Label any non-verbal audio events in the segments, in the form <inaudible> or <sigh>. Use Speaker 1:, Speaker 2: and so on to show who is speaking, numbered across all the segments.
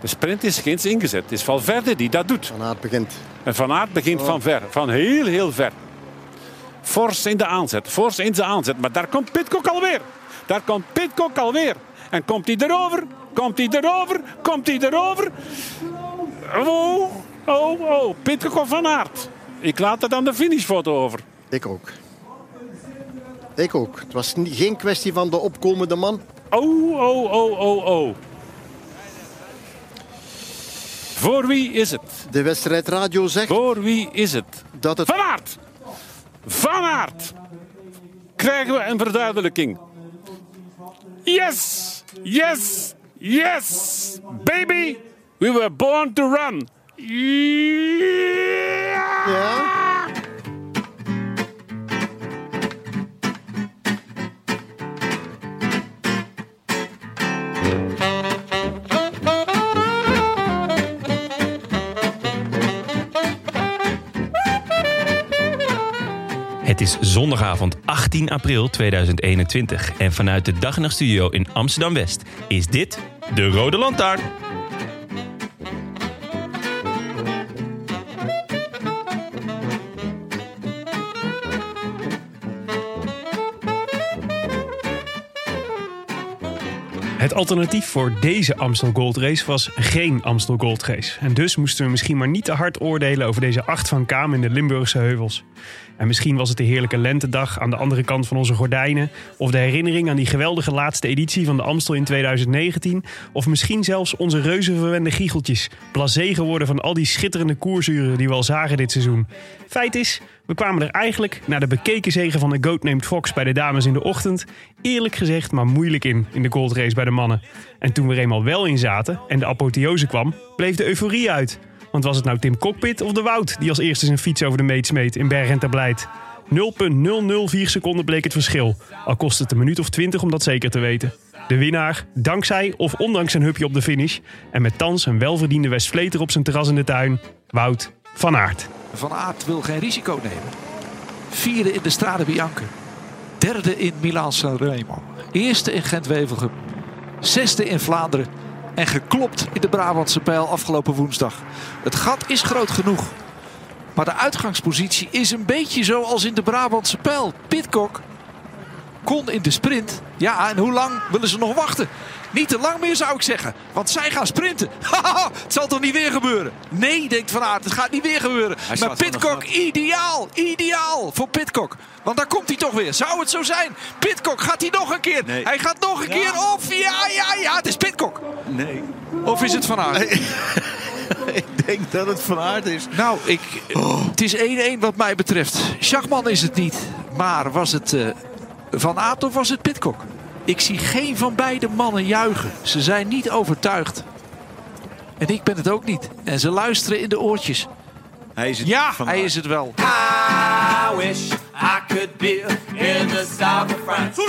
Speaker 1: De sprint is ginds ingezet. Het is Valverde die dat doet.
Speaker 2: Van Aert begint.
Speaker 1: En Van Aert begint van ver. Van heel, heel ver. Fors in de aanzet. Fors in de aanzet. Maar daar komt Pitcock alweer. Daar komt Pitcock alweer. En komt hij erover? Komt hij erover? Komt hij erover? Oh, oh, oh. Pitcock of Van Aert? Ik laat het aan de finishfoto over.
Speaker 2: Ik ook. Ik ook. Het was ni- geen kwestie van de opkomende man.
Speaker 1: Oh, oh, oh, oh, oh. Voor wie is het?
Speaker 2: De wedstrijdradio zegt
Speaker 1: Voor wie is het?
Speaker 2: dat het...
Speaker 1: Van Aert! Van Aert! Krijgen we een verduidelijking? Yes! Yes! Yes! Baby! We were born to run! Ja!
Speaker 2: Ja?
Speaker 3: Het is zondagavond 18 april 2021 en vanuit de Dag en Nacht Studio in Amsterdam West is dit de Rode Lantaarn.
Speaker 4: Het alternatief voor deze Amstel Gold Race was geen Amstel Gold Race. En dus moesten we misschien maar niet te hard oordelen over deze acht van Kaam in de Limburgse heuvels. En misschien was het de heerlijke lentedag aan de andere kant van onze gordijnen. Of de herinnering aan die geweldige laatste editie van de Amstel in 2019. Of misschien zelfs onze reuzenverwende giecheltjes. Blasé geworden van al die schitterende koersuren die we al zagen dit seizoen. Feit is, we kwamen er eigenlijk na de bekeken zegen van de Goat Named Fox bij de dames in de ochtend. Eerlijk gezegd, maar moeilijk in, in de Gold Race bij de mannen. En toen we er eenmaal wel in zaten en de apotheose kwam, bleef de euforie uit. Want was het nou Tim Cockpit of de Wout die als eerste zijn fiets over de meet smeet in Bergen ter Blijt? 0,004 seconden bleek het verschil. Al kost het een minuut of 20 om dat zeker te weten. De winnaar, dankzij of ondanks zijn hupje op de finish. En met thans een welverdiende Westvleter op zijn terras in de tuin. Wout van Aert.
Speaker 5: Van Aert wil geen risico nemen. Vierde in de Strade Bianca. Derde in Milaan-San Remo. Eerste in Gent-Wevelgem. Zesde in Vlaanderen. En geklopt in de Brabantse pijl afgelopen woensdag. Het gat is groot genoeg. Maar de uitgangspositie is een beetje zoals in de Brabantse pijl. Pitcock kon in de sprint. Ja, en hoe lang willen ze nog wachten? Niet te lang meer zou ik zeggen, want zij gaan sprinten. <laughs> Haha, het zal toch niet weer gebeuren? Nee, denkt Van Aert, het gaat niet weer gebeuren. maar Pitcock, ideaal, ideaal voor Pitcock. Want daar komt hij toch weer. Zou het zo zijn? Pitcock, gaat hij nog een keer? Hij gaat nog een keer of... Ja, ja, ja, het is Pitcock.
Speaker 6: Nee,
Speaker 5: Of is het Van Aert?
Speaker 6: ik denk dat het van aard is.
Speaker 5: Nou, ik, het is 1-1 wat mij betreft. Schachman is het niet. Maar was het eh, Van Aert of was het Pitcock? Ik zie geen van beide mannen juichen. Ze zijn niet overtuigd. En ik ben het ook niet. En ze luisteren in de oortjes.
Speaker 6: Hij is het
Speaker 5: Ja,
Speaker 6: Van
Speaker 5: hij
Speaker 6: Aert.
Speaker 5: is het wel.
Speaker 7: I wish I could be in the south of France.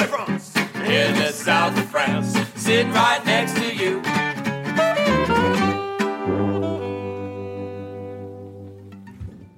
Speaker 7: In the south of France. Sitting right next to you.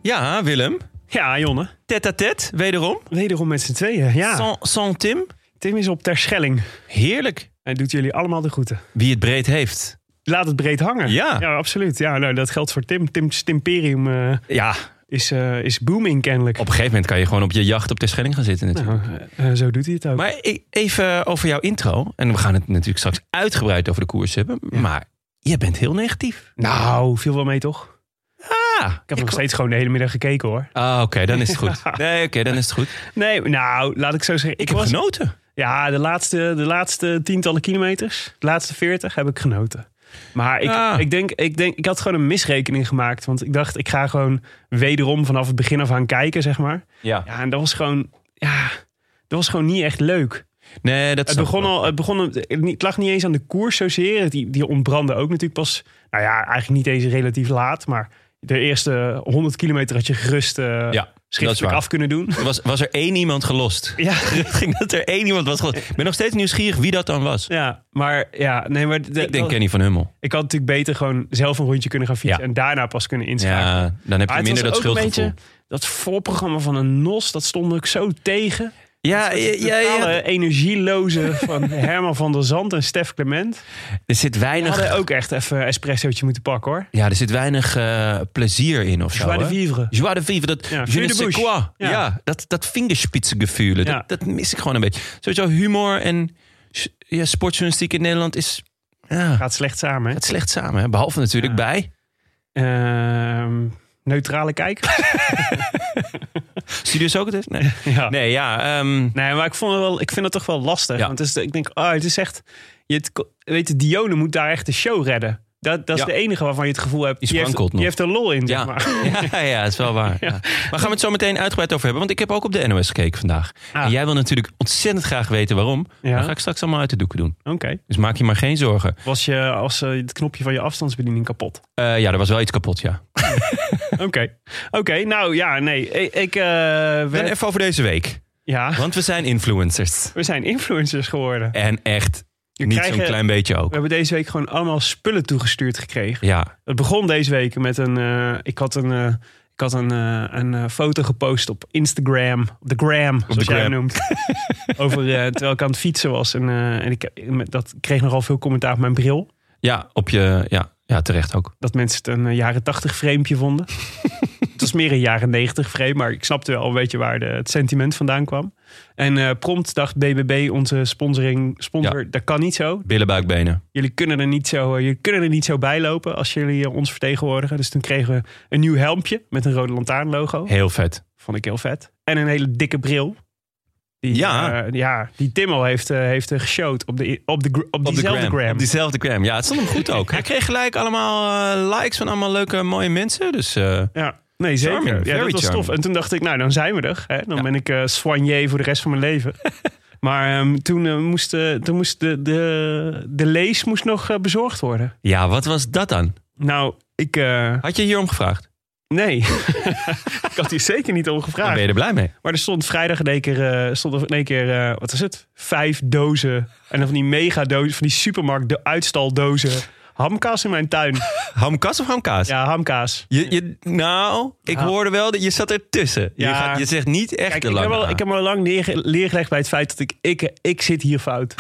Speaker 3: Ja, Willem.
Speaker 4: Ja, Jonne.
Speaker 3: Tête à tête, wederom.
Speaker 4: Wederom met z'n tweeën. Ja,
Speaker 3: Sans, sans Tim.
Speaker 4: Tim is op Terschelling.
Speaker 3: Heerlijk.
Speaker 4: Hij doet jullie allemaal de groeten.
Speaker 3: Wie het breed heeft.
Speaker 4: Laat het breed hangen.
Speaker 3: Ja.
Speaker 4: Ja, absoluut. Ja, nou, dat geldt voor Tim. Tim's Timperium eh,
Speaker 3: Ja,
Speaker 4: is, eh, is booming kennelijk.
Speaker 3: op een gegeven moment kan je gewoon op je jacht op de Schelling gaan zitten natuurlijk.
Speaker 4: Nou, eh, eh, zo doet hij het ook.
Speaker 3: Maar e- even over jouw intro. En we gaan het natuurlijk straks uitgebreid over de koers hebben. Maar je bent heel negatief.
Speaker 4: Nou, viel wel mee toch?
Speaker 3: Ah,
Speaker 4: Ik heb nog steeds gewoon de hele middag gekeken hoor.
Speaker 3: Ah, oké, dan is het
Speaker 4: <laughs>
Speaker 3: goed. Nee, oké, dan is het goed.
Speaker 4: Nee, nou, laat ik zo zeggen. Ik,
Speaker 3: Ik heb
Speaker 4: was-
Speaker 3: genoten.
Speaker 4: Ja, de laatste, de laatste tientallen kilometers, de laatste veertig, heb ik genoten. Maar ik,
Speaker 3: Ah.
Speaker 4: ik, denk, ik denk, ik had gewoon een misrekening gemaakt. Want ik dacht, ik ga gewoon wederom vanaf het begin af aan kijken, zeg maar. Ja, en dat was gewoon, ja, dat was gewoon niet echt leuk.
Speaker 3: Nee, dat
Speaker 4: Het
Speaker 3: snap
Speaker 4: begon
Speaker 3: ik wel.
Speaker 4: al, het, begon, het lag niet eens aan de koers zozeer. Die, die ontbrandde ook natuurlijk pas, nou ja, eigenlijk niet eens relatief laat. Maar de eerste 100 kilometer had je gerust eh
Speaker 3: Ja, dat is
Speaker 4: schriftelijk
Speaker 3: waar.
Speaker 4: af kunnen doen. <laughs>
Speaker 3: Er was, was er één iemand gelost. <laughs>
Speaker 4: Ja,
Speaker 3: Ging dat er één iemand was gelost. Ik ben nog steeds nieuwsgierig wie dat dan was.
Speaker 4: ja, maar ja, nee, maar de-
Speaker 3: Ik denk Kenny van Hummel.
Speaker 4: ik had natuurlijk beter gewoon zelf een rondje kunnen gaan fietsen
Speaker 3: Ja.
Speaker 4: en daarna pas kunnen inschakelen.
Speaker 3: Ja, dan heb
Speaker 4: Maar
Speaker 3: je minder
Speaker 4: het was
Speaker 3: dat
Speaker 4: ook een
Speaker 3: schuldgevoel.
Speaker 4: beetje dat voorprogramma van een NOS, dat stond ik zo tegen.
Speaker 3: ja, ja,
Speaker 4: Het
Speaker 3: ja, ja.
Speaker 4: totale energieloze
Speaker 3: <laughs>
Speaker 4: van Herman van der Zand en Stef Clement.
Speaker 3: Er zit
Speaker 4: Die hadden
Speaker 3: weinig,
Speaker 4: ook echt even een espressootje moeten pakken hoor.
Speaker 3: ja, er zit weinig eh, plezier in of zo.
Speaker 4: Joie de
Speaker 3: hè?
Speaker 4: vivre.
Speaker 3: Joie de vivre, dat
Speaker 4: Ja,
Speaker 3: je
Speaker 4: vuur
Speaker 3: ne
Speaker 4: de
Speaker 3: sais
Speaker 4: bouche.
Speaker 3: quoi. Ja.
Speaker 4: Ja.
Speaker 3: dat, dat vingerspitsengevoel,
Speaker 4: Ja.
Speaker 3: dat, dat mis ik gewoon een beetje. Sowieso humor en s- ja, sportjournalistiek in Nederland is... Ja,
Speaker 4: Gaat slecht samen hè.
Speaker 3: het slecht samen, hè? behalve natuurlijk
Speaker 4: Ja.
Speaker 3: bij
Speaker 4: Ehm, neutrale
Speaker 3: <laughs>
Speaker 4: kijker.
Speaker 3: Studios ook het is.
Speaker 4: <laughs>
Speaker 3: Nee,
Speaker 4: ja.
Speaker 3: nee ja, ehm,
Speaker 4: Nee, maar ik, vond het wel, ik vind het toch wel lastig.
Speaker 3: Ja.
Speaker 4: Want het is, ik denk, ah, het is echt... Je het, ko- weet je, Dione moet daar echt de show redden. Dat, dat is
Speaker 3: Ja.
Speaker 4: de enige waarvan je het gevoel hebt...
Speaker 3: Die
Speaker 4: heeft,
Speaker 3: sprankelt
Speaker 4: die
Speaker 3: nog.
Speaker 4: heeft er lol in, zeg
Speaker 3: Ja.
Speaker 4: maar. <laughs>
Speaker 3: <laughs> Ja, ja, dat is wel waar. <laughs> Ja. Maar gaan we het zo meteen uitgebreid over hebben? Want ik heb ook op de NOS gekeken vandaag.
Speaker 4: Ah.
Speaker 3: En jij wil natuurlijk ontzettend graag weten waarom.
Speaker 4: Ja.
Speaker 3: Dat ga ik straks allemaal uit de doeken doen.
Speaker 4: Oké.
Speaker 3: Dus maak je maar geen zorgen.
Speaker 4: Was je als eh, het knopje van je
Speaker 3: <laughs>
Speaker 4: afstandsbediening kapot?
Speaker 3: Eh, ja, er was wel iets kapot, ja.
Speaker 4: Oké. Oké, nou ja, nee. Ik, ik, eh, we-
Speaker 3: Dan even over deze week.
Speaker 4: ja,
Speaker 3: Want we zijn influencers.
Speaker 4: we zijn influencers geworden.
Speaker 3: En echt, niet
Speaker 4: krijgen-
Speaker 3: zo'n klein beetje
Speaker 4: We
Speaker 3: ook.
Speaker 4: hebben deze week gewoon allemaal spullen toegestuurd gekregen.
Speaker 3: Ja,
Speaker 4: Het begon deze week met een. eh, ik had een. eh, ik had een, eh, een eh, foto gepost op Instagram. Op de gram, zoals jij
Speaker 3: gram.
Speaker 4: hem <laughs> noemt. Over, eh, terwijl ik aan het fietsen was. En, eh, en ik, dat kreeg nogal veel commentaar op mijn bril.
Speaker 3: ja, op je, ja, ja terecht ook.
Speaker 4: Dat mensen het een eh, jaren tachtig framepje vonden. <laughs> het was meer een jaren negentig frame. Maar ik snapte wel een beetje waar de, het sentiment vandaan kwam. En eh, prompt dacht BBB, onze sponsoring, sponsor, dat kan niet zo.
Speaker 3: Billen, buikbenen.
Speaker 4: Jullie kunnen, er niet zo, eh, jullie kunnen er niet zo bij lopen als jullie eh, ons vertegenwoordigen. Dus toen kregen we een nieuw helmpje met een rode lantaarnlogo.
Speaker 3: Heel vet.
Speaker 4: Vond ik heel vet. En een hele dikke bril. Die,
Speaker 3: Ja.
Speaker 4: eh, ja, die Tim al heeft, eh, heeft eh, geshowd op, de, op, de, gr- op,
Speaker 3: Op
Speaker 4: diezelfde gram.
Speaker 3: Op diezelfde gram. Ja, het stond hem goed ook. <laughs> Hij kreeg gelijk allemaal eh, likes van allemaal leuke, mooie mensen. Dus eh,
Speaker 4: Ja, nee, zeker.
Speaker 3: Charming,
Speaker 4: ja,
Speaker 3: very
Speaker 4: dat was tof.
Speaker 3: charming.
Speaker 4: En toen dacht ik, nou, dan zijn we er. Hè? Dan ben ik eh soigné voor de rest van mijn leven. maar ehm, toen, eh, moest, eh, toen moest de, de, de lees moest nog eh, bezorgd worden.
Speaker 3: ja, wat was dat dan?
Speaker 4: Nou, ik... eh,
Speaker 3: Had je hierom gevraagd?
Speaker 4: nee. <laughs> ik had hier zeker niet om
Speaker 3: Dan
Speaker 4: gevraagd.
Speaker 3: ben je er blij mee.
Speaker 4: Maar er stond vrijdag in één keer, eh, stond er in één keer eh, wat is het? Vijf dozen. En dan van die mega dozen, van die supermarkt de uitstaldozen. Hamkaas in mijn
Speaker 3: <laughs>
Speaker 4: tuin.
Speaker 3: Hamkas of hamkaas?
Speaker 4: Ja, hamkaas.
Speaker 3: Je, je, nou, ik
Speaker 4: Ja.
Speaker 3: hoorde wel dat je zat ertussen. Je,
Speaker 4: Ja.
Speaker 3: gaat, je zegt niet echt
Speaker 4: Kijk,
Speaker 3: de
Speaker 4: ik,
Speaker 3: lange
Speaker 4: heb al,
Speaker 3: A.
Speaker 4: ik heb me al lang neerge- leergelegd bij het feit dat ik, ik, ik zit hier
Speaker 3: <laughs>
Speaker 4: fout.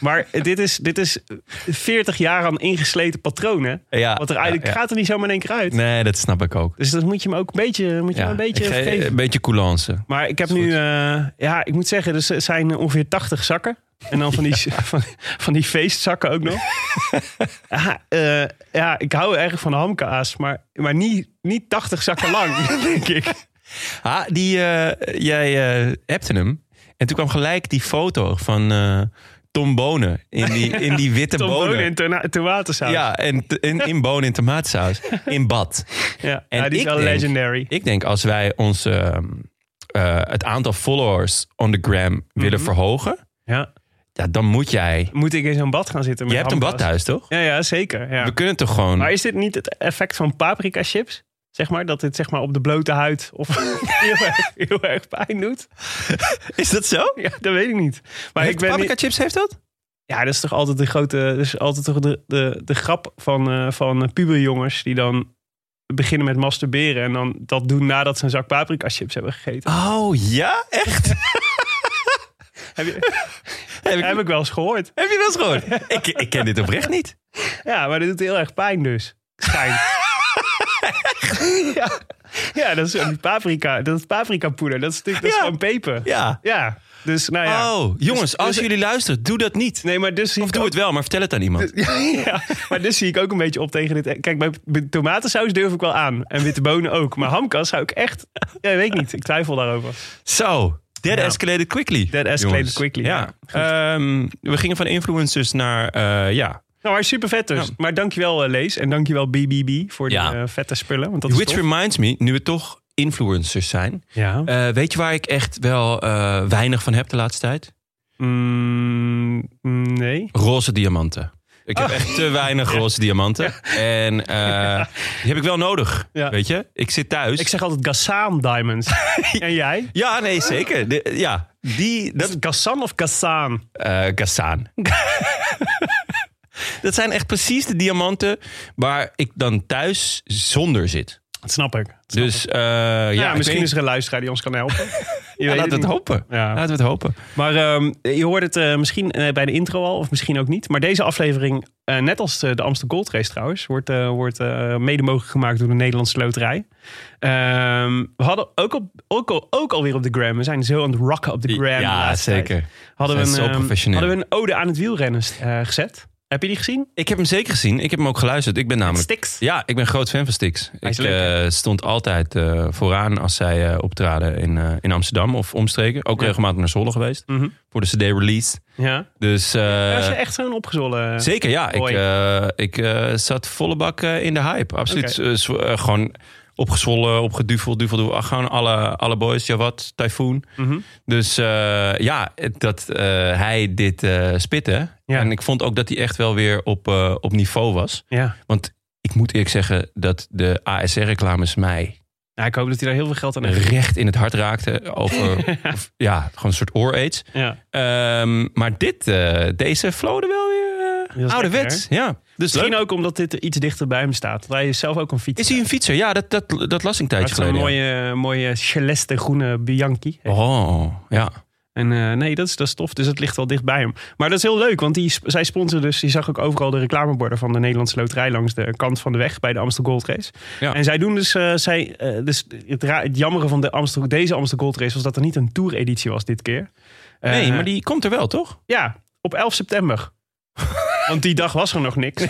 Speaker 4: maar dit is, dit is 40 jaar aan ingesleten patronen.
Speaker 3: Ja,
Speaker 4: Want er eigenlijk
Speaker 3: ja, ja.
Speaker 4: gaat er niet zomaar in één keer uit.
Speaker 3: Nee, dat snap ik ook.
Speaker 4: Dus dat moet je me ook een beetje, moet je me
Speaker 3: Ja,
Speaker 4: een beetje
Speaker 3: ik ge-
Speaker 4: geven.
Speaker 3: een beetje coulance.
Speaker 4: Maar ik heb
Speaker 3: Is goed.
Speaker 4: nu, eh, ja, ik moet zeggen, dus er zijn ongeveer 80 zakken. En dan van
Speaker 3: <laughs>
Speaker 4: die, van, van die feestzakken ook nog. ja, eh, ja, ik hou erg van hamkaas, maar, maar niet, niet 80 zakken
Speaker 3: <laughs>
Speaker 4: lang, denk ik.
Speaker 3: Ah, die, eh, jij eh appte hem. En toen kwam gelijk die foto van eh, Tom Bonen. In die, in
Speaker 4: <laughs>
Speaker 3: die witte
Speaker 4: Tom
Speaker 3: bonen.
Speaker 4: Bonen en tona- tomatensaus.
Speaker 3: ja, en t- in, in bonen in tomatensaus. In bad.
Speaker 4: <laughs> Ja,
Speaker 3: En
Speaker 4: ja, die is
Speaker 3: ik
Speaker 4: wel
Speaker 3: denk-
Speaker 4: legendary.
Speaker 3: Ik denk als wij ons, ehm, eh, het aantal followers on the gram willen
Speaker 4: Mhm.
Speaker 3: verhogen.
Speaker 4: Ja.
Speaker 3: Ja, dan moet jij...
Speaker 4: Moet ik in zo'n bad gaan zitten?
Speaker 3: Je
Speaker 4: Met
Speaker 3: hebt een bad
Speaker 4: hamkaas?
Speaker 3: thuis, toch?
Speaker 4: Ja, ja zeker. Ja.
Speaker 3: We kunnen toch gewoon...
Speaker 4: Maar is dit niet het effect van paprika chips? Zeg maar, dat dit zeg maar op de blote huid of <laughs> heel, erg, heel erg pijn doet?
Speaker 3: Is dat zo?
Speaker 4: Ja, dat weet ik niet. Maar ik ben niet-
Speaker 3: chips heeft dat?
Speaker 4: Ja, dat is toch altijd de grote, dat is altijd toch de, de, de grap van, eh, van eh, puberjongens die dan beginnen met masturberen en dan dat doen nadat ze een zak paprika chips hebben gegeten.
Speaker 3: Oh ja, <laughs> echt?
Speaker 4: Heb, je,
Speaker 3: heb, ik,
Speaker 4: heb ik wel eens gehoord.
Speaker 3: heb je wel eens gehoord? ik, ik ken dit oprecht niet.
Speaker 4: Ja, maar dat doet heel erg pijn dus.
Speaker 3: <laughs>
Speaker 4: Schijnt. ja. ja, dat is die paprika, dat is paprika poeder, dat is, natuurlijk- dat is
Speaker 3: Ja.
Speaker 4: gewoon peper.
Speaker 3: Ja.
Speaker 4: Ja, dus nou ja.
Speaker 3: Oh, jongens,
Speaker 4: Dus-
Speaker 3: als
Speaker 4: dus-
Speaker 3: jullie luisteren, doe dat niet.
Speaker 4: Nee, maar dus zie
Speaker 3: Of
Speaker 4: ik
Speaker 3: doe het wel, maar vertel het aan iemand.
Speaker 4: <laughs> Ja, maar dus zie ik ook een beetje op tegen dit. Kijk, bij bij tomatensaus durf ik wel aan. En witte bonen ook. Maar hamkas zou ik echt... Ja, weet ik niet. Ik twijfel daarover.
Speaker 3: Zo, that
Speaker 4: Ja.
Speaker 3: Nou. escalated quickly.
Speaker 4: That escalated quickly,
Speaker 3: Ja. Ehm, we gingen van influencers naar, eh, ja.
Speaker 4: Nou, maar super vet dus. Maar dankjewel eh, Lees. En dankjewel BBB voor die
Speaker 3: Ja.
Speaker 4: eh, vette spullen. Want dat
Speaker 3: Which
Speaker 4: is tof.
Speaker 3: reminds me, nu we toch influencers zijn.
Speaker 4: Ja.
Speaker 3: eh, weet je waar ik echt wel eh, weinig van heb de laatste tijd?
Speaker 4: Eh, Mm, nee.
Speaker 3: Roze diamanten. Ik
Speaker 4: Oh.
Speaker 3: heb echt te weinig roze diamanten. En eh, die heb ik wel nodig,
Speaker 4: Ja.
Speaker 3: weet je. Ik zit thuis.
Speaker 4: Ik zeg altijd Gassaan Diamonds. <laughs> en jij?
Speaker 3: Ja, nee, zeker. De- ja, die...
Speaker 4: Dat is Gassan of Gassaan?
Speaker 3: eh
Speaker 4: <laughs>
Speaker 3: Gassaan. dat zijn echt precies de diamanten waar ik dan thuis zonder zit.
Speaker 4: Dat snap ik.
Speaker 3: Dus eh, ja,
Speaker 4: ja,
Speaker 3: ik
Speaker 4: misschien
Speaker 3: weet-
Speaker 4: is er een luisteraar die ons kan helpen. Je
Speaker 3: ja,
Speaker 4: weet
Speaker 3: laten we
Speaker 4: het
Speaker 3: het
Speaker 4: niet.
Speaker 3: hopen.
Speaker 4: Ja.
Speaker 3: Laten we het hopen.
Speaker 4: Maar ehm, je hoort het eh, misschien eh, bij de intro al, of misschien ook niet. Maar deze aflevering, eh, net als eh, de Amsterdam Gold Race trouwens, wordt, eh, wordt eh, mede mogelijk gemaakt door de Nederlandse Loterij. Ehm, we hadden ook, op, ook, al, ook alweer op de gram, we zijn zo aan het rocken op de gram. de
Speaker 3: ja,
Speaker 4: laatste tijd.
Speaker 3: zeker.
Speaker 4: Hadden we,
Speaker 3: Zijn
Speaker 4: een,
Speaker 3: zo
Speaker 4: ehm,
Speaker 3: professioneel.
Speaker 4: hadden we een ode aan het wielrennen eh, gezet. Heb je die gezien?
Speaker 3: Ik heb hem zeker gezien. Ik heb hem ook geluisterd. Ik ben namelijk...
Speaker 4: Stix.
Speaker 3: Ja, ik ben groot fan van Stix.
Speaker 4: Hij is
Speaker 3: Ik
Speaker 4: leuk, hè?
Speaker 3: eh, stond altijd eh, vooraan als zij eh, optraden in, eh, in Amsterdam of omstreken. Ook
Speaker 4: Ja.
Speaker 3: regelmatig naar Zwolle geweest
Speaker 4: Mhm.
Speaker 3: voor de CD-release.
Speaker 4: Ja.
Speaker 3: Dus eh,
Speaker 4: Was je echt zo'n opgezwollen?
Speaker 3: zeker, ja. Ik,
Speaker 4: Mooi.
Speaker 3: eh, ik eh, zat volle bak eh, in de hype. Absoluut.
Speaker 4: Oké.
Speaker 3: Eh, zw- eh, gewoon opgezwollen, opgeduveld, duvel, duvel. Ach, Gewoon alle, alle boys, Jawad, Typhoon.
Speaker 4: Mhm.
Speaker 3: Dus eh, ja, het- dat eh, hij dit eh, spitte.
Speaker 4: Ja.
Speaker 3: En ik vond ook dat hij echt wel weer op, eh, op niveau was.
Speaker 4: Ja.
Speaker 3: Want ik moet eerlijk zeggen dat de ASR-reclames mij
Speaker 4: Nou, ik hoop dat hij daar heel veel geld aan heeft.
Speaker 3: recht in het hart raakten.
Speaker 4: <laughs>
Speaker 3: Over, of, ja, gewoon een soort oor-aids.
Speaker 4: Ja.
Speaker 3: Ehm, maar dit, eh, deze flowde wel weer
Speaker 4: Dat
Speaker 3: eh
Speaker 4: is
Speaker 3: ouderwets. ja.
Speaker 4: lekker,
Speaker 3: Dus
Speaker 4: Misschien
Speaker 3: leuk.
Speaker 4: ook omdat dit iets dichter bij hem staat. Want hij is zelf ook een fiets.
Speaker 3: Is hij een fietser? Ja, dat, dat, dat las ik een
Speaker 4: Hij
Speaker 3: tijdje
Speaker 4: heeft een
Speaker 3: geleden.
Speaker 4: mooie, mooie celeste groene Bianchi.
Speaker 3: ja. Oh, ja.
Speaker 4: En eh, nee, dat is, dat is tof. Dus dat ligt wel dicht bij hem. Maar dat is heel leuk, want die, sp- zij sponsoren dus... Je zag ook overal de reclameborden van de Nederlandse Loterij... langs de kant van de weg bij de Amstel Gold Race.
Speaker 3: Ja.
Speaker 4: En zij doen dus... eh, zij, eh, dus het, ra- het jammere van de Amstel, deze Amstel Gold Race... was dat er niet een tour-editie was dit keer. Eh,
Speaker 3: Nee, maar die komt er wel, toch?
Speaker 4: Ja, op
Speaker 3: <laughs>
Speaker 4: 11 september. want die dag was er nog niks.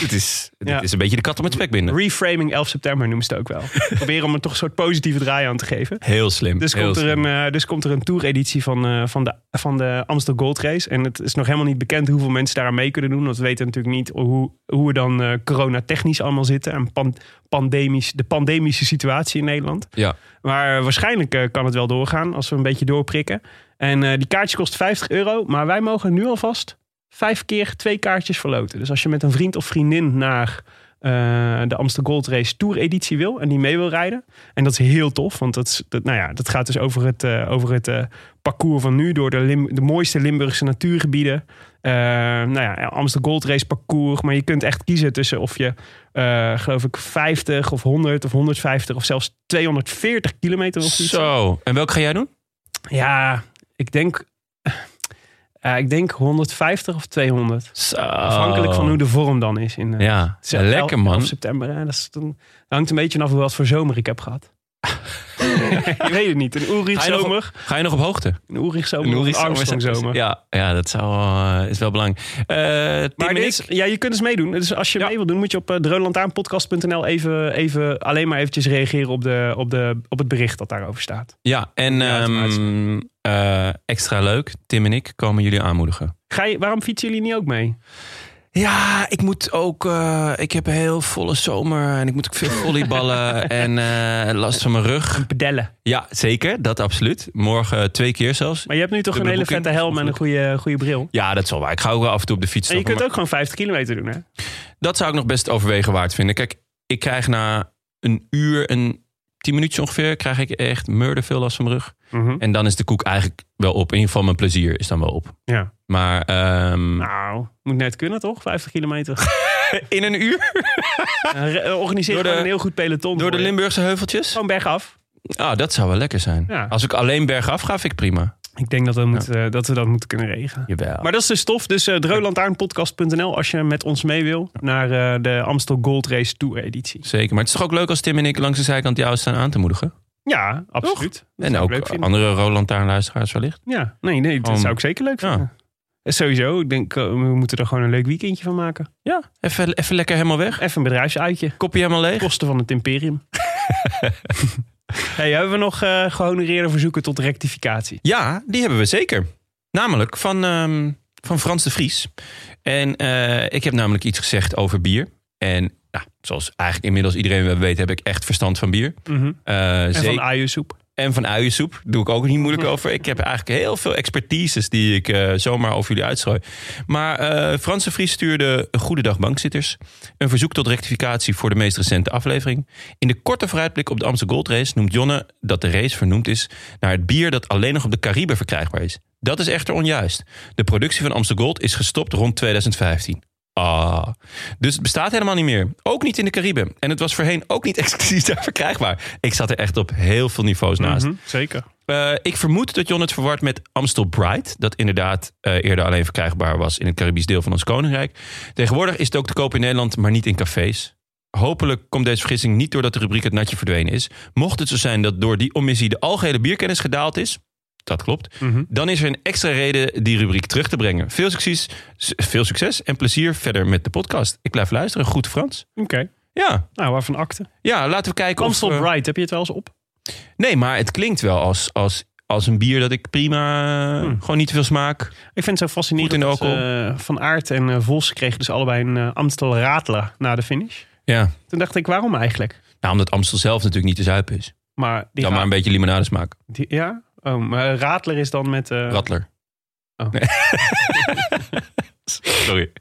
Speaker 3: Het is,
Speaker 4: Ja.
Speaker 3: dit is een beetje de kat om het spek binden.
Speaker 4: Reframing 11 september noemen ze het ook
Speaker 3: <laughs>
Speaker 4: wel. Proberen om er toch een soort positieve draai aan te geven.
Speaker 3: Heel slim.
Speaker 4: Dus
Speaker 3: heel
Speaker 4: komt, er
Speaker 3: slim.
Speaker 4: een, eh, dus komt er een tour-editie van, eh, van, de, van de Amstel Gold Race. En het is nog helemaal niet bekend hoeveel mensen daaraan mee kunnen doen. Want we weten natuurlijk niet hoe, hoe we dan eh coronatechnisch allemaal zitten. En pan- pandemisch, de pandemische situatie in Nederland.
Speaker 3: Ja.
Speaker 4: Maar eh, waarschijnlijk eh, kan het wel doorgaan als we een beetje doorprikken. En eh, die kaartje kost 50 euro. Maar wij mogen nu alvast vijf keer twee kaartjes verloten. Dus als je met een vriend of vriendin naar eh, de Amsterdam Gold Race Tour editie wil. En die mee wil rijden. En dat is heel tof. Want dat, is- dat, nou ja, dat gaat dus over het, eh, over het eh, parcours van nu. Door de, Lim- de mooiste Limburgse natuurgebieden. Eh, nou ja, Amsterdam Gold Race parcours. Maar je kunt echt kiezen tussen of je eh, geloof ik 50 of 100 of 150 of zelfs 240 kilometer of zoiets.
Speaker 3: Zo. En welke ga jij doen?
Speaker 4: Ja, ik denk, eh, ik denk 150 of 200.
Speaker 3: Zo.
Speaker 4: Afhankelijk van hoe de vorm dan is. In, eh,
Speaker 3: Ja,
Speaker 4: ze-
Speaker 3: lekker man.
Speaker 4: 11 september, hè? Dat, is, dan- hangt een beetje vanaf wat voor zomer ik
Speaker 3: <laughs>
Speaker 4: heb gehad. je weet het niet. Een Oerig
Speaker 3: Ga je nog op-
Speaker 4: zomer.
Speaker 3: Ga je nog op hoogte?
Speaker 4: Een Oerig zomer. Een Armstrong zomer.
Speaker 3: Ja, ja, dat zou, wel, eh, is wel belangrijk. Eh, Tim
Speaker 4: Maar
Speaker 3: en
Speaker 4: dit is-
Speaker 3: ik-
Speaker 4: ja, je kunt dus meedoen. Dus als je mee wilt doen, moet je op uh, dreunlantaanpodcast.nl even, even alleen maar eventjes reageren op, de, op, de, op het bericht dat daarover staat.
Speaker 3: ja, en
Speaker 4: Ja, het is
Speaker 3: ehm, eh, extra leuk. Tim en ik komen jullie aanmoedigen.
Speaker 4: Ga je, waarom fietsen jullie niet ook mee?
Speaker 3: Ja, ik moet ook. eh, ik heb een heel volle zomer en ik moet ook veel <laughs> volleyballen en eh, last van mijn rug.
Speaker 4: Pedellen.
Speaker 3: Ja, zeker, dat absoluut. Morgen twee keer zelfs.
Speaker 4: Maar je hebt nu toch
Speaker 3: De
Speaker 4: een hele
Speaker 3: beboeking
Speaker 4: vette helm
Speaker 3: is
Speaker 4: en een goede, goede bril.
Speaker 3: Ja, dat is wel waar. Ik ga ook wel af en toe op de fiets.
Speaker 4: En je
Speaker 3: stappen,
Speaker 4: kunt ook gewoon 50 kilometer doen, hè?
Speaker 3: dat zou ik nog best overwegen waard vinden. Kijk, ik krijg na een uur en tien minuutjes ongeveer... krijg ik echt murder veel last van mijn rug.
Speaker 4: Mhm.
Speaker 3: En dan is de koek eigenlijk wel op. In ieder geval mijn plezier is dan wel op.
Speaker 4: Ja.
Speaker 3: Maar ehm,
Speaker 4: Nou, moet net kunnen, toch? 50 <laughs> kilometer.
Speaker 3: in een uur
Speaker 4: <laughs> Eh, re- eh, Organiseer
Speaker 3: Door de-
Speaker 4: gewoon een heel goed peloton.
Speaker 3: door de
Speaker 4: voor je.
Speaker 3: Limburgse heuveltjes?
Speaker 4: Gewoon bergaf.
Speaker 3: Ah, dat zou wel lekker zijn.
Speaker 4: Oh. Ja.
Speaker 3: Als ik alleen bergaf ga, vind ik prima.
Speaker 4: Ik denk dat we, moeten, eh, dat, we dat moeten kunnen regelen.
Speaker 3: Jawel.
Speaker 4: Maar dat is dus tof. Dus eh dreulantaarnpodcast.nl als je met ons mee wil naar eh, de Amstel Gold Race Tour editie.
Speaker 3: Zeker. Maar het is toch ook leuk als Tim en ik langs de zijkant jou staan aan te moedigen?
Speaker 4: Ja, absoluut. Dat
Speaker 3: en
Speaker 4: zou ik
Speaker 3: ook
Speaker 4: leuk vinden.
Speaker 3: andere Roland luisteraars wellicht.
Speaker 4: Ja, nee, nee, dat
Speaker 3: Om-
Speaker 4: zou ik zeker leuk
Speaker 3: Ja.
Speaker 4: vinden. En Sowieso, ik denk, eh, we moeten er gewoon een leuk weekendje van maken.
Speaker 3: Ja, even, even lekker helemaal weg.
Speaker 4: Even een bedrijfsuitje.
Speaker 3: Kopje helemaal leeg.
Speaker 4: Kosten van het imperium. <laughs> hey, hebben we nog eh, gehonoreerde verzoeken tot rectificatie?
Speaker 3: Ja, die hebben we zeker. Namelijk van, ehm, van Frans de Vries. En eh, ik heb namelijk iets gezegd over bier. En nou, zoals eigenlijk inmiddels iedereen wel weet, heb ik echt verstand van bier.
Speaker 4: Mhm.
Speaker 3: Eh,
Speaker 4: En
Speaker 3: zeker-
Speaker 4: van uiensoep.
Speaker 3: En van uiensoep. Doe ik ook niet moeilijk over. Ik heb eigenlijk heel veel expertises die ik eh, zomaar over jullie uitstrooi. Maar eh Franse Vries stuurde Goedendag Bankzitters. Een verzoek tot rectificatie voor de meest recente aflevering. In de korte vooruitblik op de Amsterdam Gold Race noemt Jonne dat de race vernoemd is naar het bier dat alleen nog op de Cariben verkrijgbaar is. Dat is echter onjuist. De productie van Amsterdam Gold is gestopt rond 2015. Ah, dus het bestaat helemaal niet meer. Ook niet in de Cariben. En het was voorheen ook niet <laughs> exclusief daar verkrijgbaar. Ik zat er echt op heel veel niveaus naast.
Speaker 4: Mhm, zeker.
Speaker 3: Eh, ik vermoed dat Jon het verward met Amstel Bright. Dat inderdaad eh, eerder alleen verkrijgbaar was in het Caribisch deel van ons koninkrijk. Tegenwoordig is het ook te koop in Nederland, maar niet in cafés. Hopelijk komt deze vergissing niet doordat de rubriek het natje verdwenen is. Mocht het zo zijn dat door die omissie de algehele bierkennis gedaald is. Dat klopt. Dan is er een extra reden die rubriek terug te brengen. Veel succes, s- veel succes en plezier verder met de podcast. Ik blijf luisteren. Goed Frans.
Speaker 4: Oké.
Speaker 3: Ja,
Speaker 4: Nou, waarvan akte?
Speaker 3: ja laten we kijken
Speaker 4: Amstel
Speaker 3: of... eh,
Speaker 4: Bright, heb je het wel eens op?
Speaker 3: Nee, maar het klinkt wel als, als, als een bier dat ik prima...
Speaker 4: Hmm.
Speaker 3: eh, Gewoon niet te veel smaak.
Speaker 4: Ik vind het zo fascinerend
Speaker 3: Goed in
Speaker 4: dat
Speaker 3: alcohol.
Speaker 4: eh, Van Aert en eh, Vos kregen dus allebei een eh, Amstel Radler na de finish.
Speaker 3: Ja.
Speaker 4: Toen dacht ik, waarom eigenlijk?
Speaker 3: Nou, omdat Amstel zelf natuurlijk niet te zuipen is.
Speaker 4: Maar die
Speaker 3: Dan maar
Speaker 4: ra-
Speaker 3: een beetje limonade smaak.
Speaker 4: die- ja? Oh, maar Radler is dan met... eh,
Speaker 3: Rattler.
Speaker 4: Oh. <laughs>
Speaker 3: Nee. Sorry.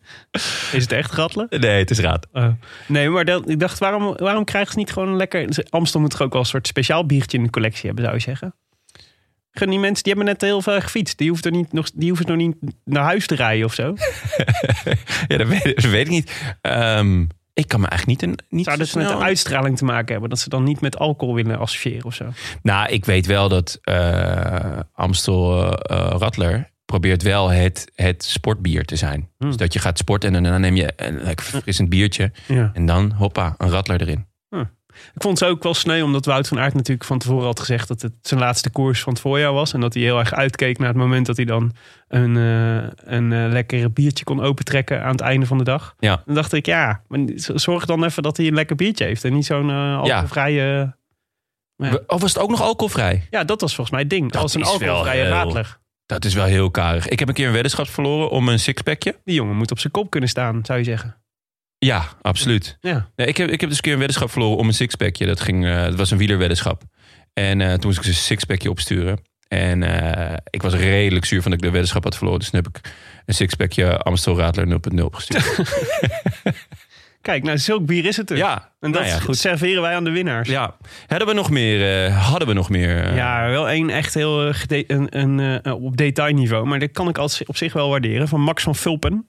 Speaker 4: is het echt Radler?
Speaker 3: Nee, het is raad.
Speaker 4: Oh. nee, maar dat, ik dacht, waarom, waarom krijgen ze niet gewoon een lekker... Amstel moet toch ook wel een soort speciaal biertje in de collectie hebben, zou je zeggen? Gewoon Die mensen die hebben net heel veel gefietst. Die hoeven, er niet, nog, die hoeven nog niet naar huis te rijden of zo.
Speaker 3: Ja, dat weet, dat weet ik niet. Ehm, ik kan me eigenlijk niet... Een, niet
Speaker 4: Zou dat
Speaker 3: zo
Speaker 4: ze met de
Speaker 3: snel-
Speaker 4: uitstraling te maken hebben? Dat ze dan niet met alcohol willen associëren of zo?
Speaker 3: Nou, ik weet wel dat eh, Amstel eh eh, Rattler probeert wel het, het sportbier te zijn.
Speaker 4: Hmm.
Speaker 3: Dus dat je gaat sporten en dan neem je een lekker verfrissend biertje.
Speaker 4: Ja.
Speaker 3: En dan, hoppa, een Rattler erin.
Speaker 4: Ik vond ze ook wel sneu, omdat Wout van Aert natuurlijk van tevoren had gezegd dat het zijn laatste koers van het voorjaar was. En dat hij heel erg uitkeek naar het moment dat hij dan een, eh een eh, lekker biertje kon opentrekken aan het einde van de dag.
Speaker 3: Ja.
Speaker 4: Dan dacht ik, ja, maar z- zorg dan even dat hij een lekker biertje heeft. En niet zo'n eh alcoholvrije... Ja. Ja.
Speaker 3: Of was het ook nog alcoholvrij?
Speaker 4: dat was volgens mij het ding.
Speaker 3: Dat
Speaker 4: Als een
Speaker 3: is wel
Speaker 4: alcoholvrije
Speaker 3: heel-
Speaker 4: radler.
Speaker 3: Dat is wel heel karig. Ik heb een keer een weddenschap verloren om een sixpackje.
Speaker 4: Die jongen moet op zijn kop kunnen staan, zou je zeggen.
Speaker 3: Ja, absoluut.
Speaker 4: Ja.
Speaker 3: Nee, ik, heb, ik heb dus een keer een weddenschap verloren om een sixpackje. Dat, ging, eh dat was een wielerweddenschap. En eh, toen moest ik dus een sixpackje opsturen. En eh, ik was redelijk zuur van dat ik de weddenschap had verloren. Dus toen heb ik een sixpackje Amstel Radler 0.0
Speaker 4: <laughs>
Speaker 3: opgestuurd.
Speaker 4: Kijk, nou, zulk bier is het er.
Speaker 3: ja,
Speaker 4: En dat
Speaker 3: nou ja, goed.
Speaker 4: serveren wij aan de winnaars.
Speaker 3: Ja, hadden we nog meer? eh, hadden we nog meer? eh,
Speaker 4: Ja, wel één echt heel eh, gede- een, een, eh, op detailniveau. Maar dat kan ik als, op zich wel waarderen. Van Max van Vulpen.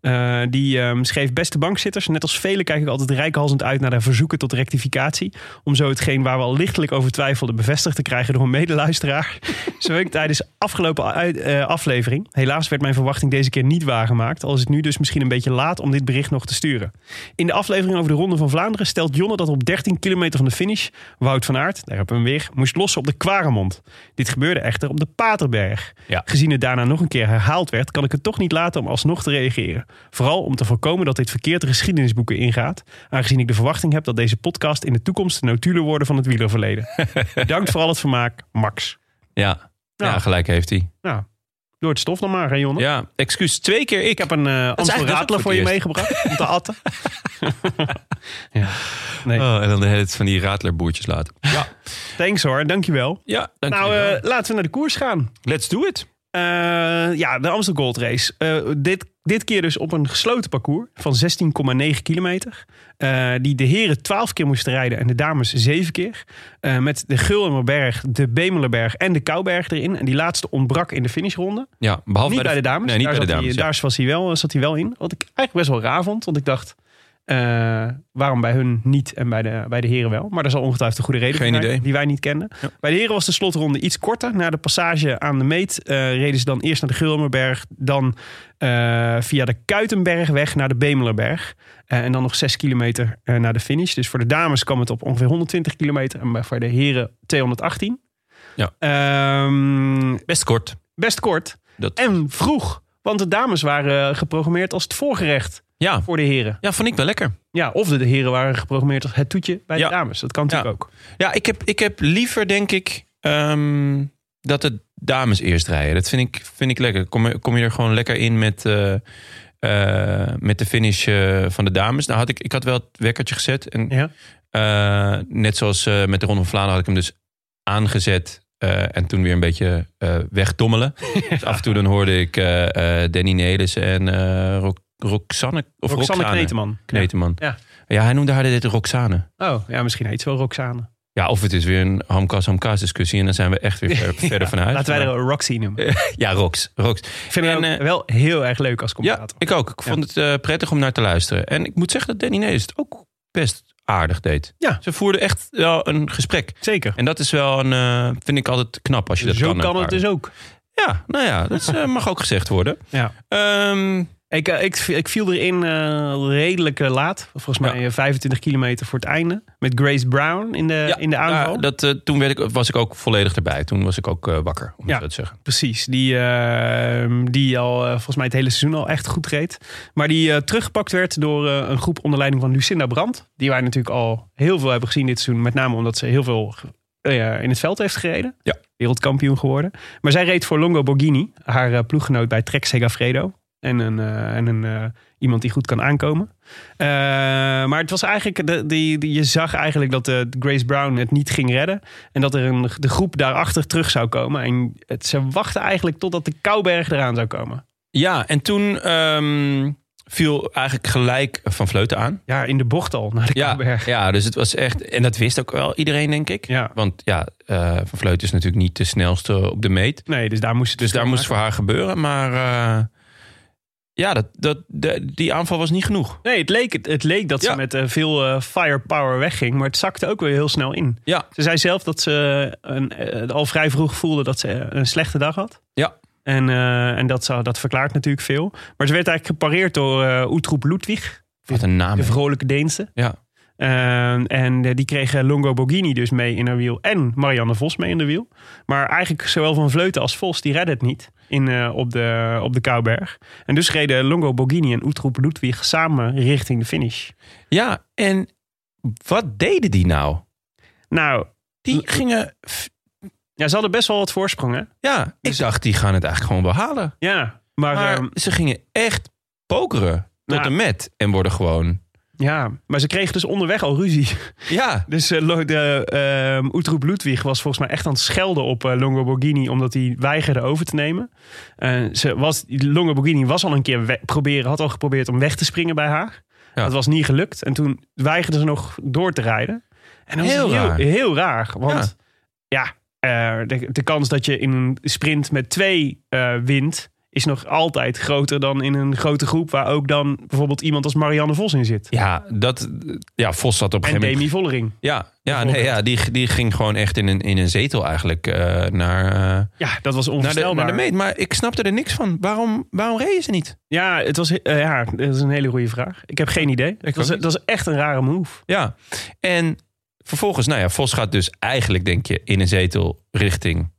Speaker 4: Eh, die ehm, schreef beste bankzitters. Net als velen kijk ik altijd reikhalzend uit naar de verzoeken tot rectificatie. Om zo hetgeen waar we al lichtelijk over twijfelden bevestigd te krijgen door een medeluisteraar. <laughs> zo ik tijdens afgelopen uit- eh, aflevering. Helaas werd mijn verwachting deze keer niet waargemaakt. Al is het nu dus misschien een beetje laat om dit bericht nog te sturen. In de aflevering over de Ronde van Vlaanderen stelt Jonne dat op 13 kilometer van de finish Wout van Aert, daar hebben we hem weer, moest lossen op de Kwaremond. Dit gebeurde echter op de Paterberg.
Speaker 3: Ja.
Speaker 4: Gezien het daarna nog een keer herhaald werd, kan ik het toch niet laten om alsnog te reageren. Vooral om te voorkomen dat dit verkeerd de geschiedenisboeken ingaat, aangezien ik de verwachting heb dat deze podcast in de toekomst de notulen worden van het wielerverleden. Bedankt voor al het vermaak, Max.
Speaker 3: ja.
Speaker 4: Nou.
Speaker 3: Ja, gelijk heeft hij.
Speaker 4: Nou, door het stof dan maar, hè Jonne?
Speaker 3: Ja, excuus. Twee keer ik.
Speaker 4: Ik heb een eh Amstel
Speaker 3: eigenlijk best
Speaker 4: Radler
Speaker 3: ook
Speaker 4: voor je
Speaker 3: voor het
Speaker 4: meegebracht om te atten. ja. Nee,
Speaker 3: Oh, en dan de hele tijd van die radlerboertjes laten. Ja,
Speaker 4: thanks hoor, dankjewel.
Speaker 3: ja dank
Speaker 4: Nou,
Speaker 3: jullie wel.
Speaker 4: eh, laten we naar de koers gaan.
Speaker 3: Let's do it.
Speaker 4: Eh, ja, de Amsterdam Gold Race. Eh, dit, dit keer dus op een gesloten parcours van 16,9 kilometer. Eh, die de heren 12 keer moesten rijden en de dames 7 keer. Eh, met de Gulmerberg, de Bemelenberg en de Kouberg erin. En die laatste ontbrak in de finishronde.
Speaker 3: Ja, behalve
Speaker 4: Niet bij de dames.
Speaker 3: Nee, niet
Speaker 4: daar
Speaker 3: bij de
Speaker 4: zat
Speaker 3: dames.
Speaker 4: Hij, eh,
Speaker 3: ja.
Speaker 4: Daar was hij wel, zat hij wel in. Wat ik eigenlijk best wel raar vond. Want ik dacht, eh, waarom bij hun niet en bij de, bij de heren wel? Maar daar zal ongetwijfeld een goede reden
Speaker 3: Geen
Speaker 4: voor zijn,
Speaker 3: idee.
Speaker 4: die wij niet kenden. Bij de heren was de slotronde iets korter. Na de passage aan de meet eh, reden ze dan eerst naar de Gulmerberg. Dan eh, via de Kuitenberg weg naar de Bemelerberg. Eh, en dan nog 6 kilometer eh, naar de finish. Dus voor de dames kwam het op ongeveer 120 kilometer. En bij- voor de heren 218.
Speaker 3: Ja.
Speaker 4: Ehm,
Speaker 3: Best kort.
Speaker 4: best kort.
Speaker 3: Dat...
Speaker 4: En vroeg. Want de dames waren eh, geprogrammeerd als het voorgerecht
Speaker 3: Ja.
Speaker 4: voor de heren.
Speaker 3: ja, vond ik wel lekker.
Speaker 4: Ja, of de de heren waren geprogrammeerd als het toetje bij
Speaker 3: Ja.
Speaker 4: de dames. Dat kan natuurlijk ook.
Speaker 3: Ja, ik heb, ik heb liever, denk ik, ehm, dat de dames eerst rijden. Dat vind ik, vind ik lekker. Kom, je- kom je er gewoon lekker in met, eh, eh, met de finish eh, van de dames. Nou, had ik, ik had wel het wekkertje gezet. En,
Speaker 4: Ja.
Speaker 3: eh, net zoals eh, met de Ronde van Vlaanderen had ik hem dus aangezet. eh, en toen weer een beetje eh,
Speaker 4: <laughs>
Speaker 3: wegdommelen. Dus af en toe dan hoorde ik eh, eh, Danny Nelis en eh Ro- Roxanne... Of
Speaker 4: Roxanne
Speaker 3: Roxane.
Speaker 4: Kneteman.
Speaker 3: Kneteman.
Speaker 4: Ja.
Speaker 3: ja, hij noemde haar dit Roxane.
Speaker 4: Oh, ja, misschien heet ze wel Roxane.
Speaker 3: Ja, of het is weer een hamkas hamkas discussie. En dan zijn we echt
Speaker 4: <laughs>
Speaker 3: weer ver- verder van huis.
Speaker 4: Laten wij
Speaker 3: Maar-
Speaker 4: er Roxy noemen.
Speaker 3: Ja, Rox. Rox.
Speaker 4: Ik vind hem
Speaker 3: En,
Speaker 4: ook
Speaker 3: eh,
Speaker 4: wel heel erg leuk als
Speaker 3: Ja,
Speaker 4: commentator.
Speaker 3: ik ook. Ik vond het eh, prettig om naar te luisteren. En ik moet zeggen dat Danny Nees het ook best aardig deed.
Speaker 4: Ja.
Speaker 3: Ze voerden echt wel een gesprek.
Speaker 4: Zeker.
Speaker 3: En dat is wel een, eh, vind ik altijd knap als je dat
Speaker 4: Zo
Speaker 3: kan.
Speaker 4: kan, het dus ook.
Speaker 3: Ja, nou ja, dat is,
Speaker 4: <laughs>
Speaker 3: eh, mag ook gezegd worden.
Speaker 4: Ja.
Speaker 3: Ehm,
Speaker 4: Ik, eh, ik, ik viel erin eh, redelijk eh, laat. Volgens mij eh, 25 kilometer voor het einde. Met Grace Brown in de,
Speaker 3: ja,
Speaker 4: in de aanval.
Speaker 3: ja, dat, eh, toen werd ik, was ik ook volledig erbij. Toen was ik ook eh, wakker, om
Speaker 4: Ja.
Speaker 3: het zo te zeggen.
Speaker 4: Precies, die, eh, die al eh, volgens mij het hele seizoen al echt goed reed. Maar die eh, teruggepakt werd door eh, een groep onder leiding van Lucinda Brandt. Die wij natuurlijk al heel veel hebben gezien dit seizoen. Met name omdat ze heel veel eh, in het veld heeft gereden.
Speaker 3: Ja.
Speaker 4: Wereldkampioen geworden. Maar zij reed voor Longo Borghini, haar eh, ploeggenoot bij Trek Segafredo. En een, eh, en een, eh, iemand die goed kan aankomen. Eh, maar het was eigenlijk, de, die, die- je zag eigenlijk dat eh, Grace Brown het niet ging redden. En dat er een, de groep daarachter terug zou komen. En het, ze wachten eigenlijk totdat de Kouberg eraan zou komen.
Speaker 3: Ja, en toen ehm, viel eigenlijk gelijk Van Vleuten aan.
Speaker 4: Ja, in de bocht al <laughs> naar de
Speaker 3: Ja,
Speaker 4: Kouberg.
Speaker 3: ja, dus het was echt... En dat wist ook wel iedereen, denk ik.
Speaker 4: Ja.
Speaker 3: Want ja, eh, Van Vleuten is natuurlijk niet de snelste op de meet.
Speaker 4: Nee, dus daar moest het
Speaker 3: Dus daar moest
Speaker 4: maken.
Speaker 3: voor haar gebeuren. Maar eh, ja, dat, dat, de- die aanval was niet genoeg.
Speaker 4: Nee, het leek, het, het leek dat
Speaker 3: Ja.
Speaker 4: ze met eh, veel eh, firepower wegging. Maar het zakte ook weer heel snel in.
Speaker 3: Ja.
Speaker 4: Ze zei zelf dat ze een, eh, al vrij vroeg voelde dat ze eh, een slechte dag had.
Speaker 3: Ja.
Speaker 4: En, eh, en dat, zou, dat verklaart natuurlijk veel. Maar ze werd eigenlijk gepareerd door eh Utroep Ludwig.
Speaker 3: Wat een naam.
Speaker 4: De
Speaker 3: hè.
Speaker 4: vrolijke Deense.
Speaker 3: Ja.
Speaker 4: Ehm, en eh, die kregen Longo Borghini dus mee in haar wiel. En Marianne Vos mee in de wiel. Maar eigenlijk zowel Van Vleuten als Vos, die redden het niet in, eh, op, de, op de Kouberg. En dus reden Longo Borghini en Utroep Ludwig samen richting de finish.
Speaker 3: ja, en wat deden die nou?
Speaker 4: Nou,
Speaker 3: Die gingen... f-
Speaker 4: ja, ze hadden best wel wat voorsprong, hè?
Speaker 3: Ja, ik dacht, die gaan het eigenlijk gewoon behalen.
Speaker 4: Ja, maar,
Speaker 3: Maar
Speaker 4: ehm,
Speaker 3: ze gingen echt pokeren tot
Speaker 4: Nou.
Speaker 3: en met. En worden gewoon...
Speaker 4: ja, maar ze kregen dus onderweg al ruzie.
Speaker 3: Ja,
Speaker 4: Dus eh, Lo- de, ehm Utroep Ludwig was volgens mij echt aan het schelden op eh, Longo Borghini... omdat hij weigerde over te nemen. Eh, ze was, Longo Borghini was al een keer we- proberen, had al geprobeerd om weg te springen bij haar.
Speaker 3: Ja.
Speaker 4: Dat was niet gelukt. En toen weigerde ze nog door te rijden. En dat
Speaker 3: Heel
Speaker 4: was heel
Speaker 3: raar.
Speaker 4: heel raar. Want ja, eh, de, de kans dat je in een sprint met twee eh, wint... is nog altijd groter dan in een grote groep... waar ook dan bijvoorbeeld iemand als Marianne Vos in zit.
Speaker 3: ja, dat, ja Vos zat op een
Speaker 4: En
Speaker 3: gegeven moment...
Speaker 4: Demi Vollering.
Speaker 3: Ja, ja, nee,
Speaker 4: Bijvoorbeeld.
Speaker 3: ja die, die ging gewoon echt in een, in een zetel eigenlijk eh, naar, eh,
Speaker 4: Ja, dat was
Speaker 3: naar, de,
Speaker 4: onvoorstelbaar.
Speaker 3: naar de meet. Maar ik snapte er niks van. Waarom, waarom reden ze niet?
Speaker 4: Ja, het was, eh, ja, dat is een hele goede vraag. Ik heb geen idee. Dat was, e-
Speaker 3: ook niet.
Speaker 4: dat was echt een rare move.
Speaker 3: Ja, en vervolgens, nou ja, Vos gaat dus eigenlijk, denk je, in een zetel richting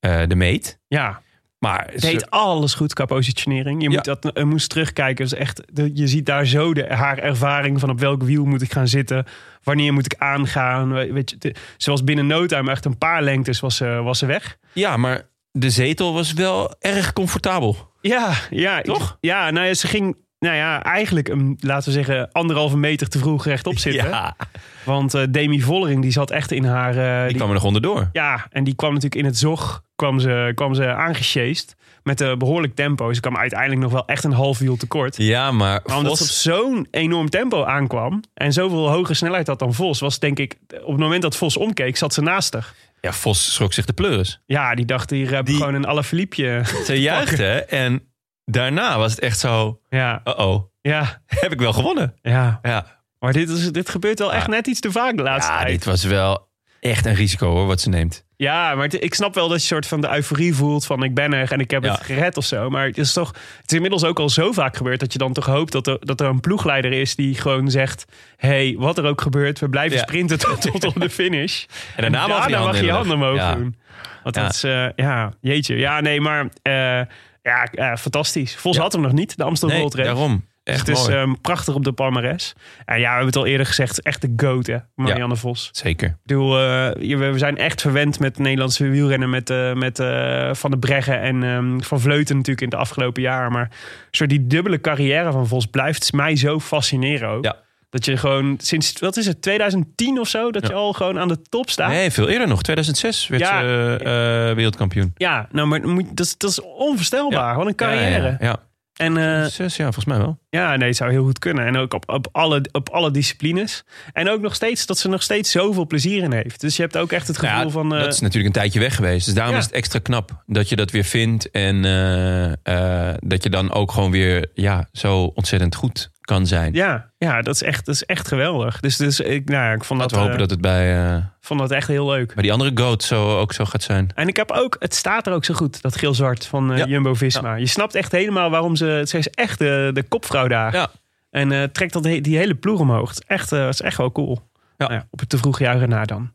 Speaker 3: eh, de meet.
Speaker 4: Ja,
Speaker 3: Maar ze-
Speaker 4: deed alles goed qua positionering. Je
Speaker 3: Dus, eh, Ja.
Speaker 4: moet dat eh, moest terugkijken. Dat is echt, de- je ziet daar zo de, haar ervaring van op welk wiel moet ik gaan zitten. Wanneer moet ik aangaan. We- Weet je, de- ze was binnen no time echt een paar lengtes was, ze- was ze weg.
Speaker 3: ja, maar de zetel was wel erg comfortabel.
Speaker 4: Ja, ja. ik-
Speaker 3: Toch?
Speaker 4: ja, nou ja, ze ging... Nou ja, eigenlijk, een, laten we zeggen, anderhalve meter te vroeg rechtop zitten.
Speaker 3: Ja, die,
Speaker 4: Want eh, Demi Vollering, die zat echt in haar... eh, die-
Speaker 3: kwam er nog onderdoor.
Speaker 4: Ja, en die kwam natuurlijk in het zog kwam ze, kwam ze aangesjeest. Met een behoorlijk tempo. Ze kwam uiteindelijk nog wel echt een half wiel tekort.
Speaker 3: Ja, maar
Speaker 4: Maar omdat ze op
Speaker 3: Vos...
Speaker 4: zo'n enorm tempo aankwam. En zoveel hogere snelheid had dan Vos. Was denk ik, op het moment dat Vos omkeek, zat ze naast haar.
Speaker 3: Ja, Vos schrok zich de pleuris.
Speaker 4: Ja, die dacht hier heb ik
Speaker 3: Die-
Speaker 4: gewoon een Alaphilippe.
Speaker 3: Ze juichte en daarna was het echt zo...
Speaker 4: <laughs> Ja,
Speaker 3: Uh-oh,
Speaker 4: ja,
Speaker 3: heb ik wel gewonnen.
Speaker 4: ja.
Speaker 3: Ja,
Speaker 4: Maar dit, is, dit gebeurt wel echt
Speaker 3: Ja.
Speaker 4: net iets te vaak de laatste
Speaker 3: Ja,
Speaker 4: tijd.
Speaker 3: dit was wel echt een risico hoor, wat ze neemt.
Speaker 4: Ja, maar het- ik snap wel dat je soort van de euforie voelt van ik ben er en ik heb
Speaker 3: Ja.
Speaker 4: het gered of zo. Maar het is toch, het is inmiddels ook al zo vaak gebeurd dat je dan toch hoopt dat er, dat er een ploegleider is die gewoon zegt: hé, hey, wat er ook gebeurt, we blijven
Speaker 3: Ja.
Speaker 4: sprinten tot, tot op de finish.
Speaker 3: <laughs> En daarna, mag, je
Speaker 4: mag je je handen
Speaker 3: handen in de
Speaker 4: omhoog
Speaker 3: lucht. Ja.
Speaker 4: doen. Want
Speaker 3: Ja.
Speaker 4: dat is, eh, ja, jeetje. Ja, nee, maar eh, ja, eh, fantastisch. Vos had hem nog niet, de Amsterdam
Speaker 3: Nee,
Speaker 4: Gold Race.
Speaker 3: daarom. eh,
Speaker 4: Dus
Speaker 3: Echt
Speaker 4: het is
Speaker 3: mooi.
Speaker 4: ehm, prachtig op de palmares. En ja, we hebben het al eerder gezegd, echt de goat, hè, Marianne Vos.
Speaker 3: Zeker.
Speaker 4: Ik bedoel, eh, je- we we zijn echt verwend met het Nederlandse wielrennen. Met, eh, met eh, Van de Breggen en ehm, Van Vleuten natuurlijk in de afgelopen jaren. Maar zo die dubbele carrière van Vos blijft mij zo fascineren ook.
Speaker 3: Ja.
Speaker 4: Dat je gewoon sinds, wat is het, 2010 of zo, dat je al gewoon aan de top staat.
Speaker 3: Nee, veel eerder nog. 2006 werd
Speaker 4: Ja.
Speaker 3: ze eh, eh, wereldkampioen.
Speaker 4: Ja, nou, maar moet, dat, is- dat is onvoorstelbaar. Wat een carrière.
Speaker 3: Ja, ja, ja.
Speaker 4: En eh,
Speaker 3: Zes, ja, volgens mij wel.
Speaker 4: ja, nee, het zou heel goed kunnen. En ook op, op, alle, op alle disciplines. En ook nog steeds dat ze nog steeds zoveel plezier in heeft. Dus je hebt ook echt het gevoel
Speaker 3: Nou ja,
Speaker 4: van... eh,
Speaker 3: dat is natuurlijk een tijdje weg geweest. Dus daarom
Speaker 4: Ja.
Speaker 3: is het extra knap dat je dat weer vindt. En eh, eh, dat je dan ook gewoon weer ja, zo ontzettend goed kan zijn.
Speaker 4: ja, ja dat, is echt, dat is echt geweldig. Dus, dus ik, nou ja, ik vond dat,
Speaker 3: Laten we hopen
Speaker 4: eh,
Speaker 3: dat het bij, eh,
Speaker 4: vond dat echt heel leuk.
Speaker 3: bij die andere goat zo, ook zo gaat zijn.
Speaker 4: En ik heb ook, het staat er ook zo goed, dat geel-zwart van eh,
Speaker 3: Ja.
Speaker 4: Jumbo-Visma. Je snapt echt helemaal waarom ze... Ze is echt de, de kopvrouw daar.
Speaker 3: Ja.
Speaker 4: En eh, trekt dat, he- die hele ploeg omhoog. Het is echt, eh, het is echt wel cool.
Speaker 3: Ja.
Speaker 4: Nou op het te vroeg jaren na
Speaker 3: <laughs>
Speaker 4: dan.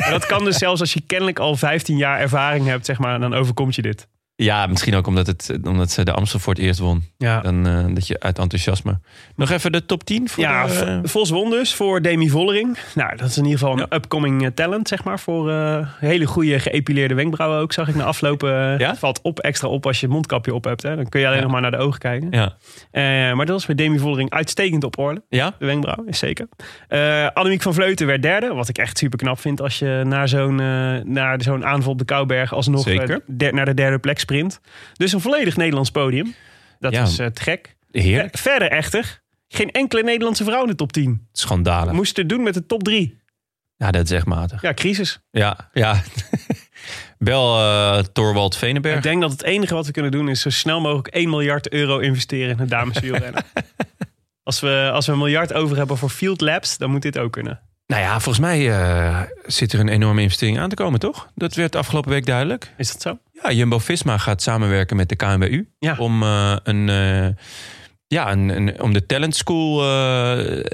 Speaker 4: maar dat kan dus zelfs als je kennelijk al 15 jaar ervaring hebt, zeg maar, dan overkomt je dit.
Speaker 3: ja, misschien ook omdat, het, omdat ze de Amstel voor het eerst won.
Speaker 4: Ja,
Speaker 3: Dan, eh, dat je uit enthousiasme. Nog even de top 10 voor
Speaker 4: ja
Speaker 3: de, eh,
Speaker 4: Vo- Vos won dus voor Demi Vollering. Nou, dat is in ieder geval een upcoming eh, talent, zeg maar. Voor eh, hele goede geëpileerde wenkbrauwen ook, zag ik na aflopen.
Speaker 3: Ja?
Speaker 4: Het valt op, extra op als je het mondkapje op hebt. Hè. Dan kun je alleen
Speaker 3: Ja.
Speaker 4: nog maar naar de ogen kijken.
Speaker 3: ja.
Speaker 4: Eh, maar dat was bij Demi Vollering uitstekend op orde.
Speaker 3: ja?
Speaker 4: De wenkbrauw, is zeker. Eh Annemiek van Vleuten werd derde. Wat ik echt super knap vind als je naar zo'n, eh, naar zo'n aanval op de Kouberg alsnog eh,
Speaker 3: Zeker.
Speaker 4: der- naar de derde plek sprint. Dus een volledig Nederlands podium. Dat
Speaker 3: Ja.
Speaker 4: is eh, te gek.
Speaker 3: Heerlijk.
Speaker 4: Eh, Verder echter, geen enkele Nederlandse vrouw in de top 10.
Speaker 3: Schandalen.
Speaker 4: Moest het doen met de top 3.
Speaker 3: Ja, dat is echt matig.
Speaker 4: Ja, crisis.
Speaker 3: Ja, ja. <laughs> Bel eh Thorwald Veneberg.
Speaker 4: Ik denk dat het enige wat we kunnen doen is zo snel mogelijk 1 miljard euro investeren in het <laughs> dameswielrennen. als, we, als we een miljard over hebben voor field labs, dan moet dit ook kunnen.
Speaker 3: Nou ja, volgens mij eh, zit er een enorme investering aan te komen, toch? Dat werd afgelopen week duidelijk.
Speaker 4: Is dat zo?
Speaker 3: Ja, Jumbo-Visma gaat samenwerken met de KNWU.
Speaker 4: Ja.
Speaker 3: Om, eh, een, eh, ja, een, een- om de talent school eh,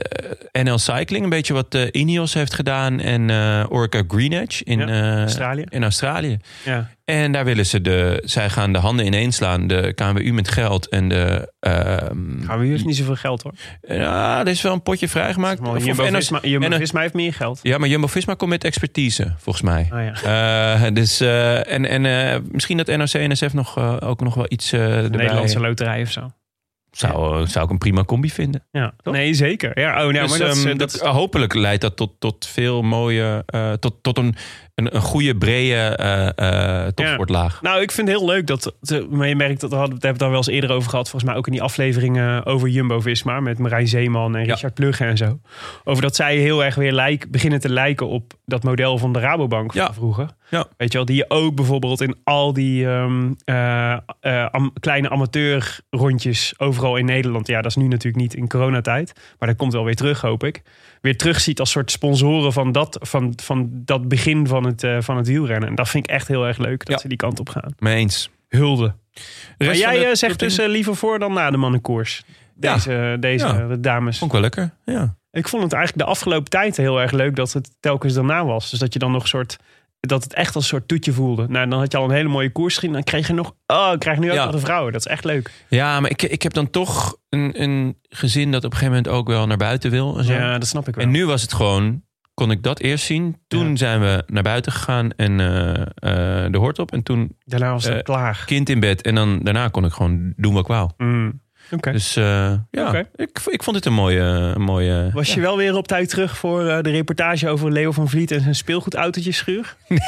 Speaker 3: NL Cycling... een beetje wat eh, Ineos heeft gedaan en eh Orca Greenedge in,
Speaker 4: Ja,
Speaker 3: eh,
Speaker 4: Australië.
Speaker 3: in Australië.
Speaker 4: Ja.
Speaker 3: En daar willen ze de... Zij gaan de handen ineens slaan, de KNWU met geld en de... ehm,
Speaker 4: Gaan we hier niet zoveel geld hoor.
Speaker 3: ja, er is wel een potje vrijgemaakt. Of- of NL
Speaker 4: Jumbo-Visma Jumbo
Speaker 3: NL
Speaker 4: Visma heeft meer geld.
Speaker 3: Ja, maar Jumbo-Visma komt met expertise, volgens mij.
Speaker 4: Ah, ja.
Speaker 3: Eh, dus, eh, en en eh, misschien dat NOC en NSF nog, eh, ook nog wel iets eh erbij...
Speaker 4: Nederlandse loterij of zo.
Speaker 3: Zou, eh, zou ik een prima combi vinden.
Speaker 4: Ja. Nee, zeker. Ja, oh, nou,
Speaker 3: Dus,
Speaker 4: maar dat, is,
Speaker 3: ehm,
Speaker 4: eh, dat
Speaker 3: dat-
Speaker 4: is-
Speaker 3: hopelijk leidt dat tot, tot veel mooie... eh, tot, tot een, een, een goede, brede eh eh topsportlaag.
Speaker 4: Nou, ik vind het heel leuk dat. de- Maar je merkt dat we hadden- we hebben het daar wel eens eerder over gehad. Volgens mij ook in die afleveringen over Jumbo Visma. Met Marijn Zeeman en
Speaker 3: Ja.
Speaker 4: Richard Plugge en zo. Over dat zij heel erg weer lijk, beginnen te lijken op dat model van de Rabobank van
Speaker 3: Ja.
Speaker 4: vroeger.
Speaker 3: Ja.
Speaker 4: Weet je wel, die je ook bijvoorbeeld in al die ehm, eh, eh, am- kleine amateurrondjes overal in Nederland. Ja, dat is nu natuurlijk niet in coronatijd. Maar dat komt wel weer terug, hoop ik. Weer terugziet als soort sponsoren van dat, van, van dat begin van het, eh, van het wielrennen. En dat vind ik echt heel erg leuk dat
Speaker 3: Ja.
Speaker 4: ze die kant op gaan.
Speaker 3: Mee eens.
Speaker 4: Hulde. Maar
Speaker 3: Rest van
Speaker 4: jij
Speaker 3: de
Speaker 4: eh,
Speaker 3: top
Speaker 4: zegt
Speaker 3: tien
Speaker 4: dus eh, liever voor dan na de mannenkoers. Deze, deze
Speaker 3: Ja.
Speaker 4: eh, dames.
Speaker 3: Vond ik wel lekker, ja.
Speaker 4: Ik vond het eigenlijk de afgelopen tijd heel erg leuk dat het telkens daarna was. Dus dat je dan nog een soort. Dat het echt als een soort toetje voelde. Nou, dan had je al een hele mooie koers gezien. Dan kreeg je nog. Oh, ik krijg nu ook
Speaker 3: Ja.
Speaker 4: nog de vrouwen. Dat is echt leuk.
Speaker 3: Ja, maar ik, ik heb dan toch een, een gezin dat op een gegeven moment ook wel naar buiten wil. En zo.
Speaker 4: Ja, dat snap ik wel.
Speaker 3: En nu was het gewoon, kon ik dat eerst zien. Toen
Speaker 4: Ja.
Speaker 3: zijn we naar buiten gegaan en eh, eh, de hoort op. En toen
Speaker 4: daarna was het
Speaker 3: eh,
Speaker 4: klaar.
Speaker 3: kind in bed. En dan, daarna kon ik gewoon doen wat ik wou.
Speaker 4: Mm. Oké.
Speaker 3: Dus eh, ja,
Speaker 4: Oké.
Speaker 3: ik, ik vond het een mooie... Een mooie
Speaker 4: Was je wel weer op tijd terug voor eh, de reportage over Leo van Vliet en zijn speelgoedautootje schuur?
Speaker 3: Die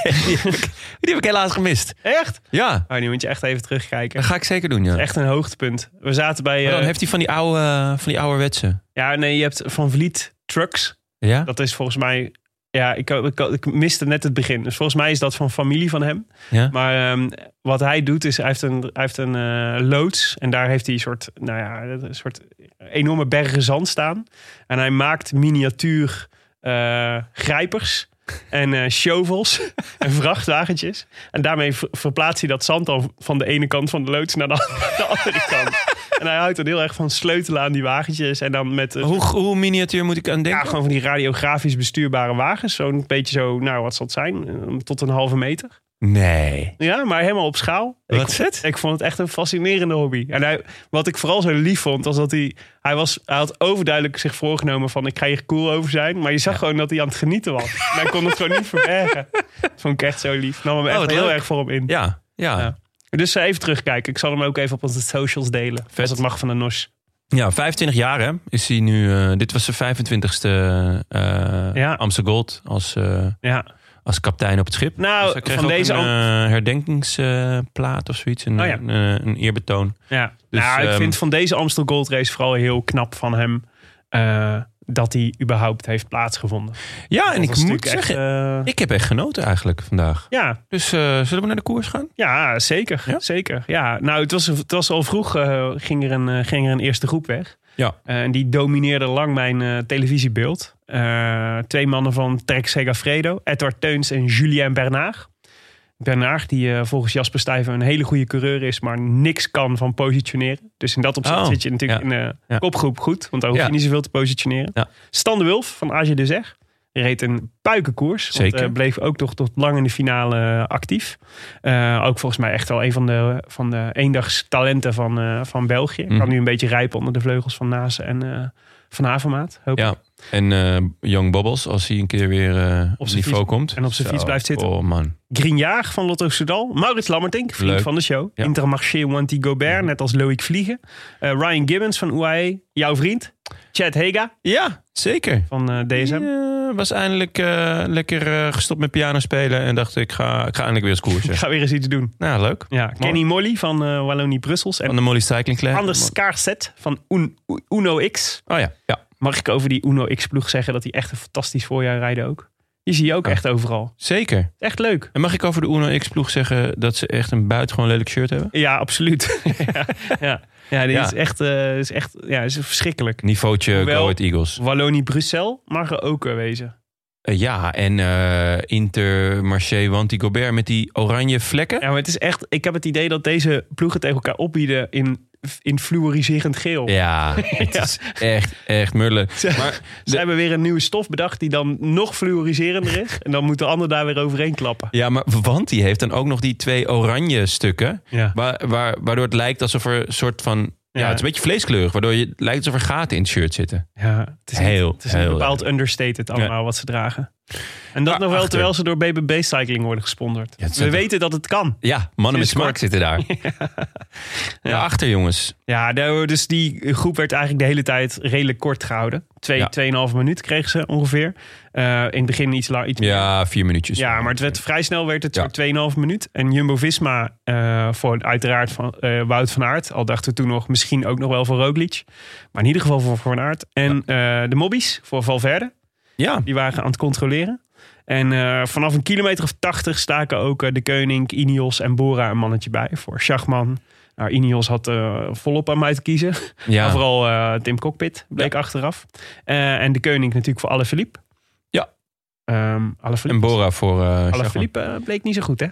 Speaker 3: heb ik helaas gemist.
Speaker 4: Echt?
Speaker 3: Ja,
Speaker 4: Oh, nu moet je echt even terugkijken.
Speaker 3: dat ga ik zeker doen, ja.
Speaker 4: Echt een hoogtepunt. We zaten bij.
Speaker 3: Maar
Speaker 4: eh,
Speaker 3: dan heeft hij van die oude, van die ouderwetse.
Speaker 4: Ja, nee, je hebt Van Vliet Trucks.
Speaker 3: Ja?
Speaker 4: Dat is volgens mij. Ja, ik, ik, ik miste net het begin. Dus volgens mij is dat van familie van hem.
Speaker 3: Ja.
Speaker 4: Maar ehm, wat hij doet is, hij heeft een, hij heeft een eh, loods. En daar heeft hij een soort, nou ja, een soort enorme bergen zand staan. En hij maakt miniatuur eh, grijpers en eh shovels <laughs> en vrachtwagentjes. En daarmee ver- verplaatst hij dat zand dan van de ene kant van de loods naar de, an- <laughs> de andere kant. En hij houdt er heel erg van sleutelen aan die wagentjes. En dan met... eh,
Speaker 3: Hoe, hoe miniatuur moet ik aan
Speaker 4: ja,
Speaker 3: denken?
Speaker 4: gewoon van die radiografisch bestuurbare wagens. Zo'n beetje zo, nou wat zal het zijn? Eh, Tot een halve meter.
Speaker 3: nee.
Speaker 4: Ja, maar helemaal op schaal.
Speaker 3: Wat
Speaker 4: ik,
Speaker 3: is het?
Speaker 4: ik vond het echt een fascinerende hobby. En hij, wat ik vooral zo lief vond, was dat hij... Hij, was, hij had overduidelijk zich voorgenomen van... ik ga hier cool over zijn. Maar je zag gewoon dat hij aan het genieten
Speaker 3: <laughs>
Speaker 4: was. en hij kon het gewoon niet verbergen. Dat vond ik echt zo lief. Nam hem echt
Speaker 3: Oh, wat
Speaker 4: heel
Speaker 3: leuk.
Speaker 4: erg voor hem in.
Speaker 3: Ja, ja.
Speaker 4: Ja. Dus eh, even terugkijken. Ik zal hem ook even op onze socials delen. Als het mag van de NOS.
Speaker 3: Ja, 25 jaar hè, is hij nu. eh, dit was zijn 25ste eh
Speaker 4: Ja.
Speaker 3: Amstel Gold als, eh,
Speaker 4: Ja.
Speaker 3: als kaptein op het schip.
Speaker 4: Nou,
Speaker 3: Dus hij kreeg
Speaker 4: van
Speaker 3: ook
Speaker 4: deze
Speaker 3: een eh, herdenkingsplaat of zoiets. Een,
Speaker 4: Oh ja.
Speaker 3: een, eh, een eerbetoon.
Speaker 4: Ja,
Speaker 3: Dus,
Speaker 4: nou, ik
Speaker 3: ehm,
Speaker 4: vind van deze Amstel Gold Race vooral heel knap van hem eh, dat hij überhaupt heeft plaatsgevonden.
Speaker 3: Ja, en
Speaker 4: Dat
Speaker 3: ik moet
Speaker 4: was natuurlijk echt,
Speaker 3: zeggen,
Speaker 4: eh,
Speaker 3: ik heb echt genoten eigenlijk vandaag.
Speaker 4: ja,
Speaker 3: Dus eh, zullen we naar de koers gaan?
Speaker 4: ja, zeker.
Speaker 3: Ja?
Speaker 4: zeker ja. Nou, het was, het was al vroeg, eh, ging, er een, eh, ging er een eerste groep weg.
Speaker 3: Ja.
Speaker 4: Eh, en die domineerde lang mijn eh, televisiebeeld. Eh, twee mannen van Trek Segafredo, Edward Teuns en Julien Bernard. Bernard, die eh, volgens Jasper Stuyven een hele goede coureur is, maar niks kan van positioneren. Dus in dat opzicht
Speaker 3: Oh,
Speaker 4: zit je natuurlijk
Speaker 3: ja.
Speaker 4: in de
Speaker 3: Ja.
Speaker 4: kopgroep goed, want daar hoef je
Speaker 3: Ja.
Speaker 4: niet zoveel te positioneren.
Speaker 3: Ja.
Speaker 4: Stan de Wulf van AG de Zeg reed een puikenkoers. Want,
Speaker 3: Zeker.
Speaker 4: eh, bleef ook toch tot lang in de finale eh, actief. Eh, ook volgens mij echt wel een van de, van de eendagstalenten van, eh, van België.
Speaker 3: Mhm.
Speaker 4: Kan nu een beetje rijpen onder de vleugels van Nase en eh, Van Havermaat. Hoop ik.
Speaker 3: Ja. En eh Young Bobbles, als hij een keer weer eh, op
Speaker 4: zijn
Speaker 3: niveau
Speaker 4: fiets-
Speaker 3: komt.
Speaker 4: en op zijn
Speaker 3: Zo,
Speaker 4: fiets blijft zitten.
Speaker 3: Oh man.
Speaker 4: Grignard van Lotto Soudal. Maurits Lammertink, vriend
Speaker 3: Leuk.
Speaker 4: van de show.
Speaker 3: Ja. Mhm.
Speaker 4: Intermarché Wanty Gobert, net als Loïc Vliegen. Eh, Ryan Gibbons van UAE. Jouw vriend. Chad Hega
Speaker 3: Ja, zeker.
Speaker 4: van eh, DSM.
Speaker 3: Die, eh, was eindelijk eh, lekker eh, gestopt met piano spelen. En dacht ik, ga, ik ga eindelijk weer eens koersen.
Speaker 4: <laughs> Ik ga weer eens iets doen.
Speaker 3: nou, leuk.
Speaker 4: Ja, Kenny Molly van eh Wallonie Brussels.
Speaker 3: Van
Speaker 4: En
Speaker 3: de Molly Cycling Club.
Speaker 4: Anders Skaarset van Un- U- Uno X.
Speaker 3: Oh ja, ja.
Speaker 4: Mag ik over die Uno X-ploeg zeggen dat die echt een fantastisch voorjaar rijden ook? Die zie je ook
Speaker 3: Ja.
Speaker 4: echt overal.
Speaker 3: zeker.
Speaker 4: Echt leuk.
Speaker 3: En mag ik over de Uno X-ploeg zeggen dat ze echt een buitengewoon lelijk shirt hebben?
Speaker 4: Ja, <laughs> absoluut. ja, ja. ja, die
Speaker 3: Ja.
Speaker 4: is echt, eh, is echt ja, is verschrikkelijk.
Speaker 3: Niveautje
Speaker 4: Hoewel-
Speaker 3: Go Ahead Eagles.
Speaker 4: Wallonie-Brussel mag er ook eh, wezen.
Speaker 3: Eh, ja, en eh, Intermarché Wanty Gobert met die oranje vlekken.
Speaker 4: Ja, maar het is echt, ik heb het idee dat deze ploegen tegen elkaar opbieden in, in fluoriserend geel.
Speaker 3: Ja, het
Speaker 4: Ja. <laughs>
Speaker 3: is echt, echt murlen. Maar
Speaker 4: Ze hebben weer een nieuwe stof bedacht die dan nog fluoriserender is. en dan moet de ander daar weer overheen klappen.
Speaker 3: Ja, maar want die heeft dan ook nog die twee oranje stukken.
Speaker 4: Ja.
Speaker 3: Waar, waar, waardoor het lijkt alsof er een soort van. Ja,
Speaker 4: Ja.
Speaker 3: het is een beetje vleeskleurig. Waardoor je, het lijkt alsof er gaten in het shirt zitten.
Speaker 4: Ja, het is, niet-
Speaker 3: Heel,
Speaker 4: het is een
Speaker 3: heel
Speaker 4: bepaald understated allemaal wat ze dragen.
Speaker 3: Maar
Speaker 4: En dat nog wel
Speaker 3: achter-
Speaker 4: terwijl ze door BBB Cycling worden gesponsord.
Speaker 3: Ja, het
Speaker 4: We
Speaker 3: zijn toch-
Speaker 4: weten dat het kan.
Speaker 3: Ja, mannen met
Speaker 4: Sinds
Speaker 3: smaak
Speaker 4: kort.
Speaker 3: zitten
Speaker 4: <laughs>
Speaker 3: daar. ja. achter jongens.
Speaker 4: Ja, daar- dus die groep werd eigenlijk de hele tijd redelijk kort gehouden. Twee,
Speaker 3: Ja.
Speaker 4: tweeënhalve minuut kregen ze ongeveer. Eh, in het begin iets lang. Iets meer.
Speaker 3: Ja, vier minuutjes.
Speaker 4: Ja, maar het werd, vrij snel werd het
Speaker 3: Ja.
Speaker 4: zo'n 2,5 minuut. En Jumbo-Visma, eh, voor uiteraard van, eh, Wout van Aert. Al dachten we toen nog, misschien ook nog wel voor Roglic. Maar in ieder geval voor Van Aert. En eh, de mobbies voor Valverde.
Speaker 3: Ja,
Speaker 4: Die waren aan het controleren. En eh, vanaf een kilometer of tachtig staken ook eh, de Koning, Ineos en Bora een mannetje bij voor Schachman. Nou, Ineos had eh, volop aan mij te kiezen. Maar
Speaker 3: ja.
Speaker 4: vooral eh, Tim Cockpit bleek achteraf. Eh, en de Koning natuurlijk voor Alle Philippe.
Speaker 3: Ja.
Speaker 4: Alle
Speaker 3: en
Speaker 4: Philippe.
Speaker 3: Bora voor. eh
Speaker 4: Alle
Speaker 3: Schachman.
Speaker 4: Philippe bleek niet zo goed, hè?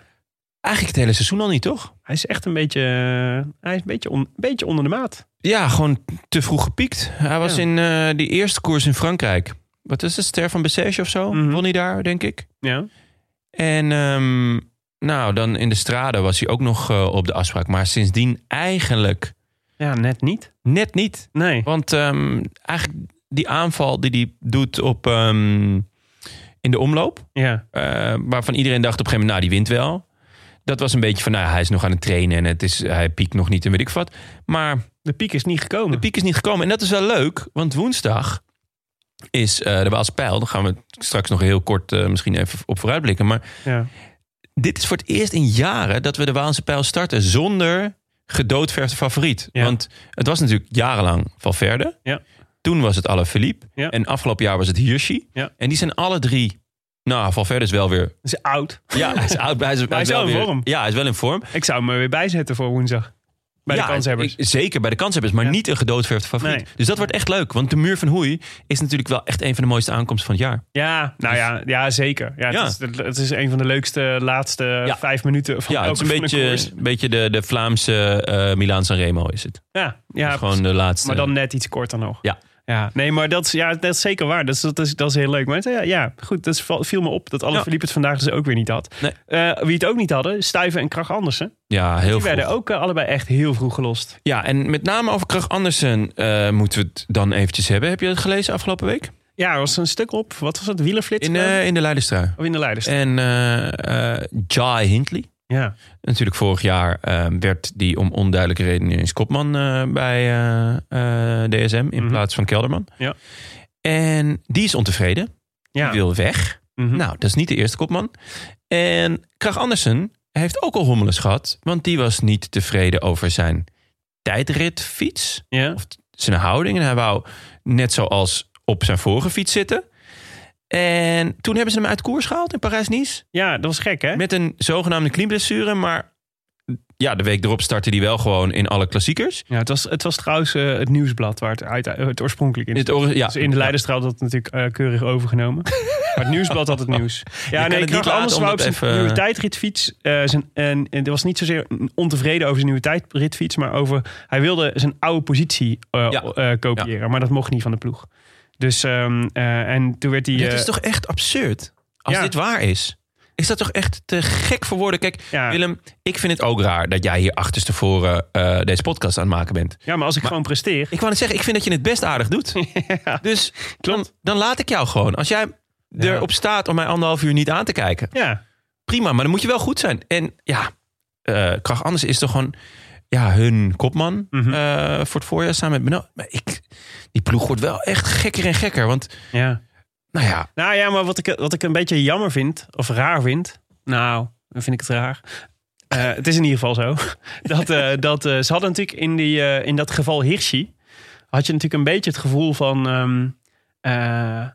Speaker 3: Eigenlijk het hele seizoen al niet, toch?
Speaker 4: Hij is echt een beetje, eh, hij is een beetje, on- beetje onder de maat.
Speaker 3: Ja, gewoon te vroeg gepiekt. Hij was
Speaker 4: Ja.
Speaker 3: in eh, die eerste koers in Frankrijk. Wat is het? Ster van Bessèges of zo?
Speaker 4: Mhm.
Speaker 3: Won hij daar, denk ik.
Speaker 4: Ja.
Speaker 3: En ehm, nou, dan in de straden was hij ook nog eh, op de afspraak. Maar sindsdien eigenlijk
Speaker 4: ja, net niet.
Speaker 3: net niet.
Speaker 4: Nee.
Speaker 3: Want ehm, eigenlijk die aanval die hij doet op, ehm, in de omloop...
Speaker 4: Ja.
Speaker 3: eh, waarvan iedereen dacht op een gegeven moment, nou, die wint wel. Dat was een beetje van, nou, hij is nog aan het trainen... en het is, hij piekt nog niet en weet ik wat. Maar
Speaker 4: De piek is niet gekomen.
Speaker 3: de piek is niet gekomen. En dat is wel leuk, want woensdag is eh, de Waalse Pijl. Daar gaan we straks nog heel kort eh, misschien even op vooruitblikken. Maar
Speaker 4: Ja.
Speaker 3: dit is voor het eerst in jaren dat we de Waalse pijl starten zonder gedoodverfde favoriet.
Speaker 4: Ja.
Speaker 3: Want het was natuurlijk jarenlang Valverde.
Speaker 4: Ja.
Speaker 3: Toen was het Alaphilippe.
Speaker 4: Ja.
Speaker 3: En afgelopen jaar was het Hirschi.
Speaker 4: Ja.
Speaker 3: En die zijn alle drie... Nou, Valverde is wel weer...
Speaker 4: Ze is oud.
Speaker 3: Ja, hij is oud. Hij is, hij
Speaker 4: is wel in
Speaker 3: weer-
Speaker 4: vorm.
Speaker 3: Ja, hij is wel in vorm.
Speaker 4: Ik zou hem er weer bijzetten voor woensdag. Bij
Speaker 3: Ja,
Speaker 4: de kanshebbers.
Speaker 3: ik- zeker, bij de kanshebbers. Maar
Speaker 4: Ja.
Speaker 3: niet een gedoodverfde favoriet.
Speaker 4: Nee.
Speaker 3: Dus dat wordt echt leuk. Want de muur van Hoei is natuurlijk wel echt een van de mooiste aankomsten van het jaar.
Speaker 4: Ja, nou ja, ja zeker. Ja,
Speaker 3: Dus- Ja.
Speaker 4: Het, is, het is een van de leukste laatste vijf minuten van
Speaker 3: Ja, het is
Speaker 4: elke
Speaker 3: een
Speaker 4: van de
Speaker 3: beetje,
Speaker 4: koers.
Speaker 3: een beetje de, de Vlaamse eh Milaan San Remo is het.
Speaker 4: Ja, ja
Speaker 3: Ja, gewoon de laatste.
Speaker 4: maar dan net iets korter nog.
Speaker 3: Ja.
Speaker 4: Ja, nee, maar dat is, ja, dat is zeker waar. Dat is, dat is, dat is heel leuk. Maar ja, ja goed, dat is, viel me op dat alle
Speaker 3: Ja.
Speaker 4: verliep het vandaag dus ook weer niet had.
Speaker 3: Nee.
Speaker 4: Eh, wie het ook niet hadden, Stuyven en Krach Andersen.
Speaker 3: ja, heel
Speaker 4: Die
Speaker 3: veel.
Speaker 4: werden ook eh, allebei echt heel vroeg gelost.
Speaker 3: Ja, en met name over Krach Andersen eh, moeten we het dan eventjes hebben. Heb je het gelezen afgelopen week?
Speaker 4: Ja, er was een stuk op, wat was het, wielerflits?
Speaker 3: In, eh, in de Leidenstrui.
Speaker 4: of in de leiders.
Speaker 3: En eh eh, Jai Hindley,
Speaker 4: Ja.
Speaker 3: Natuurlijk, vorig jaar eh, werd die om onduidelijke redenen ineens kopman eh, bij eh, eh, DSM in
Speaker 4: Mhm.
Speaker 3: plaats van Kelderman.
Speaker 4: Ja.
Speaker 3: En die is ontevreden.
Speaker 4: Ja.
Speaker 3: Die wil weg.
Speaker 4: Mhm.
Speaker 3: Nou, dat is niet de eerste kopman. En Krach Andersen heeft ook al hommeles gehad. Want die was niet tevreden over zijn tijdritfiets.
Speaker 4: ja.
Speaker 3: Of zijn houding. En hij wou net zoals op zijn vorige fiets zitten. En toen hebben ze hem uit koers gehaald in Parijs-Nice.
Speaker 4: ja, dat was gek, hè?
Speaker 3: Met een zogenaamde knieblessure, maar ja, de week erop startte die wel gewoon in alle klassiekers.
Speaker 4: Ja, het was, het was trouwens eh, het nieuwsblad waar het, uit, het oorspronkelijk in
Speaker 3: Het oor- ja.
Speaker 4: Dus in de Leidenstraal had dat natuurlijk eh, keurig overgenomen. maar het
Speaker 3: <laughs>
Speaker 4: nieuwsblad had het nieuws. Ja,
Speaker 3: Oh. kan
Speaker 4: nee,
Speaker 3: het
Speaker 4: ik
Speaker 3: niet
Speaker 4: dacht
Speaker 3: laten
Speaker 4: anders
Speaker 3: om
Speaker 4: wou op
Speaker 3: dat
Speaker 4: zijn
Speaker 3: even-
Speaker 4: nieuwe tijdritfiets. eh, zijn, en, en er was niet zozeer ontevreden over zijn nieuwe tijdritfiets, maar over hij wilde zijn oude positie eh,
Speaker 3: Ja.
Speaker 4: eh, kopiëren. Maar dat mocht niet van de ploeg. Dus ehm, eh, en toen werd hij.
Speaker 3: dit
Speaker 4: eh,
Speaker 3: is toch echt absurd? Als
Speaker 4: Ja.
Speaker 3: dit waar is, is dat toch echt te gek voor woorden? Kijk,
Speaker 4: Ja.
Speaker 3: Willem, ik vind het ook raar dat jij hier achterstevoren eh deze podcast aan het maken bent.
Speaker 4: ja, maar als ik gewoon presteer.
Speaker 3: Ik wou net zeggen, ik vind dat je het best aardig
Speaker 4: <laughs>
Speaker 3: doet. Dus dan, dan laat ik jou gewoon. Als jij erop staat om mij anderhalf uur niet aan te kijken,
Speaker 4: Ja,
Speaker 3: prima, maar dan moet je wel goed zijn. En ja, eh Krach Anders is toch gewoon ja, hun kopman
Speaker 4: Mhm.
Speaker 3: eh, voor het voorjaar samen met Beno. Maar ik, die ploeg wordt wel echt gekker en gekker. Want
Speaker 4: ja.
Speaker 3: nou ja,
Speaker 4: Nou ja, maar wat ik, wat ik een beetje jammer vind, of raar vind. Nou, dan vind ik het raar. Eh, <laughs> het is in ieder geval zo. dat eh, dat eh, ze hadden natuurlijk in, die, eh, in dat geval Hirschi. had je natuurlijk een beetje het gevoel van. ehm, eh,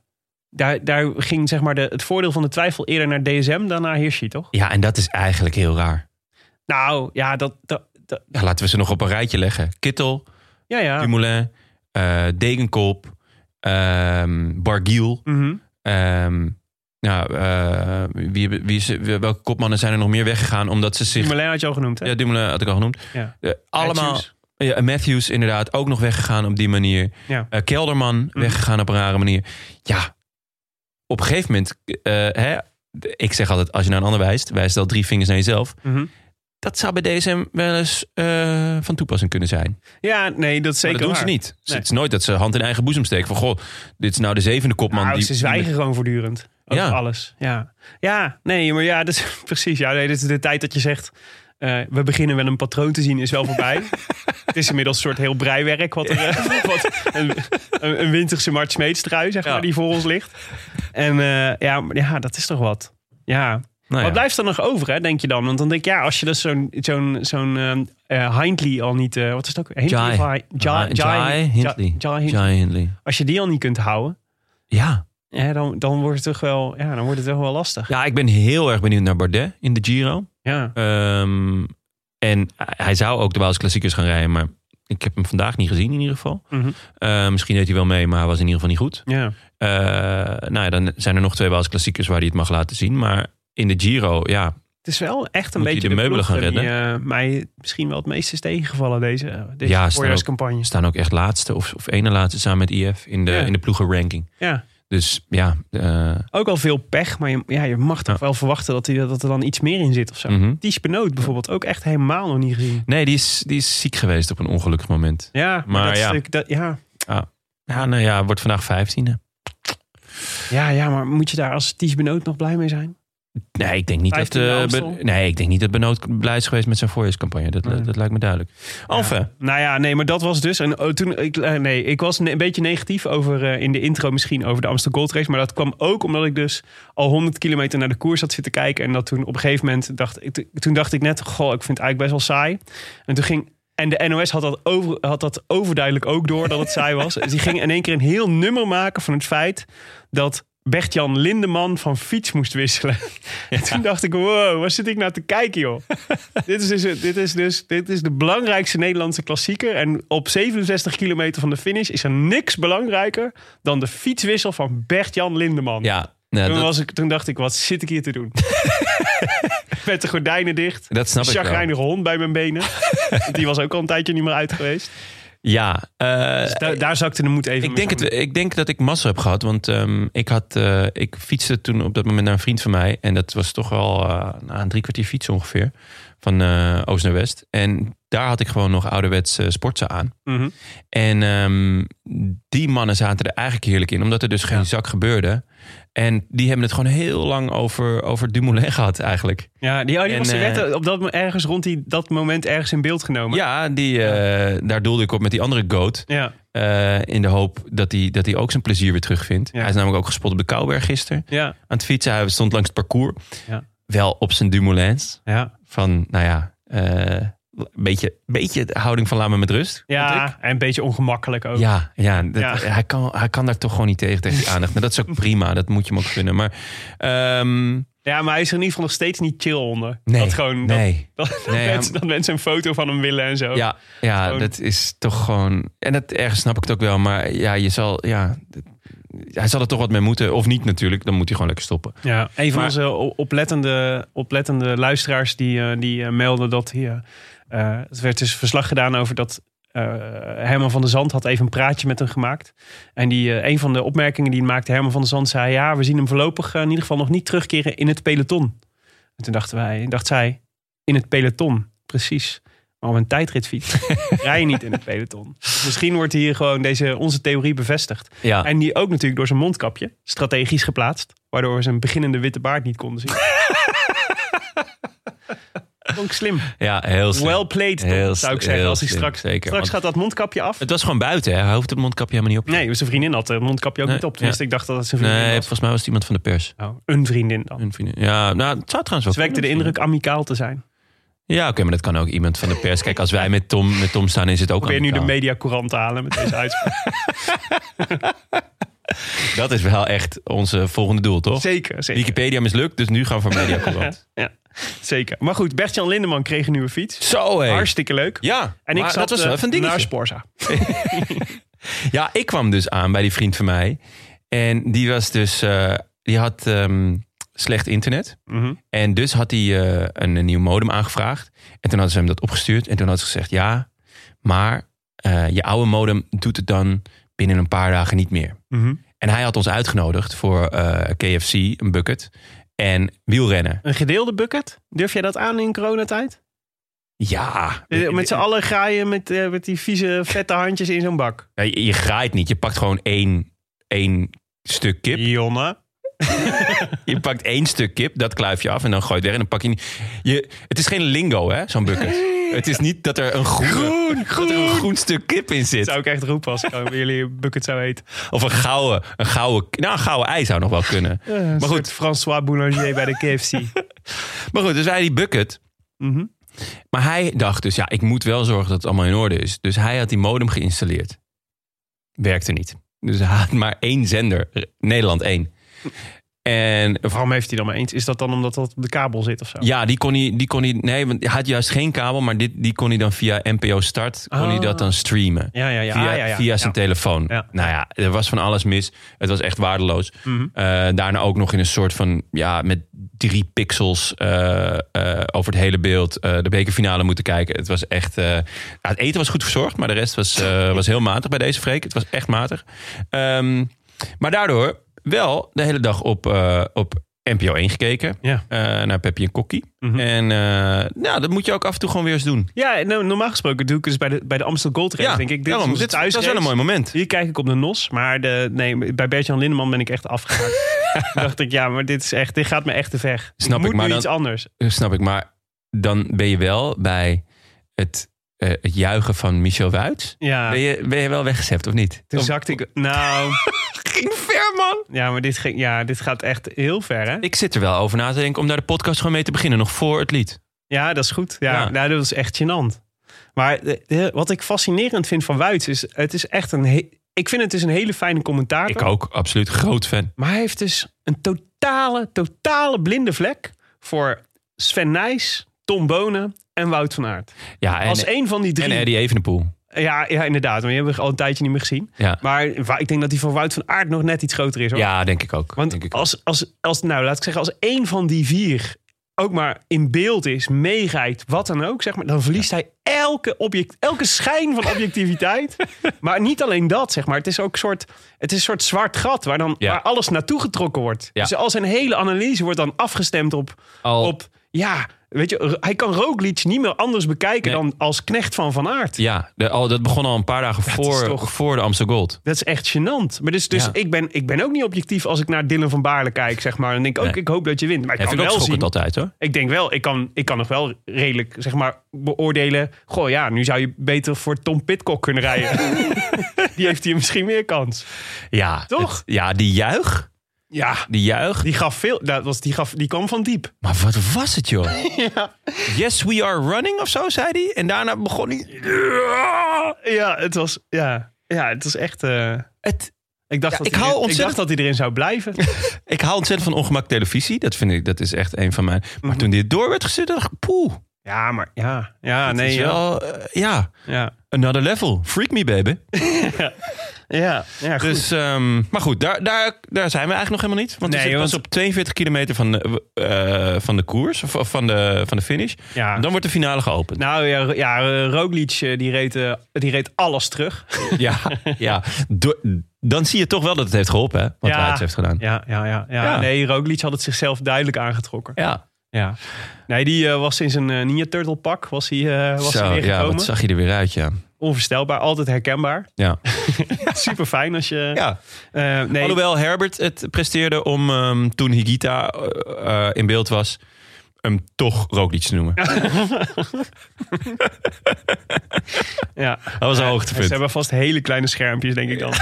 Speaker 4: daar, daar ging zeg maar de, het voordeel van de twijfel eerder naar DSM dan naar Hirschi, toch?
Speaker 3: ja, en dat is eigenlijk heel raar.
Speaker 4: Nou ja, dat. dat, dat-
Speaker 3: Ja, laten we ze nog op een rijtje leggen. Kittel,
Speaker 4: ja, ja.
Speaker 3: Dumoulin, eh, Degenkop, ehm, Bargiel.
Speaker 4: Mhm.
Speaker 3: ehm, nou, eh, wie, hebben- wie is, wie- welke kopmannen zijn er nog meer weggegaan omdat ze zich...
Speaker 4: Dumoulin had je al genoemd, hè?
Speaker 3: Ja, Dumoulin had ik al genoemd.
Speaker 4: Ja.
Speaker 3: Eh, allemaal,
Speaker 4: Matthews.
Speaker 3: Ja, en Matthews inderdaad ook nog weggegaan op die manier.
Speaker 4: Ja.
Speaker 3: Eh, Kelderman
Speaker 4: Mm.
Speaker 3: weggegaan op een rare manier. Ja, op een gegeven moment... eh, hè, ik zeg altijd, als je naar een ander wijst... wijst al drie vingers naar jezelf.
Speaker 4: Mhm.
Speaker 3: Dat zou bij DSM wel eens eh, van toepassing kunnen zijn.
Speaker 4: Ja, nee, dat is zeker.
Speaker 3: maar dat doen ze
Speaker 4: waar.
Speaker 3: niet.
Speaker 4: Nee.
Speaker 3: Het is nooit dat ze hand in eigen boezem steken. Van, goh, dit is nou de zevende kopman.
Speaker 4: Nou,
Speaker 3: die,
Speaker 4: ze zwijgen gewoon voortdurend. Over
Speaker 3: Ja.
Speaker 4: alles. Ja. ja, nee, maar ja, <laughs> dat is precies. Ja, nee, dit is de tijd dat je zegt. eh, we beginnen wel een patroon te zien, is wel
Speaker 3: <laughs>
Speaker 4: voorbij. het is inmiddels een soort heel breiwerk. Wat er, eh, <laughs> wat een, een, een winterse Mart Smeetstrui, zeg maar, die voor ons ligt. En eh, ja, maar ja, dat is toch wat. Ja,
Speaker 3: Nou ja.
Speaker 4: wat blijft er nog over, hè, denk je dan? Want dan denk ik, ja, als je dus zo'n zo'n zo'n ehm, eh, Hindley al niet... eh, wat is het ook? Hindley
Speaker 3: Jai.
Speaker 4: of Hi- Jai- Jai-
Speaker 3: Jai Hindley.
Speaker 4: Jai- Jai Hindley.
Speaker 3: Jai Hindley.
Speaker 4: Als je die al niet kunt houden,
Speaker 3: Ja.
Speaker 4: ja, dan, dan, wordt het toch wel, ja, dan wordt het toch wel lastig.
Speaker 3: ja, ik ben heel erg benieuwd naar Bardet in de Giro.
Speaker 4: Ja.
Speaker 3: Ehm, en hij zou ook de Waalse klassiekers gaan rijden, maar ik heb hem vandaag niet gezien in ieder geval.
Speaker 4: Mhm.
Speaker 3: Eh, misschien deed hij wel mee, maar hij was in ieder geval niet goed.
Speaker 4: Ja.
Speaker 3: Eh, nou ja, dan zijn er nog twee Waalse klassiekers waar hij het mag laten zien. Maar in de Giro, ja,
Speaker 4: Het is wel echt een
Speaker 3: Moet
Speaker 4: beetje
Speaker 3: hij de meubelen
Speaker 4: ploeg
Speaker 3: gaan
Speaker 4: die, eh, mij misschien wel het meest is tegengevallen deze, eh, deze
Speaker 3: Ja, staan
Speaker 4: voorjaarscampagne.
Speaker 3: we staan ook echt laatste of, of ene laatste samen met IF in de,
Speaker 4: Ja.
Speaker 3: in de ploegenranking.
Speaker 4: Ja.
Speaker 3: Dus ja, eh,
Speaker 4: Ook al veel pech, maar je, ja, je mag toch
Speaker 3: Ja.
Speaker 4: wel verwachten dat, die, dat er dan iets meer in zit of zo.
Speaker 3: mhm.
Speaker 4: Die Spinoot bijvoorbeeld ook echt helemaal nog niet gezien.
Speaker 3: nee, die is, die is ziek geweest op een ongelukkig moment.
Speaker 4: Ja,
Speaker 3: Maar
Speaker 4: dat
Speaker 3: ja.
Speaker 4: Stuk, dat, ja.
Speaker 3: Ja, nou ja, wordt vandaag vijftiende.
Speaker 4: Ja, ja, maar moet je daar als Ties Benoot nog blij mee zijn?
Speaker 3: Nee, ik denk niet dat,
Speaker 4: Vijftiende
Speaker 3: eh,
Speaker 4: Amstel?
Speaker 3: Ben- nee, ik denk niet dat Benoot blij is geweest met zijn voorjaarscampagne. Dat,
Speaker 4: Nee.
Speaker 3: dat lijkt me duidelijk. Enfin,
Speaker 4: Nou ja, nee, maar dat was dus. En oh, toen, ik, eh, nee, ik was ne- een beetje negatief over eh, in de intro misschien over de Amsterdam Gold Race. Maar dat kwam ook omdat ik dus al 100 kilometer naar de koers had zitten kijken. En dat toen op een gegeven moment dacht ik, toen dacht ik net, goh, ik vind het eigenlijk best wel saai. En toen ging. En de NOS had dat, over, had dat overduidelijk ook door dat het saai was. Dus die ging in één keer een heel nummer maken van het feit dat Bert-Jan Lindeman van fiets moest wisselen. <laughs> En toen dacht ik, wow, waar zit ik nou te
Speaker 3: <laughs>
Speaker 4: kijken, joh? dit, is dus, dit, is dus, dit is de belangrijkste Nederlandse klassieker. En op 67 kilometer van de finish is er niks belangrijker... dan de fietswissel van Bert-Jan Lindeman.
Speaker 3: ja, nou,
Speaker 4: toen,
Speaker 3: dat,
Speaker 4: was ik, toen dacht ik, wat zit ik hier
Speaker 3: <laughs>
Speaker 4: te doen? Met de gordijnen dicht.
Speaker 3: dat snap
Speaker 4: Een
Speaker 3: ik wel.
Speaker 4: chagrijnige hond bij mijn benen. <laughs> Die was ook al een tijdje niet meer uit geweest.
Speaker 3: Ja, eh,
Speaker 4: Dus daar, daar zakte de moed even
Speaker 3: ik,
Speaker 4: mee
Speaker 3: denk
Speaker 4: samen.
Speaker 3: het, ik denk dat ik massa heb gehad. Want ehm, ik, had, eh, ik fietste toen op dat moment naar een vriend van mij. En dat was toch al eh, na een drie kwartier fietsen ongeveer. Van eh, oost naar west. En daar had ik gewoon nog ouderwets eh, sportsen aan. En ehm, die mannen zaten er eigenlijk heerlijk in, omdat er dus geen zak gebeurde. En die hebben het gewoon heel lang over, over Dumoulin gehad eigenlijk.
Speaker 4: Ja, die, oh, die
Speaker 3: En,
Speaker 4: was er
Speaker 3: eh,
Speaker 4: net op dat, mo- ergens rond die, dat moment ergens in beeld genomen.
Speaker 3: Ja, die, eh, daar doelde ik op met die andere goat.
Speaker 4: Ja,
Speaker 3: eh, in de hoop dat hij, dat hij ook zijn plezier weer terugvindt.
Speaker 4: Ja.
Speaker 3: Hij is namelijk ook gespot op de Kouwberg gisteren.
Speaker 4: ja,
Speaker 3: Aan het fietsen, hij stond langs het parcours.
Speaker 4: Ja.
Speaker 3: Wel op zijn Dumoulins.
Speaker 4: ja.
Speaker 3: Van, nou ja, eh, beetje, beetje de houding van laat me met rust. vond ik.
Speaker 4: ja en een beetje ongemakkelijk ook.
Speaker 3: Ja, ja, dat-
Speaker 4: Ja.
Speaker 3: Hij, kan, hij kan daar toch gewoon niet tegen, tegen die aandacht. Nou, dat is
Speaker 4: <laughs>
Speaker 3: ook prima, dat moet je hem ook kunnen. Maar ehm,
Speaker 4: Ja, maar hij is er in ieder geval nog steeds niet chill onder.
Speaker 3: nee,
Speaker 4: dat gewoon, dat-
Speaker 3: nee.
Speaker 4: <laughs> Dat, dat
Speaker 3: Nee,
Speaker 4: mensen, dat mensen een foto van hem willen en zo.
Speaker 3: Ja, ja
Speaker 4: Gewoon-
Speaker 3: dat is toch gewoon... En dat, ergens snap ik het ook wel, maar ja, je zal... Ja, dat- hij zal er toch wat mee moeten. Of niet natuurlijk, dan moet hij gewoon lekker stoppen.
Speaker 4: Ja, een van
Speaker 3: Maar-
Speaker 4: onze o- oplettende, oplettende luisteraars die, eh, die eh, meldde dat hier. eh het werd dus verslag gedaan over dat. eh, Herman van der Zand had even een praatje met hem gemaakt. En die, eh, een van de opmerkingen die hij maakte, Herman van der Zand zei: Ja, we zien hem voorlopig eh, in ieder geval nog niet terugkeren in het peloton. En toen dachten wij, dacht zij: In het peloton, precies. Maar op een tijdritfiets rij je niet in het peloton. Dus misschien wordt hier gewoon deze, onze theorie bevestigd.
Speaker 3: Ja,
Speaker 4: En die ook natuurlijk door zijn mondkapje, strategisch geplaatst. Waardoor we zijn beginnende witte baard niet konden
Speaker 3: <laughs>
Speaker 4: zien. Vond ik slim.
Speaker 3: ja heel slim.
Speaker 4: Well played, Tom,
Speaker 3: Heel
Speaker 4: zou ik
Speaker 3: slim,
Speaker 4: zeggen.
Speaker 3: heel
Speaker 4: Als hij
Speaker 3: slim,
Speaker 4: straks,
Speaker 3: zeker,
Speaker 4: straks
Speaker 3: want-
Speaker 4: gaat dat mondkapje af.
Speaker 3: Het was gewoon buiten, hè? Hij hoeft het mondkapje helemaal niet op.
Speaker 4: Nee, zijn vriendin had het mondkapje ook
Speaker 3: Nee,
Speaker 4: niet op. Tenminste, ik dacht dat het zijn vriendin
Speaker 3: Nee,
Speaker 4: was.
Speaker 3: volgens mij was het iemand van de pers.
Speaker 4: Oh, een vriendin dan.
Speaker 3: Een vriendin. Ja, nou, het zou trouwens wel
Speaker 4: Ze wekte de
Speaker 3: kunnen,
Speaker 4: indruk amicaal te zijn.
Speaker 3: Ja, oké, maar dat kan ook iemand van de pers. Kijk, als wij met Tom, met Tom staan, is het ook
Speaker 4: Probeer nu de
Speaker 3: amicaal.
Speaker 4: mediacourant te halen met
Speaker 3: <laughs>
Speaker 4: deze uitspraak.
Speaker 3: Dat is wel echt onze volgende doel, toch?
Speaker 4: zeker, zeker.
Speaker 3: Wikipedia mislukt, dus nu gaan
Speaker 4: <laughs>
Speaker 3: we voor Mediacourant.
Speaker 4: zeker. Maar goed, Bert-Jan Lindeman kreeg een nieuwe fiets.
Speaker 3: Zo, hé.
Speaker 4: Hartstikke leuk.
Speaker 3: Ja,
Speaker 4: En ik
Speaker 3: maar
Speaker 4: zat
Speaker 3: dat was
Speaker 4: eh,
Speaker 3: wel even een dingetje.
Speaker 4: naar Sporza.
Speaker 3: Ja, ik kwam dus aan bij die vriend van mij. En die was dus, eh, die had ehm, slecht internet.
Speaker 4: Mhm.
Speaker 3: En dus had hij eh, een, een nieuw modem aangevraagd. En toen hadden ze hem dat opgestuurd. En toen had ze gezegd, ja, maar eh, je oude modem doet het dan binnen een paar dagen niet meer.
Speaker 4: Mhm.
Speaker 3: En hij had ons uitgenodigd voor eh, KFC, een bucket, en wielrennen.
Speaker 4: Een gedeelde bucket? Durf jij dat aan in coronatijd?
Speaker 3: Ja,
Speaker 4: Eh, Met z'n allen graaien met, eh, met die vieze, vette handjes in zo'n bak.
Speaker 3: Ja, je, je graait niet. Je pakt gewoon één, één stuk kip.
Speaker 4: Jonne.
Speaker 3: Je pakt één stuk kip, dat kluif je af en dan gooi je het weg. En dan pak je niet. Je, het is geen lingo, hè, zo'n bucket. Het is niet dat er een groene, groen, Dat er een groen stuk kip in
Speaker 4: Zou
Speaker 3: zit.
Speaker 4: ik echt
Speaker 3: <laughs>
Speaker 4: roepen als ik gewoon bij jullie een bucket zou eten.
Speaker 3: Of een gouden, een gouden. Nou, een gouden ei zou nog wel kunnen.
Speaker 4: maar
Speaker 3: goed.
Speaker 4: goed, François Boulanger bij de
Speaker 3: <laughs>
Speaker 4: KFC.
Speaker 3: Maar goed, dus wij die bucket.
Speaker 4: Mhm.
Speaker 3: Maar hij dacht dus, ja, ik moet wel zorgen dat het allemaal in orde is. Dus hij had die modem geïnstalleerd. Werkte niet. Dus hij had maar één zender. Nederland één. En
Speaker 4: Waarom heeft hij dan maar eens? Is dat dan omdat dat op de kabel zit of zo?
Speaker 3: Ja, die kon hij, die kon hij, nee, want hij had juist geen kabel, maar dit, die kon hij dan via NPO Start, kon hij
Speaker 4: Ah.
Speaker 3: dat dan streamen.
Speaker 4: Ja, ja, ja.
Speaker 3: Via,
Speaker 4: Ah, ja, ja.
Speaker 3: via zijn
Speaker 4: Ja.
Speaker 3: telefoon.
Speaker 4: Ja.
Speaker 3: Nou ja, er was van alles mis. Het was echt waardeloos.
Speaker 4: Mhm.
Speaker 3: Eh, daarna ook nog in een soort van, ja, met drie pixels eh, eh, over het hele beeld eh, de bekerfinale moeten kijken. Het was echt, eh, nou, het eten was goed verzorgd, maar de rest was,
Speaker 4: <laughs>
Speaker 3: eh, was heel matig bij deze freak. Het was echt matig. Ehm, maar daardoor wel de hele dag op, eh, op NPO 1 gekeken.
Speaker 4: Ja.
Speaker 3: Eh, naar Peppi en Kokkie.
Speaker 4: Mhm.
Speaker 3: En eh, nou, dat moet je ook af en toe gewoon weer eens doen.
Speaker 4: Ja, en, nou, normaal gesproken doe ik dus bij de, bij de Amstel Gold Race, denk ik. Dit
Speaker 3: daarom,
Speaker 4: is onze
Speaker 3: dit, dat is wel
Speaker 4: thuisrace.
Speaker 3: een mooi moment.
Speaker 4: Hier kijk ik op de nos, maar de, nee, bij Bert-Jan Lindeman ben ik echt
Speaker 3: <laughs>
Speaker 4: afgehaakt. Toen dacht ik, ja, maar dit, is echt, dit gaat me echt te ver.
Speaker 3: Snap
Speaker 4: moet
Speaker 3: ik, maar
Speaker 4: nu
Speaker 3: dan-
Speaker 4: iets anders.
Speaker 3: Eh, Snap ik, maar dan ben je wel bij het, eh, het juichen van Michel Wuits.
Speaker 4: Ja,
Speaker 3: Ben, je, ben je wel weggezept, of niet?
Speaker 4: toen
Speaker 3: Of-
Speaker 4: zakte ik... Nou...
Speaker 3: ging ver, man.
Speaker 4: Ja, maar dit, ging, ja, dit gaat echt heel ver, hè?
Speaker 3: Ik zit er wel over na te denken om daar de podcast gewoon mee te beginnen. Nog voor het lied.
Speaker 4: Ja, dat is goed. Ja,
Speaker 3: Ja.
Speaker 4: Nou, dat is echt gênant. Maar de- de- wat ik fascinerend vind van Wuits is... Het is echt een... he- ik vind het dus een hele fijne commentaar.
Speaker 3: Ik ook, absoluut. Groot fan.
Speaker 4: Maar hij heeft dus een totale, totale blinde vlek... voor Sven Nijs, Tom Bonen en Wout van Aert.
Speaker 3: Ja, en,
Speaker 4: Als één van die
Speaker 3: en
Speaker 4: drie...
Speaker 3: Eddie Evenepoel.
Speaker 4: ja, ja, inderdaad. Maar die hebben we al een tijdje niet meer gezien.
Speaker 3: Ja.
Speaker 4: Maar wa- ik denk dat die van Wout van Aert nog net iets groter is, hoor.
Speaker 3: Ja, denk ik ook. denk
Speaker 4: Want
Speaker 3: ik ook.
Speaker 4: als, als, als, nou, laat ik zeggen, als één van die vier ook maar in beeld is, meegrijpt, wat dan ook, zeg maar, dan verliest hij elke, object, elke schijn van
Speaker 3: <laughs>
Speaker 4: objectiviteit. maar niet alleen dat, zeg maar. Het is ook een soort, het is een soort zwart gat waar, dan,
Speaker 3: Ja.
Speaker 4: waar alles naartoe getrokken wordt.
Speaker 3: Ja.
Speaker 4: Dus al zijn hele analyse wordt dan afgestemd op,
Speaker 3: Al-
Speaker 4: op Ja, weet je, R- hij kan Roglic niet meer anders bekijken
Speaker 3: Nee.
Speaker 4: dan als knecht van Van Aert.
Speaker 3: Ja, de- al- dat begon al een paar dagen
Speaker 4: is
Speaker 3: voor,
Speaker 4: toch-
Speaker 3: voor de Amsterdam Gold.
Speaker 4: Dat is echt gênant. Maar dus, dus
Speaker 3: Ja.
Speaker 4: ik, ben, ik ben ook niet objectief als ik naar Dylan van Baarle kijk, zeg maar. Dan denk ik ook,
Speaker 3: Nee.
Speaker 4: ik hoop dat je wint. Maar ik
Speaker 3: Ja,
Speaker 4: kan
Speaker 3: vind ik ook
Speaker 4: wel zien...
Speaker 3: schokkend altijd hoor.
Speaker 4: Ik denk wel, ik kan, ik kan nog wel redelijk zeg maar, beoordelen. Goh, ja, nu zou je beter voor Tom Pitcock kunnen rijden.
Speaker 3: <laughs>
Speaker 4: die heeft hier misschien meer kans.
Speaker 3: Ja,
Speaker 4: Toch?
Speaker 3: het- ja, die juich.
Speaker 4: Ja,
Speaker 3: Die juich.
Speaker 4: die gaf veel. Dat was, die, gaf, die kwam van diep.
Speaker 3: Maar wat was het joh?
Speaker 4: <laughs>
Speaker 3: Yes, we are running of zo, zei hij. En daarna begon hij...
Speaker 4: Ja, het was, ja, ja, het was echt. eh,
Speaker 3: Het,
Speaker 4: ik, dacht
Speaker 3: Ja,
Speaker 4: dat
Speaker 3: ik
Speaker 4: hij
Speaker 3: hou
Speaker 4: erin- ik dacht
Speaker 3: ontzettend-
Speaker 4: dat hij erin zou
Speaker 3: <laughs>
Speaker 4: blijven.
Speaker 3: ik hou ontzettend van ongemak televisie. Dat vind ik, dat is echt een van mijn... Maar toen dit door werd gezet, dacht ik, poeh.
Speaker 4: ja, maar ja, ja
Speaker 3: dat
Speaker 4: nee,
Speaker 3: is
Speaker 4: ja,
Speaker 3: wel, eh, ja,
Speaker 4: ja,
Speaker 3: another level. Freak me, baby.
Speaker 4: ja, ja, goed.
Speaker 3: Dus, ehm, maar goed, daar, daar, daar zijn we eigenlijk nog helemaal niet. Want
Speaker 4: Nee,
Speaker 3: we zitten pas
Speaker 4: want-
Speaker 3: op 42 kilometer van de, eh, van de koers, of of van de, van de finish.
Speaker 4: Ja.
Speaker 3: Dan wordt de finale geopend.
Speaker 4: nou ja, ro- ja eh, Roglic eh, die reed, eh, die reed alles terug.
Speaker 3: ja,
Speaker 4: <laughs>
Speaker 3: ja. Door- dan zie je toch wel dat het heeft geholpen, hè? Wat
Speaker 4: Ja.
Speaker 3: hij het heeft gedaan. Ja.
Speaker 4: Ja, ja, ja, ja.
Speaker 3: Ja.
Speaker 4: Nee, Roglic had het zichzelf duidelijk aangetrokken. Ja. Nee, die eh, was in zijn eh Ninja Turtle pak was hij, eh, was hij
Speaker 3: Zo,
Speaker 4: weer
Speaker 3: ja,
Speaker 4: gekomen.
Speaker 3: wat zag je er weer uit, ja.
Speaker 4: Onvoorstelbaar, altijd
Speaker 3: <laughs>
Speaker 4: herkenbaar.
Speaker 3: Ja.
Speaker 4: Super fijn als je...
Speaker 3: ja.
Speaker 4: Eh, nee,
Speaker 3: Alhoewel Herbert het presteerde om ehm, toen Higita eh, eh, in beeld was, hem toch Roglic te noemen.
Speaker 4: <laughs> ja.
Speaker 3: Dat was een
Speaker 4: Ze
Speaker 3: hoogtepunt.
Speaker 4: hebben vast hele kleine schermpjes, denk ik dan.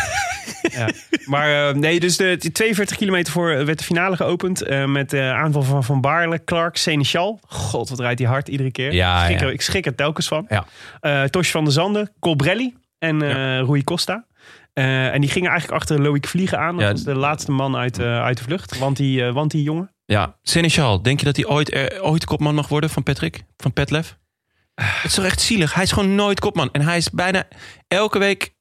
Speaker 4: ja. Maar eh, nee, dus de, de 42 kilometer voor eh, werd de finale geopend. eh, met de aanval van Van Baarle, Clark, Seneschal. God, wat rijdt die hard iedere keer.
Speaker 3: Ja,
Speaker 4: ik, schrik
Speaker 3: ja.
Speaker 4: Er, ik schrik er telkens van.
Speaker 3: Ja.
Speaker 4: Eh, Tosh van der Zanden, Colbrelli en eh Rui Costa. Eh, en die gingen eigenlijk achter Loïc Vliegen aan. Dat
Speaker 3: Ja.
Speaker 4: was de laatste man uit, eh, uit de vlucht. Want die, eh, want die jongen.
Speaker 3: Ja, Seneschal, denk je dat hij ooit, eh, ooit kopman mag worden van Patrick? Van Petlef? Het is toch echt zielig? Hij is gewoon nooit kopman. En hij is bijna elke week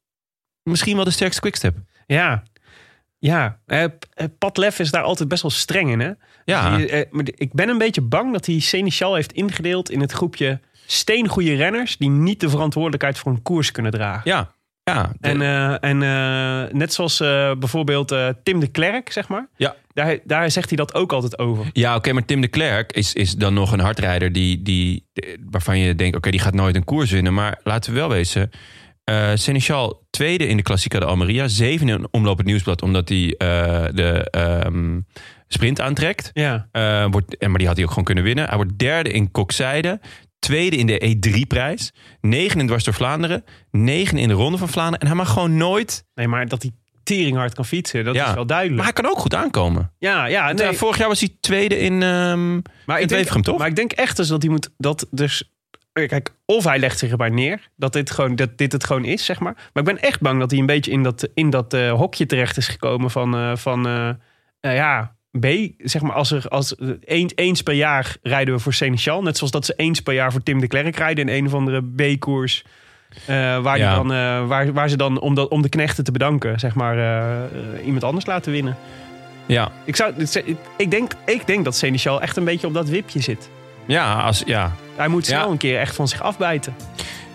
Speaker 3: misschien wel de sterkste quickstep.
Speaker 4: Ja. Ja, eh, P- eh, Pat Lef is daar altijd best wel streng in, hè?
Speaker 3: Ja.
Speaker 4: Die, eh, maar die- ik ben een beetje bang dat hij Seneschal heeft ingedeeld in het groepje steengoede renners... die niet de verantwoordelijkheid voor een koers kunnen dragen.
Speaker 3: Ja, ja. De-
Speaker 4: En, eh, en eh, net zoals eh, bijvoorbeeld eh, Tim de Klerk, zeg maar.
Speaker 3: Ja.
Speaker 4: Daar, daar zegt hij dat ook altijd over.
Speaker 3: ja oké, maar Tim de Klerk is, is dan nog een hardrijder die, die, de- waarvan je denkt, oké, die gaat nooit een koers winnen. Maar laten we wel wezen, eh Seneschal tweede in de Klassica de Almeria, zevende in Omloop het Nieuwsblad, omdat hij eh, de ehm, sprint aantrekt.
Speaker 4: Ja.
Speaker 3: Eh, wordt, en- maar die had hij ook gewoon kunnen winnen. Hij wordt derde in Kokzijde. Tweede in de E3-prijs. Negen in Dwars door Vlaanderen. Negen in de Ronde van Vlaanderen. En hij mag gewoon nooit...
Speaker 4: Nee, maar dat hij teringhard kan fietsen, dat
Speaker 3: Ja.
Speaker 4: is wel duidelijk.
Speaker 3: Maar hij kan ook goed aankomen.
Speaker 4: ja, ja,
Speaker 3: Want,
Speaker 4: nee.
Speaker 3: eh, vorig jaar was hij tweede in, ehm
Speaker 4: Maar
Speaker 3: in
Speaker 4: ik,
Speaker 3: het
Speaker 4: denk,
Speaker 3: Wevergem, toch?
Speaker 4: maar ik denk echt dus dat hij moet. Dat dus, kijk, of hij legt zich erbij neer dat dit, gewoon, dat dit het gewoon is, zeg maar. Maar ik ben echt bang dat hij een beetje in dat, in dat eh, hokje terecht is gekomen van. eh, van eh, nou ja, B, zeg maar, als er als, eh, eens, eens per jaar rijden we voor Seneschal. Net zoals dat ze eens per jaar voor Tim de Klerk rijden in een of andere B-koers. eh, waar, die
Speaker 3: Ja.
Speaker 4: dan, eh, waar, waar ze dan, om, dat, om de knechten te bedanken, zeg maar, eh, eh, iemand anders laten winnen.
Speaker 3: Ja,
Speaker 4: Ik, zou, ik, denk, ik denk dat Seneschal echt een beetje op dat wipje zit.
Speaker 3: ja, als, ja.
Speaker 4: Hij moet snel
Speaker 3: Ja.
Speaker 4: een keer echt van zich afbijten.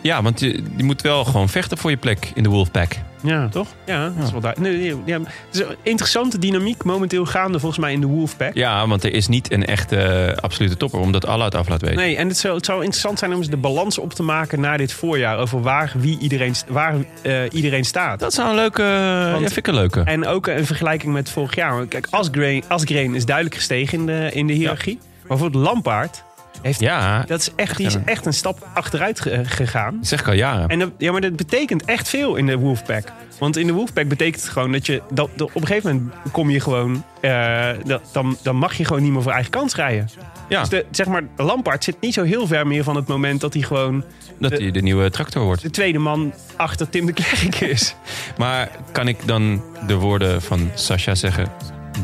Speaker 3: ja want je, je moet wel gewoon vechten voor je plek in de Wolfpack.
Speaker 4: Ja, toch? Ja, dat is wel duidelijk. Nee, nee, ja, het is een interessante dynamiek momenteel gaande volgens mij in de Wolfpack.
Speaker 3: Ja, want er is niet een echte eh, absolute topper, omdat Allah het af laat weten.
Speaker 4: Nee, en het zou, het zou interessant zijn om eens de balans op te maken na dit voorjaar. Over waar, wie iedereen, st- waar, eh, iedereen staat.
Speaker 3: Dat zou een leuke... eh,
Speaker 4: Want-
Speaker 3: ja, vind ik een leuke.
Speaker 4: En ook een vergelijking met vorig jaar. Kijk, Asgreen, Asgreen is duidelijk gestegen in de, in de hiërarchie. Maar bijvoorbeeld Lampaard,
Speaker 3: ja,
Speaker 4: dat is echt, die is echt een stap achteruit ge- gegaan.
Speaker 3: dat zeg ik al jaren.
Speaker 4: En dat, ja, maar dat betekent echt veel in de Wolfpack. Want in de Wolfpack betekent het gewoon dat je... Dat, dat- op een gegeven moment kom je gewoon... eh, dat, dan, dan mag je gewoon niet meer voor eigen kans rijden.
Speaker 3: ja,
Speaker 4: Dus de, zeg maar, Lampaard zit niet zo heel ver meer van het moment... dat hij gewoon
Speaker 3: dat hij de nieuwe tractor wordt.
Speaker 4: de tweede man achter Tim de Klerk is.
Speaker 3: Maar kan ik dan de woorden van Sasha zeggen?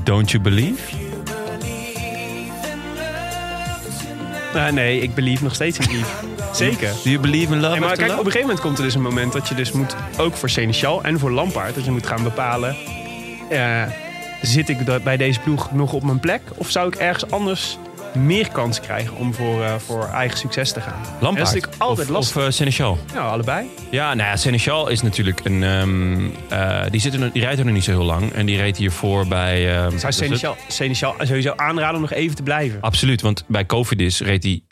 Speaker 3: Don't you believe?
Speaker 4: Nou, nee, ik believe nog steeds
Speaker 3: <laughs>
Speaker 4: in Yves. Zeker.
Speaker 3: Do you believe in love?
Speaker 4: Nee, maar
Speaker 3: after
Speaker 4: kijk, op
Speaker 3: love?
Speaker 4: een gegeven moment komt er dus een moment dat je dus moet... ook voor Seneschal en voor Lampaard... dat je moet gaan bepalen... eh, zit ik da- bij deze ploeg nog op mijn plek? Of zou ik ergens anders meer kans krijgen om voor, eh, voor eigen succes te gaan.
Speaker 3: Lampaard.
Speaker 4: Dat is natuurlijk altijd
Speaker 3: of,
Speaker 4: lastig.
Speaker 3: Of eh, Seneschal.
Speaker 4: nou, allebei.
Speaker 3: Ja, nou ja, Seneschal is natuurlijk een... ehm, eh, die, zit er, nog- die rijdt er nog niet zo heel lang. En die reed hiervoor bij... ehm, wat is
Speaker 4: Zou
Speaker 3: het?
Speaker 4: Seneschal, Seneschal sowieso aanraden om nog even te blijven.
Speaker 3: Absoluut, want bij Covidis reed hij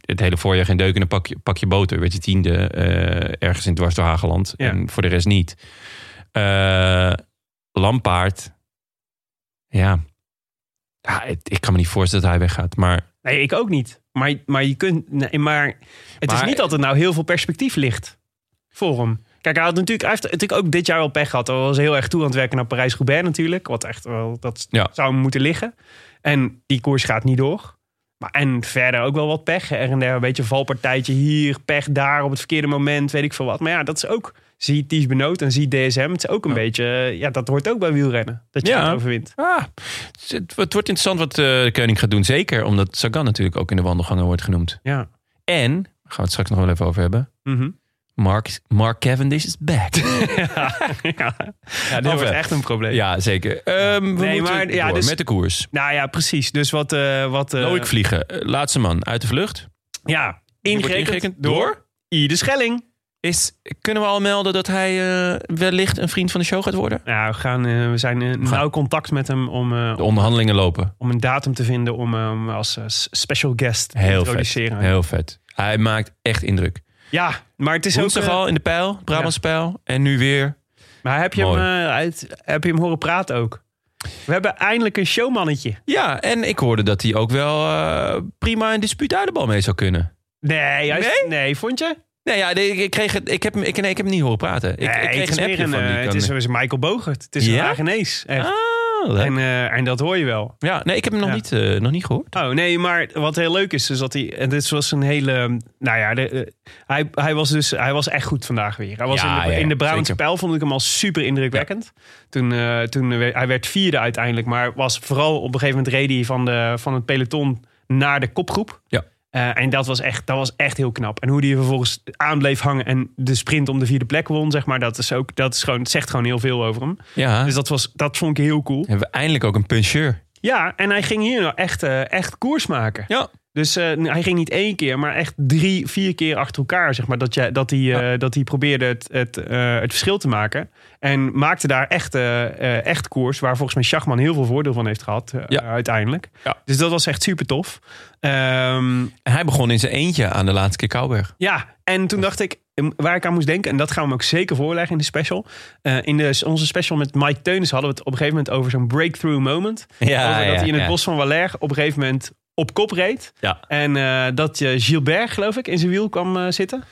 Speaker 3: het hele voorjaar geen deuk in een pakje, pakje boter. Werd hij tiende eh, ergens in dwars door Hageland.
Speaker 4: Ja.
Speaker 3: En voor de rest niet. Eh, Lampaard. Ja. ja het- ik kan me niet voorstellen dat hij weggaat. Maar
Speaker 4: Nee, ik ook niet. Maar, maar je kunt. Nee, maar het
Speaker 3: Maar-
Speaker 4: is niet dat er nou heel veel perspectief ligt voor hem. Kijk, hij, had natuurlijk, hij heeft natuurlijk ook dit jaar wel pech gehad. Hij was heel erg toe aan het werken naar Parijs-Roubaix natuurlijk. Wat echt wel, dat
Speaker 3: Ja.
Speaker 4: zou hem moeten liggen. En die koers gaat niet door. Maar, en verder ook wel wat pech. Er en der, een beetje een valpartijtje hier, pech daar op het verkeerde moment, weet ik veel wat. Maar ja, dat is ook, zie Ties Benoot en zie DSM. Het is ook een beetje, eh, ja, dat hoort ook bij wielrennen. Dat je
Speaker 3: Ja.
Speaker 4: het overwint.
Speaker 3: ah, het, het wordt interessant wat eh, de koning gaat doen. Zeker omdat Sagan natuurlijk ook in de wandelgangen wordt genoemd.
Speaker 4: Ja.
Speaker 3: En, daar gaan we het straks nog wel even over hebben.
Speaker 4: Mhm. <laughs>
Speaker 3: Mark, Mark Cavendish is back.
Speaker 4: ja.
Speaker 3: dit
Speaker 4: dat wordt
Speaker 3: wordt-
Speaker 4: echt een probleem.
Speaker 3: ja, zeker. Ehm, we
Speaker 4: Nee,
Speaker 3: moeten
Speaker 4: maar, ja,
Speaker 3: door
Speaker 4: dus-
Speaker 3: met de koers.
Speaker 4: Nou ja, precies. Dus wat... eh wat eh,
Speaker 3: Loïc Vliegen, eh, laatste man uit de vlucht.
Speaker 4: Ja,
Speaker 3: wordt
Speaker 4: ingerekend
Speaker 3: ingerekend
Speaker 4: door,
Speaker 3: door?
Speaker 4: Ieder Schelling.
Speaker 3: Is, kunnen we al melden dat hij eh, wellicht een vriend van de show gaat worden?
Speaker 4: Ja, we, gaan, eh, we zijn in nauw contact met hem om, eh,
Speaker 3: De onderhandelingen lopen.
Speaker 4: om een datum te vinden om hem als eh, s- special guest te
Speaker 3: Heel vet.
Speaker 4: introduceren.
Speaker 3: Heel vet. Hij maakt echt indruk.
Speaker 4: Ja, maar het is ook...
Speaker 3: Woensdag
Speaker 4: eh,
Speaker 3: al in de pijl, Brabantse pijl. En nu weer.
Speaker 4: maar heb je, hem,
Speaker 3: Mooi.
Speaker 4: eh, uit- heb je hem horen praten ook? We hebben eindelijk een showmannetje.
Speaker 3: Ja, en ik hoorde dat hij ook wel eh, prima een dispuut uit de bal mee zou kunnen.
Speaker 4: Nee, juist, nee?
Speaker 3: Nee?
Speaker 4: vond je?
Speaker 3: Nee, ja, nee, ik, ik, kreeg het, ik, heb, hem- ik, nee, ik heb hem niet horen praten. Ik,
Speaker 4: Nee,
Speaker 3: ik kreeg
Speaker 4: het is
Speaker 3: een
Speaker 4: meer
Speaker 3: appje van
Speaker 4: eh,
Speaker 3: die
Speaker 4: Het
Speaker 3: kan-
Speaker 4: is, het is Michael Bogert. Het is een
Speaker 3: Ja?
Speaker 4: Hagenees. echt.
Speaker 3: Ah, leuk.
Speaker 4: en, eh, en dat hoor je wel.
Speaker 3: ja, nee, ik heb hem nog,
Speaker 4: Ja.
Speaker 3: niet, eh, nog niet gehoord.
Speaker 4: Oh nee, maar wat heel leuk is, is dat hij. En dit was een hele. Nou ja, de, eh, hij, hij was dus. Hij was echt goed vandaag weer. Hij was
Speaker 3: Ja,
Speaker 4: in de,
Speaker 3: ja,
Speaker 4: in de Brabantse
Speaker 3: zeker.
Speaker 4: pijl vond ik hem al super indrukwekkend. Toen, eh, toen eh, hij werd vierde uiteindelijk, maar was vooral op een gegeven moment reed hij van, de, van het peloton naar de kopgroep.
Speaker 3: Ja.
Speaker 4: Eh, en dat was, echt, dat was echt heel knap. En hoe die er vervolgens aan bleef hangen en de sprint om de vierde plek won, zeg maar, dat, is ook, dat is gewoon, het zegt gewoon heel veel over hem.
Speaker 3: Ja,
Speaker 4: Dus dat, was, dat vond ik heel cool.
Speaker 3: hebben we eindelijk ook een puncheur.
Speaker 4: Ja, en hij ging hier nou echt, eh, echt koers maken.
Speaker 3: Ja,
Speaker 4: Dus eh, hij ging niet één keer, maar echt drie, vier keer achter elkaar. Zeg maar, dat, je, dat, hij, eh, dat hij probeerde het, het, eh, het verschil te maken. En maakte daar echt, eh, eh, echt koers. Waar volgens mij Schachman heel veel voordeel van heeft gehad. eh,
Speaker 3: Ja.
Speaker 4: Uiteindelijk.
Speaker 3: Ja.
Speaker 4: Dus dat was echt super tof. Ehm,
Speaker 3: En hij begon in zijn eentje aan de laatste keer Kouwberg.
Speaker 4: ja, en toen dacht ik, eh, waar ik aan moest denken, en dat gaan we hem ook zeker voorleggen in de special. Eh, in de, onze special met Mike Teunis hadden we het op een gegeven moment over zo'n breakthrough moment.
Speaker 3: Ja,
Speaker 4: over dat
Speaker 3: ja,
Speaker 4: hij in het
Speaker 3: ja.
Speaker 4: bos van Waller op een gegeven moment op kop reed.
Speaker 3: Ja.
Speaker 4: En eh, dat je Gilbert, geloof ik, in zijn wiel kwam eh, zitten.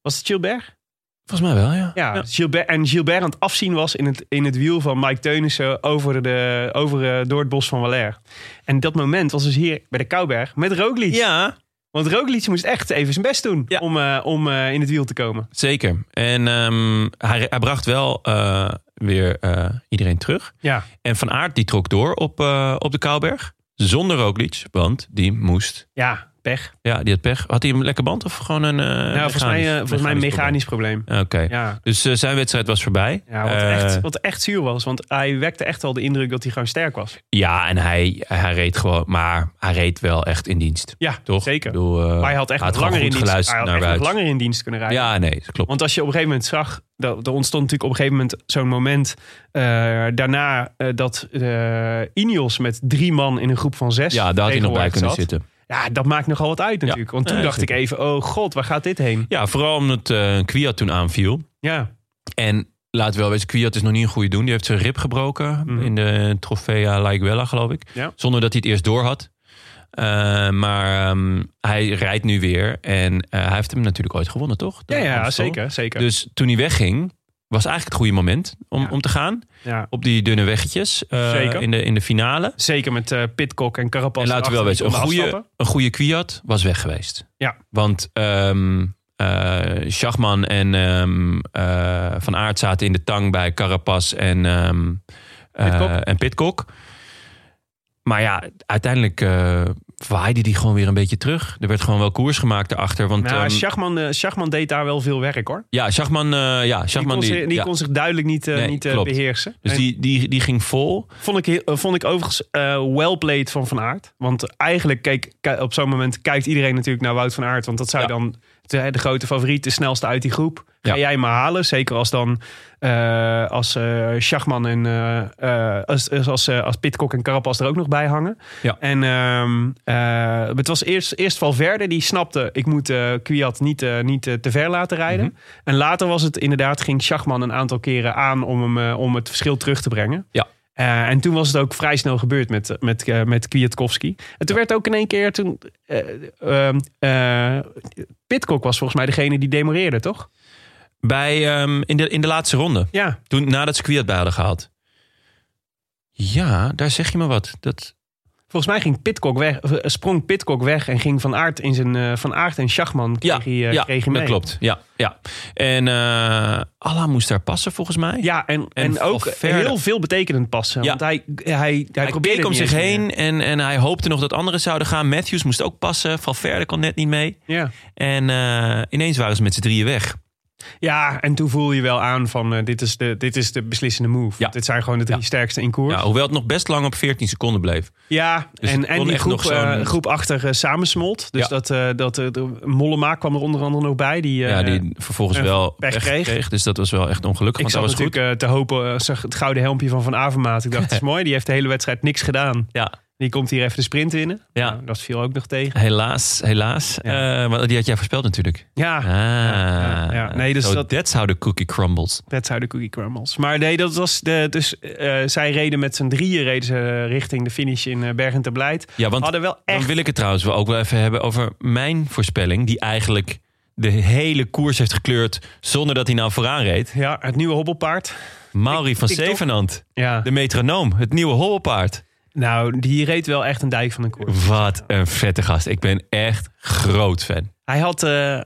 Speaker 4: Was het Gilbert?
Speaker 3: Volgens mij wel, ja.
Speaker 4: Ja, Gilbert, en Gilbert aan het afzien was in het, in het wiel van Mike Teunissen over de, over, eh, door het bos van Waller. En dat moment was dus hier bij de Kouberg met Roglic.
Speaker 3: Ja,
Speaker 4: Want Roglic moest echt even zijn best doen
Speaker 3: Ja.
Speaker 4: om, eh, om eh, in het wiel te komen.
Speaker 3: zeker. En ehm, hij, hij bracht wel eh, weer eh, iedereen terug.
Speaker 4: Ja.
Speaker 3: En Van Aert die trok door op, eh, op de Kouwberg. Zonder Roglic, want die moest...
Speaker 4: Ja, pech.
Speaker 3: Ja, die had pech. Had hij een lekker band of gewoon een... eh,
Speaker 4: nou, volgens mij, eh, volgens mij een mechanisch probleem.
Speaker 3: probleem? Oké.
Speaker 4: Ja.
Speaker 3: Dus eh, zijn wedstrijd was voorbij.
Speaker 4: Ja, wat,
Speaker 3: Eh,
Speaker 4: echt, wat echt zuur was. Want hij wekte echt al de indruk dat hij gewoon sterk was.
Speaker 3: ja, en hij, hij reed gewoon... Maar hij reed wel echt in dienst.
Speaker 4: Ja,
Speaker 3: Toch?
Speaker 4: zeker.
Speaker 3: Ik bedoel, eh,
Speaker 4: maar hij had echt nog
Speaker 3: gewoon
Speaker 4: langer,
Speaker 3: goed
Speaker 4: in dienst, hij
Speaker 3: geluisterd
Speaker 4: had
Speaker 3: naar
Speaker 4: echt nog
Speaker 3: buiten.
Speaker 4: langer in dienst kunnen rijden.
Speaker 3: Ja, nee, dat klopt.
Speaker 4: Want als je op een gegeven moment zag, dat, er ontstond natuurlijk op een gegeven moment zo'n moment eh, daarna eh, dat eh Ineos met drie man in een groep van zes.
Speaker 3: ja, daar had hij nog bij
Speaker 4: tegenwoordig
Speaker 3: kunnen
Speaker 4: zat.
Speaker 3: zitten.
Speaker 4: Ja, dat maakt nogal wat uit natuurlijk. Want toen
Speaker 3: Nee,
Speaker 4: dacht ik
Speaker 3: zeker.
Speaker 4: even, oh god, waar gaat dit heen?
Speaker 3: Ja, vooral omdat eh Kwiat toen aanviel.
Speaker 4: Ja,
Speaker 3: En laten we wel wezen, Kwiat is nog niet een goede doen. Die heeft zijn rib gebroken in de Trofea Laiguela, geloof ik.
Speaker 4: Ja.
Speaker 3: Zonder dat hij het eerst door had. Eh, maar ehm, hij rijdt nu weer. En eh, hij heeft hem natuurlijk ooit gewonnen, toch? De
Speaker 4: ja, ja
Speaker 3: Amstel.
Speaker 4: zeker, zeker.
Speaker 3: Dus toen hij wegging, was eigenlijk het goede moment om,
Speaker 4: Ja.
Speaker 3: om te gaan.
Speaker 4: ja.
Speaker 3: Op die dunne weggetjes eh,
Speaker 4: Zeker.
Speaker 3: In, de, in de finale.
Speaker 4: Zeker met eh Pitcock en Carapaz.
Speaker 3: En laten we wel
Speaker 4: erachter
Speaker 3: weten, een
Speaker 4: die konden
Speaker 3: goede,
Speaker 4: afstappen.
Speaker 3: een goede Kwiat was weg geweest.
Speaker 4: Ja.
Speaker 3: Want ehm eh, Schachman en ehm, eh, Van Aert zaten in de tang bij Carapaz en, ehm eh,
Speaker 4: Pidcock.
Speaker 3: en Pitcock. Maar ja, uiteindelijk eh, waaide die gewoon weer een beetje terug. Er werd gewoon wel koers gemaakt erachter. Want
Speaker 4: Nou,
Speaker 3: ehm,
Speaker 4: Schachman, eh, Schachman deed daar wel veel werk hoor.
Speaker 3: ja, Schachman, eh, ja,
Speaker 4: Die,
Speaker 3: Schachman
Speaker 4: kon,
Speaker 3: die,
Speaker 4: zich, die
Speaker 3: ja.
Speaker 4: kon zich duidelijk niet, eh,
Speaker 3: Nee,
Speaker 4: niet eh,
Speaker 3: klopt.
Speaker 4: beheersen.
Speaker 3: Dus
Speaker 4: En
Speaker 3: die, die, die ging vol.
Speaker 4: vond, ik, heel- eh, vond ik overigens eh well played van Van Aert. Want eigenlijk keek, ki- op zo'n moment kijkt iedereen natuurlijk naar Wout van Aert. Want dat zou
Speaker 3: Ja.
Speaker 4: dan de, de grote favoriet, de snelste uit die groep. Ga
Speaker 3: Ja.
Speaker 4: jij maar halen. Zeker als dan eh, als eh Schachman en eh, eh, als, als, als, eh, als Pitcock en Carapaz er ook nog bij hangen.
Speaker 3: Ja.
Speaker 4: En ehm, eh, het was eerst, eerst Valverde die snapte, ik moet eh Kwiat niet, eh, niet eh, te ver laten rijden.
Speaker 3: Mhm.
Speaker 4: En later was het inderdaad, ging Schachman een aantal keren aan om, hem, eh, om het verschil terug te brengen.
Speaker 3: Ja.
Speaker 4: Eh, en toen was het ook vrij snel gebeurd met, met, eh, met Kwiatkowski. En toen werd ook in één keer, toen, eh, ehm, eh, Pitcock was volgens mij degene die demoreerde, toch?
Speaker 3: Bij, ehm, in, de, in de laatste ronde.
Speaker 4: Ja,
Speaker 3: Toen, nadat ze Kwiat bij hadden gehaald. Ja, daar zeg je me wat. Dat,
Speaker 4: volgens mij ging Pitcock weg, eh, sprong Pitcock weg en ging Van Aert, in zijn, eh, van Aert en Schachman
Speaker 3: ja,
Speaker 4: kreeg hij, eh,
Speaker 3: ja
Speaker 4: kregen mee.
Speaker 3: dat klopt. Ja, ja. En eh Allah moest daar passen volgens mij.
Speaker 4: Ja, en, en,
Speaker 3: En
Speaker 4: ook
Speaker 3: Valverde.
Speaker 4: heel veel betekenend passen.
Speaker 3: Ja.
Speaker 4: Want hij, hij, hij,
Speaker 3: Hij
Speaker 4: probeerde
Speaker 3: keek om
Speaker 4: niet
Speaker 3: zich
Speaker 4: eens
Speaker 3: heen en, en hij hoopte nog dat anderen zouden gaan. Matthews moest ook passen. Valverde kon net niet mee.
Speaker 4: meer. Ja.
Speaker 3: En eh, ineens waren ze met z'n drieën weg.
Speaker 4: ja, en toen voel je wel aan van eh, dit, is de, dit is de beslissende move.
Speaker 3: Ja.
Speaker 4: Dit zijn gewoon de drie
Speaker 3: Ja.
Speaker 4: sterkste in koers.
Speaker 3: Ja,
Speaker 4: Ja,
Speaker 3: hoewel het nog best lang op 14 seconden bleef. Dus
Speaker 4: en,
Speaker 3: het
Speaker 4: en
Speaker 3: kon
Speaker 4: die
Speaker 3: echt
Speaker 4: groep,
Speaker 3: nog zo'n-
Speaker 4: eh, groep achter eh, samensmolt. Dus
Speaker 3: Ja.
Speaker 4: dat, eh dat eh, de- Mollema kwam er onder andere nog bij. Die, eh,
Speaker 3: ja, die vervolgens
Speaker 4: eh,
Speaker 3: wel
Speaker 4: pech
Speaker 3: pech
Speaker 4: kreeg.
Speaker 3: kreeg. Dus dat was wel echt ongelukkig.
Speaker 4: ik
Speaker 3: want dat
Speaker 4: zat
Speaker 3: was
Speaker 4: natuurlijk
Speaker 3: goed.
Speaker 4: eh, te hopen, eh, zag het gouden helmpje van Van Avermaat. Ik dacht,
Speaker 3: <laughs>
Speaker 4: dat is mooi. Die heeft de hele wedstrijd niks gedaan.
Speaker 3: Ja,
Speaker 4: Die komt hier even de sprint winnen.
Speaker 3: Ja.
Speaker 4: Nou, dat viel ook nog tegen.
Speaker 3: helaas. helaas. Eh, want die had jij voorspeld natuurlijk.
Speaker 4: Ja,
Speaker 3: Ah,
Speaker 4: ja, ja. Nee, dus
Speaker 3: so
Speaker 4: dat-
Speaker 3: that's how the cookie crumbles.
Speaker 4: That's how the cookie crumbles. Maar nee, dat was de, dus eh, zij reden met z'n drieën reden ze richting de finish in eh, Bergen ter Blijt.
Speaker 3: Ja, want
Speaker 4: Hadden wel
Speaker 3: dan
Speaker 4: echt...
Speaker 3: wil ik het trouwens wel ook wel even hebben over mijn voorspelling. Die eigenlijk de hele koers heeft gekleurd zonder dat hij nou vooraan reed.
Speaker 4: Ja, het nieuwe hobbelpaard.
Speaker 3: Mauri van
Speaker 4: TikTok.
Speaker 3: Zevenand,
Speaker 4: Ja.
Speaker 3: de metronoom, het nieuwe hobbelpaard.
Speaker 4: Nou, die reed wel echt een dijk van een koers.
Speaker 3: Wat een vette gast. Ik ben echt groot fan.
Speaker 4: Hij had eh, eh,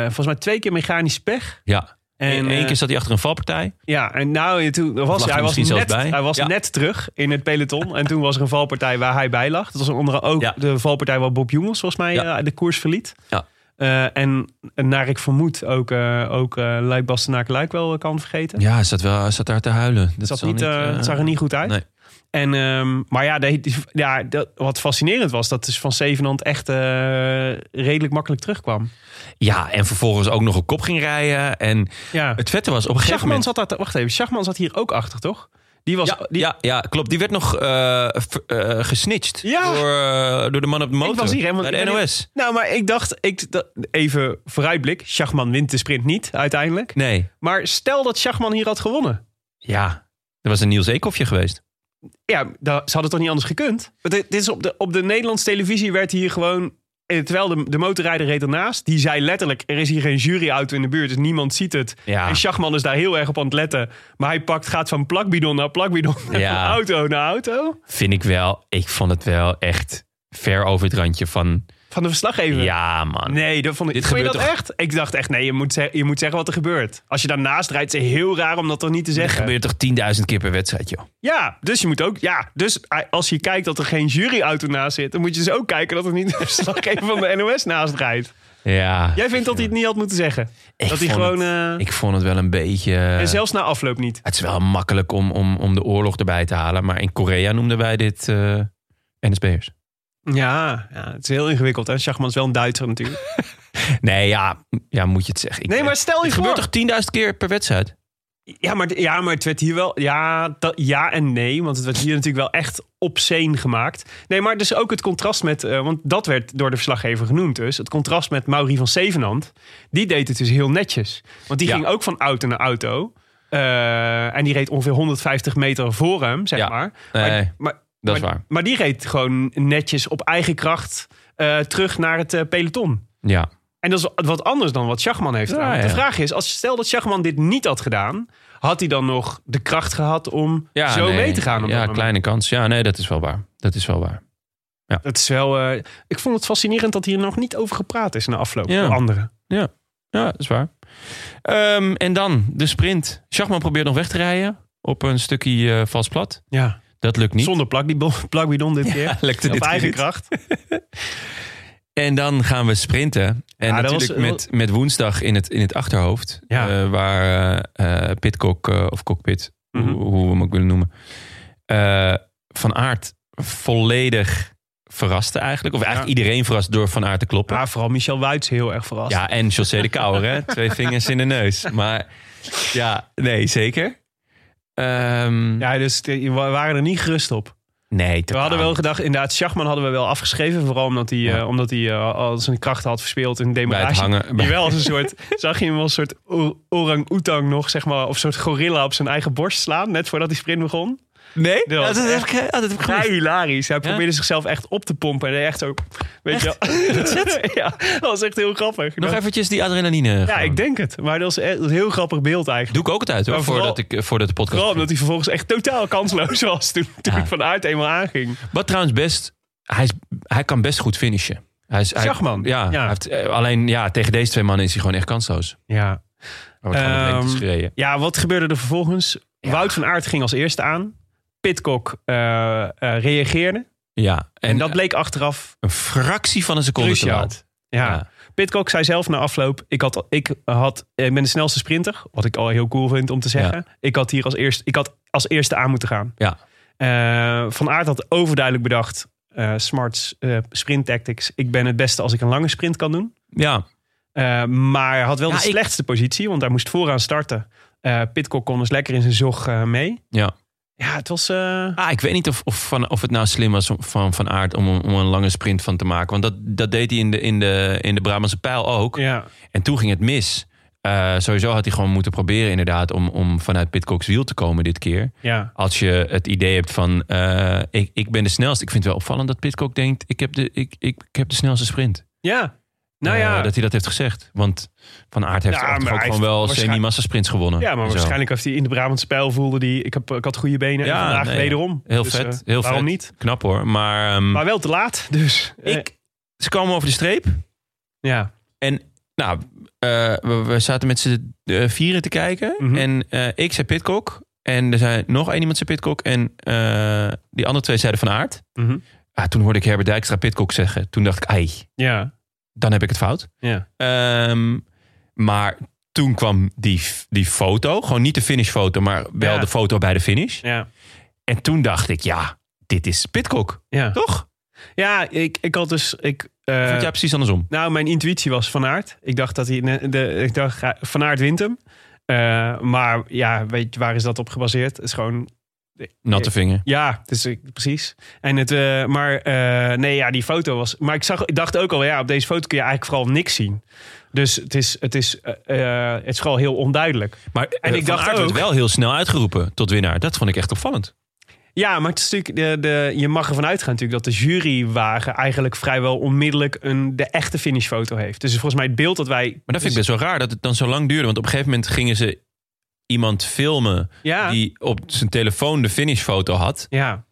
Speaker 4: volgens mij twee keer mechanisch pech.
Speaker 3: Ja.
Speaker 4: En,
Speaker 3: En
Speaker 4: eh,
Speaker 3: één keer zat hij achter een valpartij.
Speaker 4: Ja, en nou, toen was,
Speaker 3: er
Speaker 4: hij, was,
Speaker 3: misschien
Speaker 4: net,
Speaker 3: zelfs bij.
Speaker 4: hij was
Speaker 3: Ja.
Speaker 4: net terug in het peloton. En toen was er een valpartij waar hij bij lag. Dat was onder andere ook
Speaker 3: Ja.
Speaker 4: de valpartij waar Bob Jongels volgens mij
Speaker 3: Ja.
Speaker 4: eh, de koers verliet.
Speaker 3: Ja.
Speaker 4: Eh, en naar ik vermoed ook, eh ook eh Luik Bastenaak Luik wel eh, kan vergeten.
Speaker 3: Ja, hij zat, wel, hij zat daar te huilen. Dat
Speaker 4: Het,
Speaker 3: zal
Speaker 4: zat niet, eh,
Speaker 3: eh,
Speaker 4: het zag er niet goed uit.
Speaker 3: nee.
Speaker 4: En, ehm, maar ja, de- ja dat, wat fascinerend was, dat is van Zevenhand echt eh, redelijk makkelijk terugkwam.
Speaker 3: Ja, en vervolgens ook nog een kop ging rijden. En
Speaker 4: Ja.
Speaker 3: het vette was, op een gegeven
Speaker 4: Schachman
Speaker 3: moment...
Speaker 4: zat daar, te- wacht even, Schachman zat hier ook achter, toch? Die was,
Speaker 3: Ja,
Speaker 4: die,
Speaker 3: ja, ja, klopt. Die werd nog eh, v- eh, gesnitcht
Speaker 4: Ja.
Speaker 3: door, eh, door de man op de motor.
Speaker 4: Ik was hier helemaal
Speaker 3: bij de
Speaker 4: ik ben-
Speaker 3: NOS.
Speaker 4: Nou, maar ik dacht, ik, dat- even vooruitblik. Schachman wint de sprint niet uiteindelijk.
Speaker 3: Nee,
Speaker 4: Maar stel dat Schachman hier had gewonnen.
Speaker 3: ja. Er was een Niels Eekhoffje geweest.
Speaker 4: Ja, da- ze hadden toch niet anders gekund? Want Dit, dit is op, de, op de Nederlandse televisie werd hier gewoon. eh, Terwijl de, de motorrijder reed ernaast, die zei letterlijk: Er is hier geen juryauto in de buurt, dus niemand ziet het.
Speaker 3: Ja.
Speaker 4: En Schachman is daar heel erg op aan het letten. Maar hij pakt, gaat van plakbidon naar plakbidon, en
Speaker 3: Ja.
Speaker 4: van <laughs> auto naar auto.
Speaker 3: Vind ik wel. Ik vond het wel echt ver over het randje van...
Speaker 4: Van de verslaggever.
Speaker 3: Ja, man.
Speaker 4: Nee, dat vond ik.
Speaker 3: Dit
Speaker 4: vond je dat
Speaker 3: gebeurt toch-
Speaker 4: echt? Ik dacht echt, nee, je moet, ze- je moet zeggen wat er gebeurt. Als je daarnaast rijdt, is het heel raar om dat dan niet te
Speaker 3: Er
Speaker 4: zeggen.
Speaker 3: gebeurt toch 10.000 keer per wedstrijd, joh.
Speaker 4: Ja, dus je moet ook. Ja, dus eh, als je kijkt dat er geen juryauto naast zit, dan moet je dus ook kijken dat er niet <laughs>
Speaker 3: <laughs>
Speaker 4: een verslaggever van de NOS naast rijdt.
Speaker 3: Ja.
Speaker 4: Jij vindt dat hij het niet had moeten zeggen.
Speaker 3: Ik
Speaker 4: dat hij
Speaker 3: vond
Speaker 4: gewoon.
Speaker 3: het-
Speaker 4: eh,
Speaker 3: ik eh, vond het wel een beetje...
Speaker 4: en zelfs na afloop niet.
Speaker 3: Het is wel makkelijk om, om, om de oorlog erbij te halen. Maar in Korea noemden wij dit eh NSB'ers.
Speaker 4: Ja, ja, het is heel ingewikkeld. En Schachman is wel een Duitser natuurlijk.
Speaker 3: Nee, ja, ja, moet je het zeggen. Ik- eh,
Speaker 4: Nee, maar stel je
Speaker 3: het
Speaker 4: voor.
Speaker 3: gebeurt toch 10.000 keer per wedstrijd?
Speaker 4: Ja maar, ja, maar het werd hier wel. Ja, dat, ja en nee. Want het werd hier natuurlijk wel echt obscene gemaakt. Nee, maar dus ook het contrast met. eh, want dat werd door de verslaggever genoemd, dus. Het contrast met Mauri van Zevenhand. Die deed het dus heel netjes. Want die
Speaker 3: Ja.
Speaker 4: ging ook van auto naar auto. eh, en die reed ongeveer 150 meter voor hem, zeg
Speaker 3: Ja.
Speaker 4: maar.
Speaker 3: Nee,
Speaker 4: maar, maar,
Speaker 3: dat is
Speaker 4: maar-
Speaker 3: waar.
Speaker 4: Maar die reed gewoon netjes op eigen kracht eh, terug naar het eh, peloton.
Speaker 3: Ja.
Speaker 4: En dat is wat anders dan wat Schachman heeft
Speaker 3: Ja,
Speaker 4: gedaan. Want De
Speaker 3: ja.
Speaker 4: vraag is, als stel dat Schachman dit niet had gedaan... had hij dan nog de kracht gehad om
Speaker 3: ja
Speaker 4: zo
Speaker 3: nee.
Speaker 4: mee te gaan? Op dat
Speaker 3: Ja,
Speaker 4: moment?
Speaker 3: kleine kans. Ja, nee, dat is wel waar. Dat is wel waar.
Speaker 4: Dat is wel, eh, ik vond het fascinerend dat hier nog niet over gepraat is na afloop.
Speaker 3: Ja.
Speaker 4: door anderen.
Speaker 3: Ja, dat is waar. Ehm, en dan de sprint. Schachman probeert nog weg te rijden op een stukje eh, vals plat.
Speaker 4: Ja.
Speaker 3: Dat lukt niet.
Speaker 4: Zonder plakbidon, <laughs> plakbidon dit keer.
Speaker 3: lukte <laughs>
Speaker 4: Op
Speaker 3: dit keer
Speaker 4: eigen
Speaker 3: niet.
Speaker 4: kracht.
Speaker 3: En dan gaan we sprinten. En
Speaker 4: Ja, dat
Speaker 3: natuurlijk
Speaker 4: was-
Speaker 3: met, met woensdag in het, in het achterhoofd.
Speaker 4: Ja.
Speaker 3: eh, waar eh eh, Pitcock eh, of Cockpit,
Speaker 4: Mhm.
Speaker 3: hoe, hoe we hem ook willen noemen. eh, van Aert volledig verraste eigenlijk. Of eigenlijk iedereen verrast door Van Aert te kloppen.
Speaker 4: Maar vooral Michel Wuits heel erg verrast.
Speaker 3: Ja, en José de Kouwer,
Speaker 4: <laughs>
Speaker 3: hè? Twee vingers in de neus. Maar ja, nee, zeker. Ehm,
Speaker 4: Ja, dus eh, we waren er niet gerust op.
Speaker 3: Nee,
Speaker 4: We hadden wel gedacht, inderdaad, Schachman hadden we wel afgeschreven. Vooral omdat hij,
Speaker 3: Ja.
Speaker 4: eh, omdat hij eh, al zijn krachten had verspeeld in de
Speaker 3: bij het
Speaker 4: demarage.
Speaker 3: hangen. bij-
Speaker 4: Jawel, als een soort, zag je hem als een soort o- orang-oetang nog, zeg maar, of een soort gorilla op zijn eigen borst slaan, net voordat die sprint begon.
Speaker 3: Nee?
Speaker 4: Dat
Speaker 3: Ja,
Speaker 4: was
Speaker 3: dat, heb
Speaker 4: echt-
Speaker 3: ik, ja, dat heb ik
Speaker 4: Ja,
Speaker 3: gemist.
Speaker 4: hilarisch. Hij probeerde zichzelf echt op te pompen en hij echt ook, weet je wel. <laughs> ja, dat was echt heel grappig.
Speaker 3: Nog
Speaker 4: Dat-
Speaker 3: eventjes die adrenaline.
Speaker 4: ja,
Speaker 3: gewoon.
Speaker 4: ik denk het. Maar dat was echt een heel grappig beeld eigenlijk.
Speaker 3: Doe ik ook het uit hoor,
Speaker 4: Maar vooral-
Speaker 3: voordat, ik, eh, voordat de podcast...
Speaker 4: Vooral omdat hij vervolgens echt totaal kansloos <laughs> was toen, toen
Speaker 3: Ja.
Speaker 4: ik vanuit eenmaal aanging.
Speaker 3: Wat trouwens best... Hij, is, hij kan best goed finishen. Hij is, hij-
Speaker 4: Schachman.
Speaker 3: Ja,
Speaker 4: Ja.
Speaker 3: hij heeft, eh, alleen ja, tegen deze twee mannen is hij gewoon echt kansloos.
Speaker 4: Ja.
Speaker 3: Hij wordt gewoon op
Speaker 4: Ehm,
Speaker 3: lengtes gereden.
Speaker 4: ja, wat gebeurde er vervolgens? Wout van Aert ging als eerste aan. Pitcock eh, eh, reageerde.
Speaker 3: Ja, en,
Speaker 4: En, dat bleek achteraf
Speaker 3: een fractie van een seconde te
Speaker 4: cruciaal.
Speaker 3: laat.
Speaker 4: Ja.
Speaker 3: Ja.
Speaker 4: Pitcock zei zelf na afloop: ik, had, ik, had, ik ben de snelste sprinter. Wat ik al heel cool vind om te zeggen. Ik, had hier als eerst, ik had als eerste aan moeten gaan.
Speaker 3: Ja.
Speaker 4: Eh, van Aert had overduidelijk bedacht: eh, smarts, eh, sprint tactics. Ik ben het beste als ik een lange sprint kan doen.
Speaker 3: Ja,
Speaker 4: Eh, maar hij had wel
Speaker 3: Ja,
Speaker 4: de
Speaker 3: ik-
Speaker 4: slechtste positie, want hij moest vooraan starten. Eh Pitcock kon dus lekker in zijn zog eh, mee.
Speaker 3: ja.
Speaker 4: Ja, het was. eh,
Speaker 3: Ah, ik weet niet of, of, van, of het nou slim was om- van, van Aert om, een- om een lange sprint van te maken. Want dat, dat deed hij in de, in, de, in de Brabantse pijl ook.
Speaker 4: ja.
Speaker 3: En toen ging het mis. Eh, sowieso had hij gewoon moeten proberen inderdaad om, om vanuit Pitcock's wiel te komen dit keer.
Speaker 4: Ja.
Speaker 3: Als je het idee hebt van eh, ik, ik ben de snelste. Ik vind het wel opvallend dat Pitcock denkt ik heb de, ik, ik, ik heb de snelste sprint.
Speaker 4: ja. Nou
Speaker 3: Eh,
Speaker 4: ja.
Speaker 3: dat hij dat heeft gezegd. Want Van Aert heeft
Speaker 4: Ja,
Speaker 3: echt
Speaker 4: maar
Speaker 3: ook
Speaker 4: hij
Speaker 3: gewoon wel
Speaker 4: heeft waarschijn-
Speaker 3: semi-massa sprints gewonnen.
Speaker 4: Ja, maar
Speaker 3: En zo.
Speaker 4: waarschijnlijk heeft hij in de Brabantse pijl voelde die ik, heb, ik had goede benen en
Speaker 3: Ja,
Speaker 4: vandaag
Speaker 3: nee.
Speaker 4: wederom.
Speaker 3: Heel
Speaker 4: Dus,
Speaker 3: vet.
Speaker 4: eh,
Speaker 3: heel
Speaker 4: waarom
Speaker 3: vet.
Speaker 4: niet?
Speaker 3: Knap hoor. Maar, ehm,
Speaker 4: Maar wel te laat, <laughs> dus. eh,
Speaker 3: ik, ze kwamen over de streep.
Speaker 4: ja.
Speaker 3: En nou, eh, we, we zaten met z'n eh, vieren te kijken.
Speaker 4: Mhm.
Speaker 3: En eh, ik zei Pitcock. En er zei nog één iemand zei Pitcock. En eh, die andere twee zeiden Van Aert.
Speaker 4: Mhm.
Speaker 3: Ah, toen hoorde ik Herbert Dijkstra Pitcock zeggen. Toen dacht ik, ai,
Speaker 4: Ja.
Speaker 3: dan heb ik het fout.
Speaker 4: Ja.
Speaker 3: Ehm, maar toen kwam die, die foto. Gewoon niet de finishfoto, maar wel
Speaker 4: Ja.
Speaker 3: de foto bij de finish.
Speaker 4: Ja.
Speaker 3: En toen dacht ik, ja, dit is Pitcock.
Speaker 4: Ja.
Speaker 3: Toch?
Speaker 4: Ja, ik, ik had dus. Ik, eh,
Speaker 3: Vond jij precies andersom?
Speaker 4: Nou, mijn intuïtie was Van Aert. Ik dacht dat hij. ne- De, ik dacht, hij- Van Aert wint hem. Eh, maar ja, weet je, waar is dat op gebaseerd? Het is gewoon.
Speaker 3: Natte vinger.
Speaker 4: Ja, dus ik, precies. En het, eh, maar eh, nee, ja, die foto was. Maar ik, zag, ik dacht ook al, ja, op deze foto kun je eigenlijk vooral niks zien. Dus het is, het is, eh, eh, het is vooral heel onduidelijk.
Speaker 3: Maar en ik dacht
Speaker 4: ik dacht
Speaker 3: Eh, Aert werd
Speaker 4: ook-
Speaker 3: wel heel snel uitgeroepen tot winnaar. Dat vond ik echt opvallend.
Speaker 4: Ja, maar het is natuurlijk de, de, je mag ervan uitgaan natuurlijk dat de jurywagen eigenlijk vrijwel onmiddellijk een, de echte finishfoto heeft. Dus volgens mij het beeld dat wij.
Speaker 3: Maar dat vind ik best wel raar dat het dan zo lang duurde. Want op een gegeven moment gingen ze iemand filmen
Speaker 4: Ja.
Speaker 3: die op zijn telefoon de finishfoto had.
Speaker 4: Ja.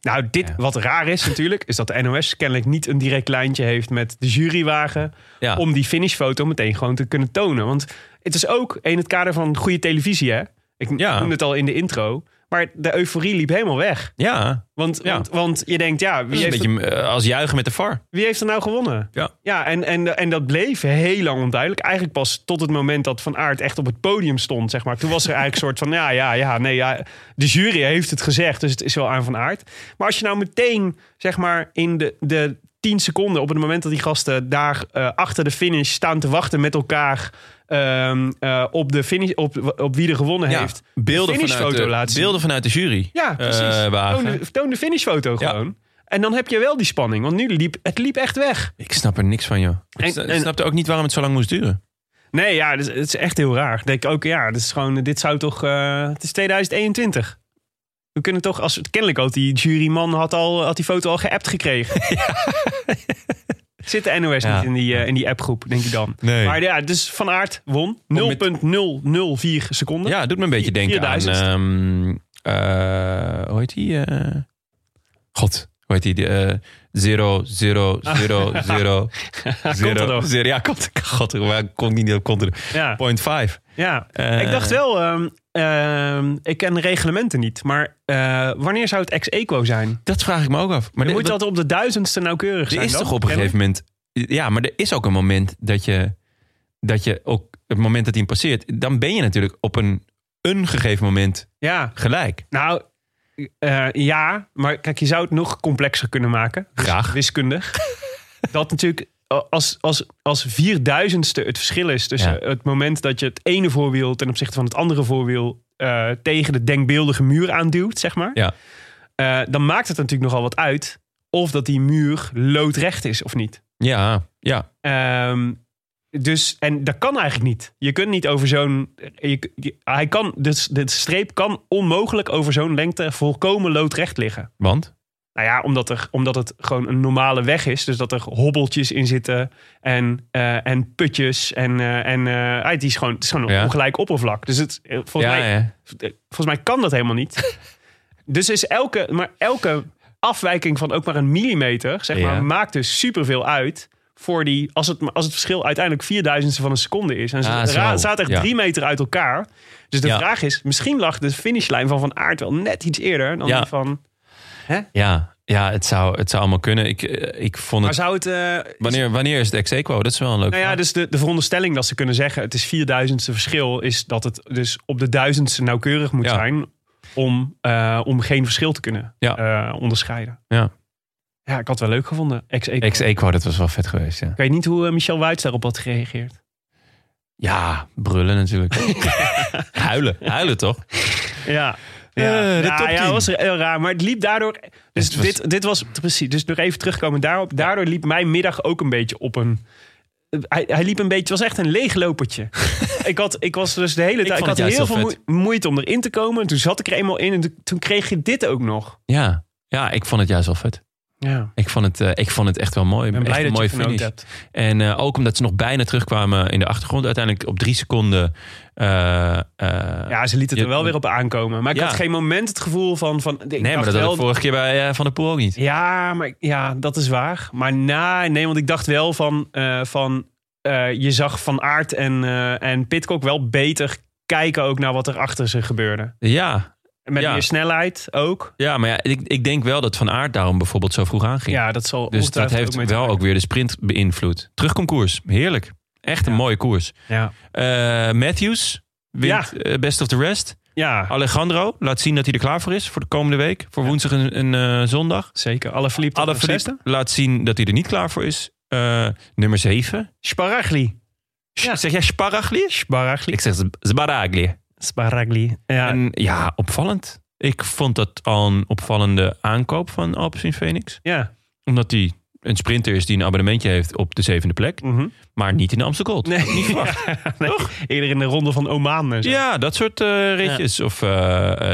Speaker 4: Nou, dit
Speaker 3: Ja.
Speaker 4: wat raar is natuurlijk, is dat de NOS kennelijk niet een direct lijntje heeft met de jurywagen.
Speaker 3: Ja.
Speaker 4: Om die finishfoto meteen gewoon te kunnen tonen. Want het is ook in het kader van goede televisie, hè? Ik
Speaker 3: Ja.
Speaker 4: noemde het al in de intro. Maar de euforie liep helemaal weg.
Speaker 3: Ja,
Speaker 4: Want,
Speaker 3: Ja.
Speaker 4: want, want je denkt, ja,
Speaker 3: dat
Speaker 4: wie
Speaker 3: is een
Speaker 4: heeft,
Speaker 3: beetje eh, als juichen met de VAR.
Speaker 4: wie heeft er nou gewonnen?
Speaker 3: Ja.
Speaker 4: Ja, en, en, en dat bleef heel lang onduidelijk. Eigenlijk pas tot het moment dat Van Aert echt op het podium stond, zeg maar. Toen was er eigenlijk een soort van, ja, ja, ja, nee, ja. De jury heeft het gezegd, dus het is wel aan Van Aert. Maar als je nou meteen, zeg maar, in de, de tien seconden... op het moment dat die gasten daar eh, achter de finish staan te wachten met elkaar... ehm, eh, op, de finish, op, op wie er gewonnen
Speaker 3: Ja,
Speaker 4: heeft.
Speaker 3: beelden,
Speaker 4: de
Speaker 3: vanuit
Speaker 4: finishfoto
Speaker 3: de,
Speaker 4: laten zien.
Speaker 3: beelden vanuit de jury.
Speaker 4: Ja, precies.
Speaker 3: eh,
Speaker 4: toon,
Speaker 3: wagen.
Speaker 4: de, toon de finishfoto
Speaker 3: Ja.
Speaker 4: gewoon. En dan heb je wel die spanning, want nu liep het liep echt weg.
Speaker 3: Ik snap er niks van, joh. Ik
Speaker 4: En-
Speaker 3: sna- ik
Speaker 4: en-
Speaker 3: snapte ook niet waarom het zo lang moest duren.
Speaker 4: Nee, ja, dus het is, het is echt heel raar. Ik Denk ook, ja, dit is gewoon, dit zou toch, eh, het is 2021. We kunnen toch, als kennelijk had die juryman had al, had die foto al geappt gekregen.
Speaker 3: <laughs>
Speaker 4: Zit de NOS
Speaker 3: Ja.
Speaker 4: niet in die, eh, in die appgroep, denk ik dan.
Speaker 3: Nee.
Speaker 4: Maar ja, dus Van Aert won. 0,004
Speaker 3: met-
Speaker 4: seconden.
Speaker 3: Ja, het doet me een beetje denken aan...
Speaker 4: 4000.
Speaker 3: ehm, eh, hoe heet die? eh, God, hoe heet die? die, eh, Zero, zero,
Speaker 4: <laughs>
Speaker 3: zero, zero,
Speaker 4: Contador.
Speaker 3: zero. Ja, komt, god, waar kon ik niet op Contador?
Speaker 4: Ja.
Speaker 3: Point 5.
Speaker 4: Ja,
Speaker 3: Eh.
Speaker 4: ik dacht wel, ehm, ehm, ik ken de reglementen niet, maar eh, wanneer zou het ex-equo zijn?
Speaker 3: Dat vraag ik me ook af. Maar
Speaker 4: Dan
Speaker 3: dit-
Speaker 4: moet je altijd op de duizendste nauwkeurig zijn.
Speaker 3: Er is toch op een gegeven moment. Ja, maar er is ook een moment dat je. Dat je ook. Het moment dat hij hem passeert. Dan ben je natuurlijk op een. Een gegeven moment
Speaker 4: Ja,
Speaker 3: gelijk.
Speaker 4: nou eh, ja, maar kijk, je zou het nog complexer kunnen maken. Dus
Speaker 3: Graag.
Speaker 4: Wiskundig. <laughs> dat natuurlijk eh, als, als, als vierduizendste het verschil is tussen
Speaker 3: Ja.
Speaker 4: het moment dat je het ene voorwiel ten opzichte van het andere voorwiel eh, tegen de denkbeeldige muur aanduwt, zeg maar.
Speaker 3: Ja.
Speaker 4: Eh, dan maakt het natuurlijk nogal wat uit of dat die muur loodrecht is of niet.
Speaker 3: Ja, ja.
Speaker 4: Ehm, dus, en dat kan eigenlijk niet. Je kunt niet over zo'n. je- je- Hij kan, dus de streep kan onmogelijk over zo'n lengte volkomen loodrecht liggen.
Speaker 3: Want.
Speaker 4: Nou ja, omdat, er, omdat het gewoon een normale weg is. Dus dat er hobbeltjes in zitten en, eh, en putjes. En, eh, en eh, het, is gewoon, het is gewoon een
Speaker 3: Ja.
Speaker 4: ongelijk oppervlak. Dus het, eh, volgens,
Speaker 3: ja,
Speaker 4: mij,
Speaker 3: ja.
Speaker 4: eh, volgens mij kan dat helemaal
Speaker 3: <laughs>
Speaker 4: niet. dus is elke, maar elke afwijking van ook maar een millimeter, zeg maar,
Speaker 3: Ja.
Speaker 4: maakt dus superveel uit. Voor die, als het, als het verschil uiteindelijk vierduizendste van een seconde is. En ze
Speaker 3: Ah, zo.
Speaker 4: ra- het staat echt
Speaker 3: Ja.
Speaker 4: drie meter uit elkaar. Dus de
Speaker 3: Ja.
Speaker 4: vraag is, misschien lag de finishlijn van Van Aert wel net iets eerder dan
Speaker 3: Ja.
Speaker 4: die van...
Speaker 3: Ja, ja het, zou, het zou allemaal kunnen. Ik, eh, ik vond
Speaker 4: Maar
Speaker 3: het.
Speaker 4: zou het... eh,
Speaker 3: Wanneer, wanneer is het ex aequo? Dat is wel een leuk.
Speaker 4: Nou ja,
Speaker 3: vraag.
Speaker 4: dus de, de veronderstelling dat ze kunnen zeggen... het is vierduizendste verschil... is dat het dus op de duizendste nauwkeurig moet
Speaker 3: Ja.
Speaker 4: zijn... Om, eh, om geen verschil te kunnen
Speaker 3: Ja.
Speaker 4: eh, onderscheiden.
Speaker 3: Ja. E
Speaker 4: Ja, ik had het wel leuk gevonden. ex Ik
Speaker 3: Ex aequo, dat was wel vet geweest. Ja,
Speaker 4: weet niet hoe eh, Michel Wuits daarop had gereageerd.
Speaker 3: ja brullen <laughs> natuurlijk. huilen, huilen toch?
Speaker 4: Ja.
Speaker 3: Eh, de top
Speaker 4: ja,
Speaker 3: 10.
Speaker 4: was heel raar. Maar het liep daardoor... Dus
Speaker 3: Het was-
Speaker 4: dit, dit was precies... Dus nog even terugkomen daarop. Daardoor liep mijn middag ook een beetje op een... Hij, hij liep een beetje... Het was echt een
Speaker 3: <laughs>
Speaker 4: leeglopertje. ik, had, ik was dus de hele tijd... Ik,
Speaker 3: vond
Speaker 4: had
Speaker 3: het juist
Speaker 4: heel veel
Speaker 3: heel vet.
Speaker 4: moe- moeite om erin te komen. Toen zat ik er eenmaal in. En toen- toen kreeg je dit ook nog.
Speaker 3: Ja. ja, ik vond het juist wel vet.
Speaker 4: Ja.
Speaker 3: Ik vond het, eh, ik vond het echt wel mooi.
Speaker 4: Ik ben
Speaker 3: echt
Speaker 4: blij
Speaker 3: een
Speaker 4: dat
Speaker 3: mooie
Speaker 4: je genoten
Speaker 3: finish.
Speaker 4: hebt.
Speaker 3: En eh, ook omdat ze nog bijna terugkwamen in de achtergrond. Uiteindelijk op drie seconden. eh, eh,
Speaker 4: Ja, ze liet het
Speaker 3: je-
Speaker 4: er wel weer op aankomen. Maar ik
Speaker 3: Ja.
Speaker 4: had geen moment het gevoel van... van ik
Speaker 3: nee, maar
Speaker 4: dacht
Speaker 3: dat had
Speaker 4: wel,
Speaker 3: ik vorige keer bij eh, Van der Poel ook niet.
Speaker 4: Ja, maar, ja, dat is waar. Maar na, nee, want ik dacht wel van... eh, van eh, je zag Van Aert en, eh en Pitcock wel beter kijken ook naar wat er achter ze gebeurde.
Speaker 3: Ja,
Speaker 4: Met
Speaker 3: Ja.
Speaker 4: meer snelheid ook.
Speaker 3: ja maar ja, ik, ik denk wel dat Van Aert daarom bijvoorbeeld zo vroeg aanging.
Speaker 4: Ja, dat zal
Speaker 3: dus dat
Speaker 4: ongetwijfeld
Speaker 3: heeft
Speaker 4: mee te
Speaker 3: wel
Speaker 4: maken.
Speaker 3: ook weer de sprint beïnvloed. Terugkomkoers, heerlijk. Echt een
Speaker 4: Ja.
Speaker 3: mooie koers.
Speaker 4: Ja.
Speaker 3: Eh, Matthews wint
Speaker 4: Ja.
Speaker 3: eh, Best of the Rest.
Speaker 4: ja,
Speaker 3: Alejandro laat zien dat hij er klaar voor is voor de komende week. Voor woensdag en, en, eh, zondag.
Speaker 4: zeker. Alle verliep Alle
Speaker 3: Alaphilippe laat zien dat hij er niet klaar voor is. Eh, nummer 7.
Speaker 4: Sparagli. Ja.
Speaker 3: Zeg jij Sparagli?
Speaker 4: Sparagli.
Speaker 3: Ik zeg Z- Sbaragli.
Speaker 4: Sparagli. Ja,
Speaker 3: En ja, opvallend. Ik vond dat al een opvallende aankoop van Alpecin Phoenix.
Speaker 4: ja.
Speaker 3: Omdat hij een sprinter is die een abonnementje heeft op de zevende plek.
Speaker 4: Mhm.
Speaker 3: Maar niet in de Amstel Gold.
Speaker 4: Nee.
Speaker 3: <laughs> Niet verwacht.
Speaker 4: Nee, Eerder in de ronde van Oman en zo.
Speaker 3: Dus Ja, dat soort eh, ritjes. Of eh,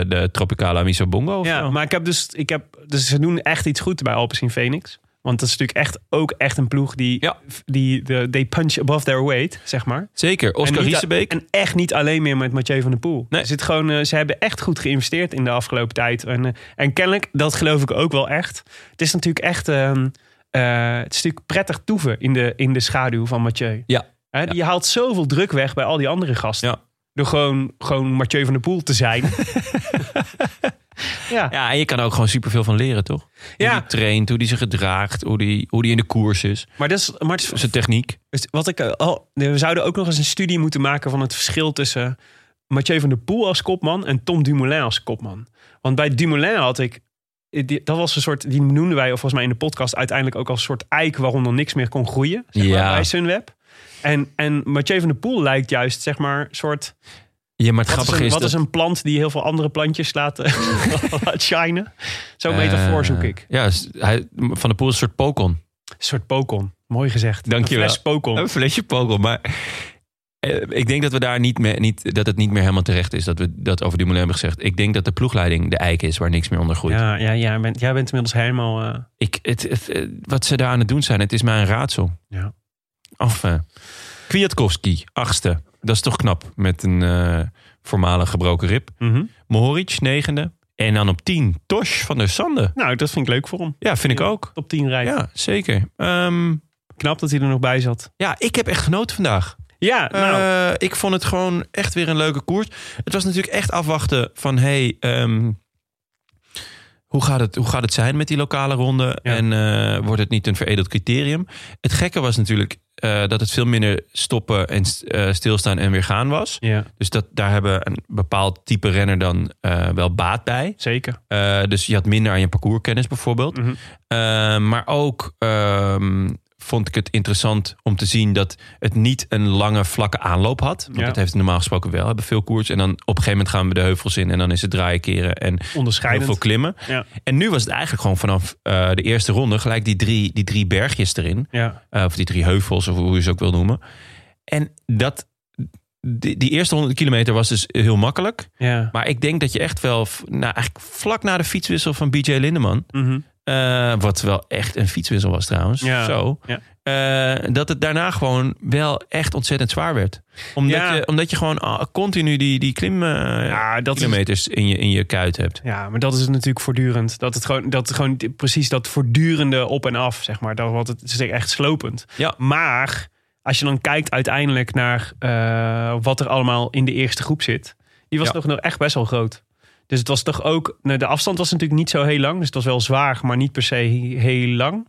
Speaker 3: eh, de Tropicala Misobongo. Of
Speaker 4: Ja,
Speaker 3: zo.
Speaker 4: maar ik heb dus, ik heb, dus ze doen echt iets goed bij Alpecin Phoenix. Want dat is natuurlijk echt ook echt een ploeg die,
Speaker 3: Ja.
Speaker 4: die de, they punch above their weight, zeg maar.
Speaker 3: Zeker. Oscar
Speaker 4: en, niet-
Speaker 3: Riesebeek.
Speaker 4: en echt niet alleen meer met Mathieu van der Poel.
Speaker 3: Nee.
Speaker 4: Er Zit gewoon, eh, ze hebben echt goed geïnvesteerd in de afgelopen tijd. En, eh, en kennelijk, dat geloof ik ook wel echt. Het is natuurlijk echt ehm, eh, het is natuurlijk prettig toeven in de, in de schaduw van Mathieu.
Speaker 3: Ja.
Speaker 4: Hè, Je haalt zoveel druk weg bij al die andere gasten.
Speaker 3: Ja.
Speaker 4: Door gewoon, gewoon Mathieu van der Poel te
Speaker 3: <laughs>
Speaker 4: zijn. ja.
Speaker 3: Ja, en je kan ook gewoon superveel van leren, toch? Hoe
Speaker 4: Ja.
Speaker 3: die traint, hoe die zich gedraagt, hoe die, hoe die in de koers is.
Speaker 4: Maar, dat is, maar het is-
Speaker 3: Zijn techniek.
Speaker 4: Dus wat ik, eh, al- we zouden ook nog eens een studie moeten maken van het verschil tussen Mathieu van der Poel als kopman en Tom Dumoulin als kopman. Want bij Dumoulin had ik, eh, die- dat was een soort, die noemden wij volgens mij in de podcast uiteindelijk ook als een soort eik waaronder niks meer kon groeien zeg maar,
Speaker 3: Ja.
Speaker 4: bij Sunweb. En, en Mathieu van der Poel lijkt juist, zeg maar, soort.
Speaker 3: Ja, maar het
Speaker 4: Wat, is
Speaker 3: grappige
Speaker 4: een,
Speaker 3: is,
Speaker 4: wat
Speaker 3: dat...
Speaker 4: is een plant die heel veel andere plantjes laat, eh,
Speaker 3: <laughs>
Speaker 4: laat shinen? Zo'n metafoor zoek
Speaker 3: Eh,
Speaker 4: ik.
Speaker 3: Ja, is- hij, Van de Poel is een soort pokon.
Speaker 4: Een soort pokon. Mooi gezegd.
Speaker 3: Dankjewel. Oh,
Speaker 4: Een fles pokon.
Speaker 3: Een flesje pokon, maar... eh, Ik denk dat we daar niet meer, niet, dat het niet meer helemaal terecht is dat we dat over Dumoulin hebben gezegd. Ik denk dat de ploegleiding de eik is waar niks meer onder groeit.
Speaker 4: Ja, ja, ja, jij bent- jij bent inmiddels helemaal... eh,
Speaker 3: Ik, het, het- eh, wat ze daar aan het doen zijn, het is maar een raadsel.
Speaker 4: Ja.
Speaker 3: Enfin. Kwiatkowski, achtste. Dat is toch knap met een eh voormalig gebroken rib.
Speaker 4: mhm.
Speaker 3: Mohoric, negende. En dan op tien, Tosh van der Sande.
Speaker 4: Nou, dat vind ik leuk voor hem.
Speaker 3: Ja, vind ik ook.
Speaker 4: Top 10 rijden.
Speaker 3: Ja, zeker. Ehm,
Speaker 4: Knap dat hij er nog bij zat.
Speaker 3: ja, ik heb echt genoten vandaag.
Speaker 4: Ja, nou.
Speaker 3: Eh, ik vond het gewoon echt weer een leuke koers. Het was natuurlijk echt afwachten van... Hey, ehm, hoe, gaat het, hoe gaat het zijn met die lokale ronde?
Speaker 4: Ja.
Speaker 3: En eh, wordt het niet een veredeld criterium? Het gekke was natuurlijk eh, dat het veel minder stoppen en st- eh, stilstaan en weer gaan was.
Speaker 4: ja,
Speaker 3: Dus dat, daar hebben een bepaald type renner dan eh, wel baat bij.
Speaker 4: zeker.
Speaker 3: Eh, dus je had minder aan je parcourskennis bijvoorbeeld.
Speaker 4: Mhm.
Speaker 3: Eh, maar ook ehm, vond ik het interessant om te zien dat het niet een lange vlakke aanloop had. Want
Speaker 4: Ja.
Speaker 3: dat heeft het normaal gesproken wel. Hebben veel koers en dan op een gegeven moment gaan we de heuvels in en dan is het draaien keren en heel
Speaker 4: Onderscheidend.
Speaker 3: veel klimmen.
Speaker 4: Ja.
Speaker 3: En nu was het eigenlijk gewoon vanaf eh, de eerste ronde gelijk die drie, die drie bergjes erin.
Speaker 4: Ja,
Speaker 3: Eh, of die drie heuvels, of hoe je ze ook wil noemen. En dat, die, die eerste 100 kilometer was dus heel makkelijk.
Speaker 4: ja.
Speaker 3: Maar ik denk dat je echt wel, v- nou, eigenlijk vlak na de fietswissel van BJ Lindeman.
Speaker 4: Mhm.
Speaker 3: eh, wat wel echt een fietswissel was trouwens.
Speaker 4: Ja,
Speaker 3: Zo.
Speaker 4: ja.
Speaker 3: eh, dat het daarna gewoon wel echt ontzettend zwaar werd. Omdat,
Speaker 4: Ja.
Speaker 3: je, omdat je gewoon ah, continu die, die klim eh,
Speaker 4: Ja, dat is,
Speaker 3: kilometers in, je, in je kuit hebt.
Speaker 4: Ja, maar dat is het natuurlijk voortdurend. Dat het gewoon, dat gewoon di- precies dat voortdurende op en af, zeg maar. Dat, wat het, het is echt slopend.
Speaker 3: Ja.
Speaker 4: Maar als je dan kijkt uiteindelijk naar eh, wat er allemaal in de eerste groep zit. Die was
Speaker 3: Ja.
Speaker 4: toch nog echt best wel groot. Dus het was toch ook... Nou, de afstand was natuurlijk niet zo heel lang. Dus het was wel zwaar, maar niet per se he- heel lang.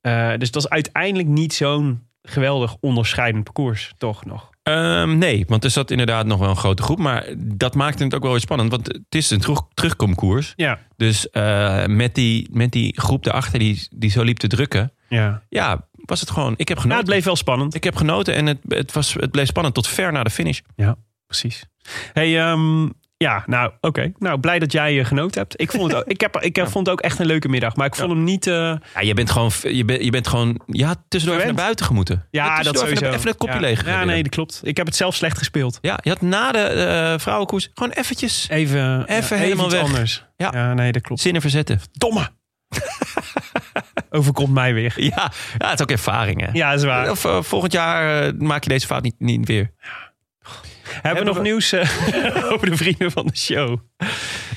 Speaker 4: Eh, dus het was uiteindelijk niet zo'n geweldig onderscheidend parcours, toch nog.
Speaker 3: Ehm, nee, want er zat inderdaad nog wel een grote groep. Maar dat maakte het ook wel weer spannend. Want het is een terug, terugkomkoers.
Speaker 4: Ja,
Speaker 3: Dus eh, met, die, met die groep daarachter die, die zo liep te drukken.
Speaker 4: ja.
Speaker 3: Ja, was het gewoon. Ik heb
Speaker 4: Nou,
Speaker 3: genoten.
Speaker 4: het bleef wel spannend.
Speaker 3: Ik heb genoten en het, het, was, het bleef spannend tot ver na de finish.
Speaker 4: precies. Hey, ehm, ja, nou, oké. Nou, blij dat jij eh, genoten hebt. Ik vond het ook,
Speaker 3: <laughs>
Speaker 4: ik heb, ik eh, vond het ook echt een leuke middag, maar ik vond hem niet. eh,
Speaker 3: Ja, je bent gewoon. Je, bent- je bent gewoon. Je had tussendoor even
Speaker 4: Verwend.
Speaker 3: naar buiten gemoeten. Je had
Speaker 4: ja, dat
Speaker 3: tussendoor
Speaker 4: sowieso.
Speaker 3: Even, even een kopje
Speaker 4: ja.
Speaker 3: leeg.
Speaker 4: Ja, nee, dat klopt. Ik heb het zelf slecht gespeeld.
Speaker 3: ja, je had na de eh, vrouwenkoers gewoon eventjes
Speaker 4: Even, ja,
Speaker 3: helemaal
Speaker 4: iets
Speaker 3: weg.
Speaker 4: anders. Ja.
Speaker 3: Ja.
Speaker 4: nee, dat klopt.
Speaker 3: zinnen verzetten.
Speaker 4: Domme. Overkomt mij weer.
Speaker 3: Ja, ja het is ook ervaring. Hè?
Speaker 4: Ja, is waar.
Speaker 3: Of, eh, volgend jaar eh, maak je deze fout niet, niet weer.
Speaker 4: Hebben we nog nieuws eh, <laughs> over de vrienden van de show?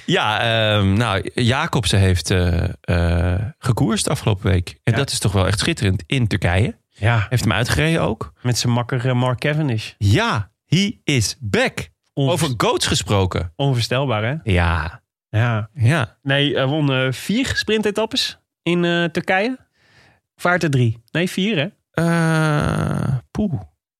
Speaker 3: Ja, ehm, nou, Jacobsen heeft eh, eh, gekoerst afgelopen week. En
Speaker 4: Ja.
Speaker 3: dat is toch wel echt schitterend. In Turkije.
Speaker 4: Ja,
Speaker 3: Heeft hem uitgereden ook.
Speaker 4: met zijn makker eh, Mark Cavendish.
Speaker 3: Ja, he is back.
Speaker 4: Onver-
Speaker 3: Over goats gesproken.
Speaker 4: Onvoorstelbaar, hè?
Speaker 3: Ja,
Speaker 4: Ja.
Speaker 3: ja.
Speaker 4: Nee, hij won eh, vier sprintetappes in eh, Turkije. Of waren het er drie? Nee, vier hè?
Speaker 3: Eh, poeh.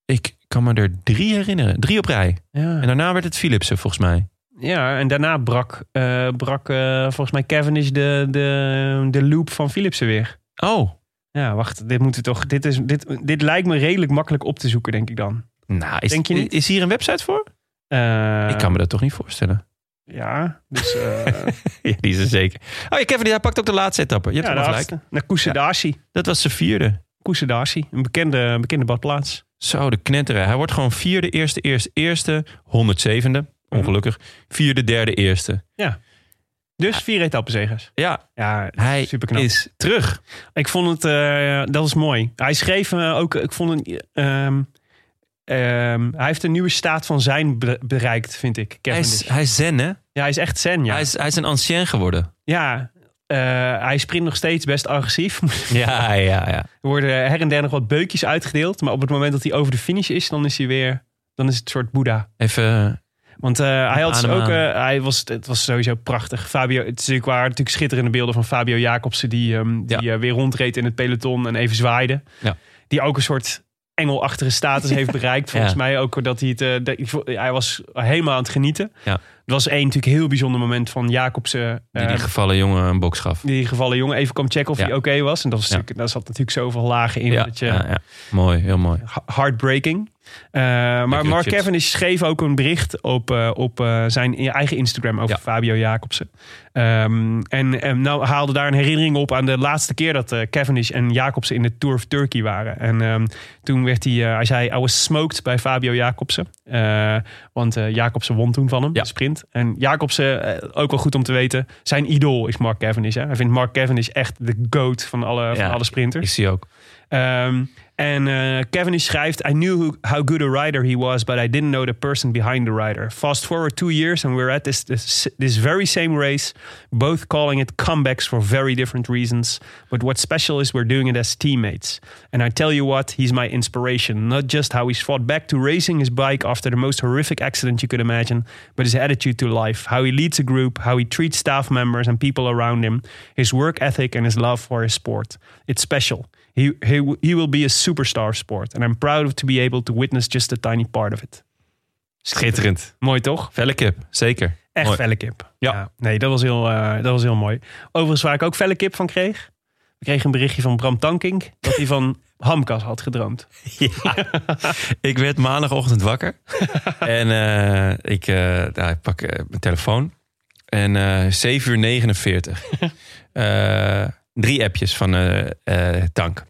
Speaker 3: Ik kan me er drie herinneren. Drie op rij.
Speaker 4: Ja,
Speaker 3: En
Speaker 4: en,
Speaker 3: daarna werd het Philipsen, volgens mij.
Speaker 4: ja, en daarna brak, eh, brak eh, volgens mij Cavendish de, de, de loop van Philipsen weer.
Speaker 3: Oh,
Speaker 4: Ja, wacht, dit moeten we toch. Dit, is, dit, dit lijkt me redelijk makkelijk op te zoeken, denk ik dan.
Speaker 3: nou, is,
Speaker 4: Denk je niet?
Speaker 3: is hier een website voor?
Speaker 4: Eh,
Speaker 3: ik kan me dat toch niet voorstellen. <laughs>
Speaker 4: Ja, dus. <laughs> eh,
Speaker 3: Ja, die is er zeker. Oh ja, Kevin, die pakt ook de laatste etappe. Je hebt
Speaker 4: ja,
Speaker 3: hem gelijk.
Speaker 4: laatste. Naar Kusadasi.
Speaker 3: Dat was zijn vierde.
Speaker 4: Kusadasi, een bekende, bekende badplaats.
Speaker 3: Zo, de knetteren. Hij wordt gewoon vierde, eerste, eerste, eerste. 107e,
Speaker 4: Mhm.
Speaker 3: ongelukkig. Vierde, derde, eerste.
Speaker 4: Dus vier etappenzegers.
Speaker 3: Ja,
Speaker 4: Ja,
Speaker 3: hij
Speaker 4: superknap.
Speaker 3: is terug.
Speaker 4: Ik vond het, eh, dat is mooi. Hij schreef eh, ook, ik vond het, ehm, ehm, hij heeft een nieuwe staat van zijn be- bereikt, vind ik.
Speaker 3: Hij
Speaker 4: Cavendish.
Speaker 3: is, hij is zen, hè?
Speaker 4: ja, hij is echt zen, dus. ja.
Speaker 3: Hij, is, hij is een ancien geworden.
Speaker 4: ja. eh, hij sprint nog steeds best agressief. <laughs> er
Speaker 3: Ja, ja, ja.
Speaker 4: worden her en der nog wat beukjes uitgedeeld. Maar op het moment dat hij over de finish is, dan is hij weer... Dan is het een soort Boeddha.
Speaker 3: Even,
Speaker 4: Want eh, hij had dus
Speaker 3: Adem
Speaker 4: ook...
Speaker 3: aan.
Speaker 4: eh, hij was, het was sowieso prachtig. Fabio, het is natuurlijk, waar, natuurlijk schitterende beelden van Fabio Jacobsen... die, ehm, die eh, weer rondreed in het peloton en even zwaaide.
Speaker 3: Ja.
Speaker 4: Die ook een soort engelachtige
Speaker 3: <laughs>
Speaker 4: status heeft bereikt. Volgens
Speaker 3: Ja.
Speaker 4: mij ook dat hij het... eh, dat- ik vo- hij was helemaal aan het genieten.
Speaker 3: Ja.
Speaker 4: Er was één natuurlijk heel bijzonder moment van Jacobsen...
Speaker 3: die,
Speaker 4: eh,
Speaker 3: die gevallen jongen een box gaf.
Speaker 4: die gevallen jongen even kwam checken of
Speaker 3: Ja.
Speaker 4: hij oké was. En dat was
Speaker 3: Ja.
Speaker 4: natuurlijk, daar zat natuurlijk zoveel lagen in.
Speaker 3: Ja,
Speaker 4: dat je,
Speaker 3: ja, ja. Mooi, heel mooi.
Speaker 4: Ha- heartbreaking. Eh, maar
Speaker 3: Lekkere
Speaker 4: Mark
Speaker 3: chips.
Speaker 4: Cavendish schreef ook een bericht op, eh, op eh, zijn eigen Instagram over
Speaker 3: Ja.
Speaker 4: Fabio Jacobsen. Ehm, en, en nou haalde daar een herinnering op aan de laatste keer dat eh, Cavendish en Jacobsen in de Tour of Turkey waren. En ehm, toen werd hij, eh, hij zei, I was smoked bij Fabio Jacobsen. Eh, want eh, Jacobsen won toen van hem,
Speaker 3: Ja.
Speaker 4: de sprint. En Jacobsen, eh, ook wel goed om te weten, zijn idool is Mark Cavendish. Hè? Hij vindt Mark Cavendish echt de goat van alle,
Speaker 3: Ja.
Speaker 4: van alle sprinters.
Speaker 3: Ik zie ook.
Speaker 4: Ehm, en eh Cavendish schrijft: I knew who- how good a rider he was, but I didn't know the person behind the rider. Fast forward two years, and we're at this this, this very same race, both calling it comebacks for very different reasons. But what's special is we're doing it as teammates. And I tell you what, he's my inspiration. Not just how he's fought back to racing his bike after the most horrific accident you could imagine, but his attitude to life, how he leads a group, how he treats staff members and people around him, his work ethic, and his love for his sport. It's special. He, he, w- he will be a superstar of sport. And I'm proud of to be able to witness just a tiny part of it.
Speaker 3: Schitterend.
Speaker 4: Mooi toch?
Speaker 3: Felle kip, <laughs> zeker.
Speaker 4: Echt
Speaker 3: Mooi.
Speaker 4: felle kip.
Speaker 3: Ja.
Speaker 4: Nee, dat was, heel, eh, dat was heel mooi. Overigens waar ik ook felle kip van kreeg. We kregen een berichtje van Bram Tankink. Dat hij van
Speaker 3: <laughs>
Speaker 4: hamkas had gedroomd.
Speaker 3: Ik werd maandagochtend <laughs> wakker. en eh, ik, eh, nou, ik pak eh, mijn telefoon. En eh 7 uur <laughs> 49. Eh, drie appjes van eh, eh, Tank.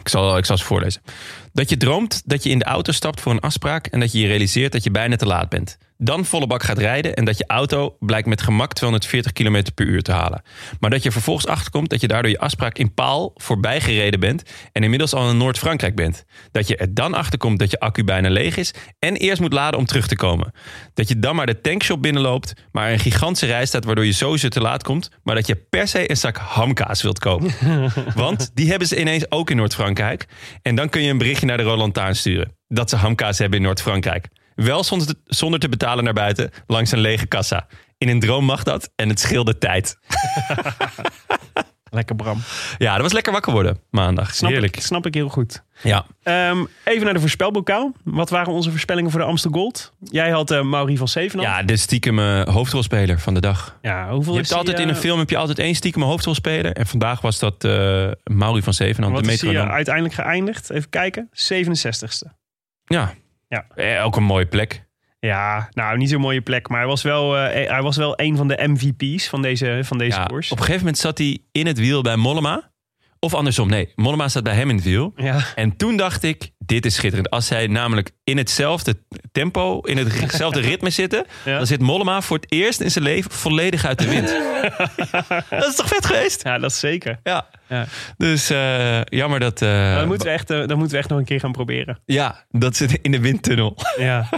Speaker 3: Ik zal, ik zal ze voorlezen. Dat je droomt dat je in de auto stapt voor een afspraak... en dat je je realiseert dat je bijna te laat bent. Dan volle bak gaat rijden en dat je auto blijkt met gemak 240 km per uur te halen. Maar dat je vervolgens achterkomt dat je daardoor je afspraak in paal voorbij gereden bent... en inmiddels al in Noord-Frankrijk bent. Dat je er dan achterkomt dat je accu bijna leeg is... en eerst moet laden om terug te komen. Dat je dan maar de tankshop binnenloopt... maar er een gigantische rij staat waardoor je sowieso te laat komt... maar dat je per se een zak hamkaas wilt kopen. Want die hebben ze ineens ook in Noord-Frankrijk. En dan kun je een berichtje naar de Roland Taan sturen. Dat ze hamkaas hebben in Noord-Frankrijk. Wel zonder te, zonder te betalen naar buiten, langs een lege kassa. In een droom mag dat en het scheelde tijd.
Speaker 4: Lekker Bram.
Speaker 3: Ja, dat was lekker wakker worden maandag.
Speaker 4: Snap
Speaker 3: Heerlijk.
Speaker 4: Ik, snap ik heel goed.
Speaker 3: Ja.
Speaker 4: Ehm, even naar de voorspelbokaal. Wat waren onze voorspellingen voor de Amstel Gold? Jij had eh Mauri van Zevenam.
Speaker 3: ja, de stiekem eh, hoofdrolspeler van de dag.
Speaker 4: Ja, hoeveel
Speaker 3: Je
Speaker 4: is
Speaker 3: hebt altijd
Speaker 4: die,
Speaker 3: in een
Speaker 4: eh,
Speaker 3: film heb je altijd één stiekem hoofdrolspeler. En vandaag was dat eh Mauri van Zevenhand, de
Speaker 4: Wat is hij eh,
Speaker 3: metronoom.
Speaker 4: uiteindelijk geëindigd? Even kijken. 67ste.
Speaker 3: Ja.
Speaker 4: Ja.
Speaker 3: Eh, ook een mooie plek.
Speaker 4: Ja, nou, niet zo'n mooie plek. Maar hij was wel, eh, hij was wel een van de MVP's van deze, van deze
Speaker 3: Ja, op een
Speaker 4: koers.
Speaker 3: gegeven moment zat hij in het wiel bij Mollema. Of andersom, nee. Mollema zat bij hem in het wiel.
Speaker 4: <laughs> Ja.
Speaker 3: En toen dacht ik, dit is schitterend. Als zij namelijk in hetzelfde tempo, in
Speaker 4: <laughs>
Speaker 3: hetzelfde ritme zitten...
Speaker 4: Ja.
Speaker 3: dan zit Mollema voor het eerst in zijn leven volledig uit de
Speaker 4: <laughs>
Speaker 3: wind. dat is toch vet geweest?
Speaker 4: ja, dat is zeker.
Speaker 3: Ja.
Speaker 4: Ja.
Speaker 3: Dus eh, jammer dat... eh,
Speaker 4: dat, moeten we echt, eh, dat moeten we echt nog een keer gaan
Speaker 3: <laughs>
Speaker 4: proberen.
Speaker 3: Ja, dat zit in de windtunnel.
Speaker 4: Ja,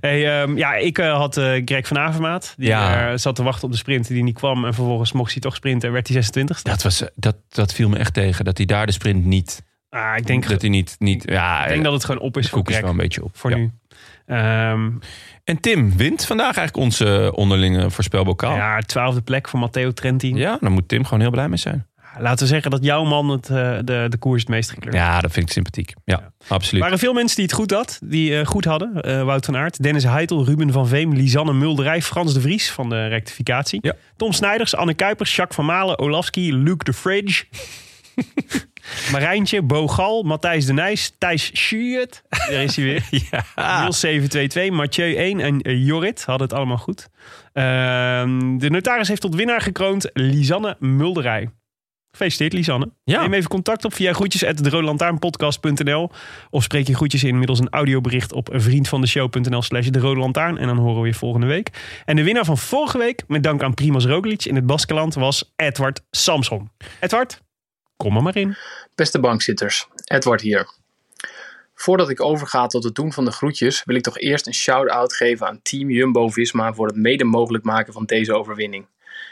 Speaker 4: hey, ehm, ja ik eh, had eh, Greg van Avermaat. Die
Speaker 3: Ja.
Speaker 4: eh, zat te wachten op de sprint die niet kwam. En vervolgens mocht hij toch sprinten en werd hij 26 ste
Speaker 3: Dat, was, eh, dat, dat viel me echt tegen, dat hij daar de sprint niet...
Speaker 4: Ah, ik denk,
Speaker 3: dat hij niet... niet ja,
Speaker 4: ik denk dat het gewoon op is
Speaker 3: de
Speaker 4: voor
Speaker 3: koek is
Speaker 4: Greg.
Speaker 3: wel een beetje op.
Speaker 4: Voor
Speaker 3: Ja.
Speaker 4: nu. Ehm,
Speaker 3: En Tim wint vandaag eigenlijk onze onderlinge voorspelbokaal. Ja.
Speaker 4: Ja, twaalfde plek voor Matteo Trentin.
Speaker 3: daar moet Tim gewoon heel blij mee zijn.
Speaker 4: Laten we zeggen dat jouw man het, eh, de, de koers het meest gekleurd
Speaker 3: Ja, dat vind ik sympathiek. Ja, absoluut.
Speaker 4: Er waren veel mensen die het goed, had, die, eh, goed hadden. Eh, Wout van Aert, Dennis Heitel, Ruben van Veem, Lisanne Mulderij, Frans de Vries van de rectificatie.
Speaker 3: Ja.
Speaker 4: Tom Snijders, Anne Kuipers, Jacques van Malen, Olafski, Luc de
Speaker 3: <laughs>
Speaker 4: Fridge. Marijntje, Bo Gal, Matthijs de Nijs, Thijs Schuurt. Daar is
Speaker 3: <laughs>
Speaker 4: hij weer. Niels 722, Mathieu 1 en eh, Jorrit hadden het allemaal goed. Ehm, de notaris heeft tot winnaar gekroond Lisanne Mulderij. Gefeliciteerd, Lisanne.
Speaker 3: Ja.
Speaker 4: Neem even contact op via groetjes at deroodlantaarnpodcast.nl of spreek je groetjes in middels een audiobericht op vriendvandeshow.nl slash de Rode Lantaarn. En dan horen we je volgende week. En de winnaar van vorige week, met dank aan Primoz Roglic in het Baskeland, was Edward Samson. Edward, kom er maar in.
Speaker 8: Beste bankzitters, Edward hier. Voordat ik overga tot het doen van de groetjes, wil ik toch eerst een shout-out geven aan Team Jumbo Visma voor het mede mogelijk maken van deze overwinning.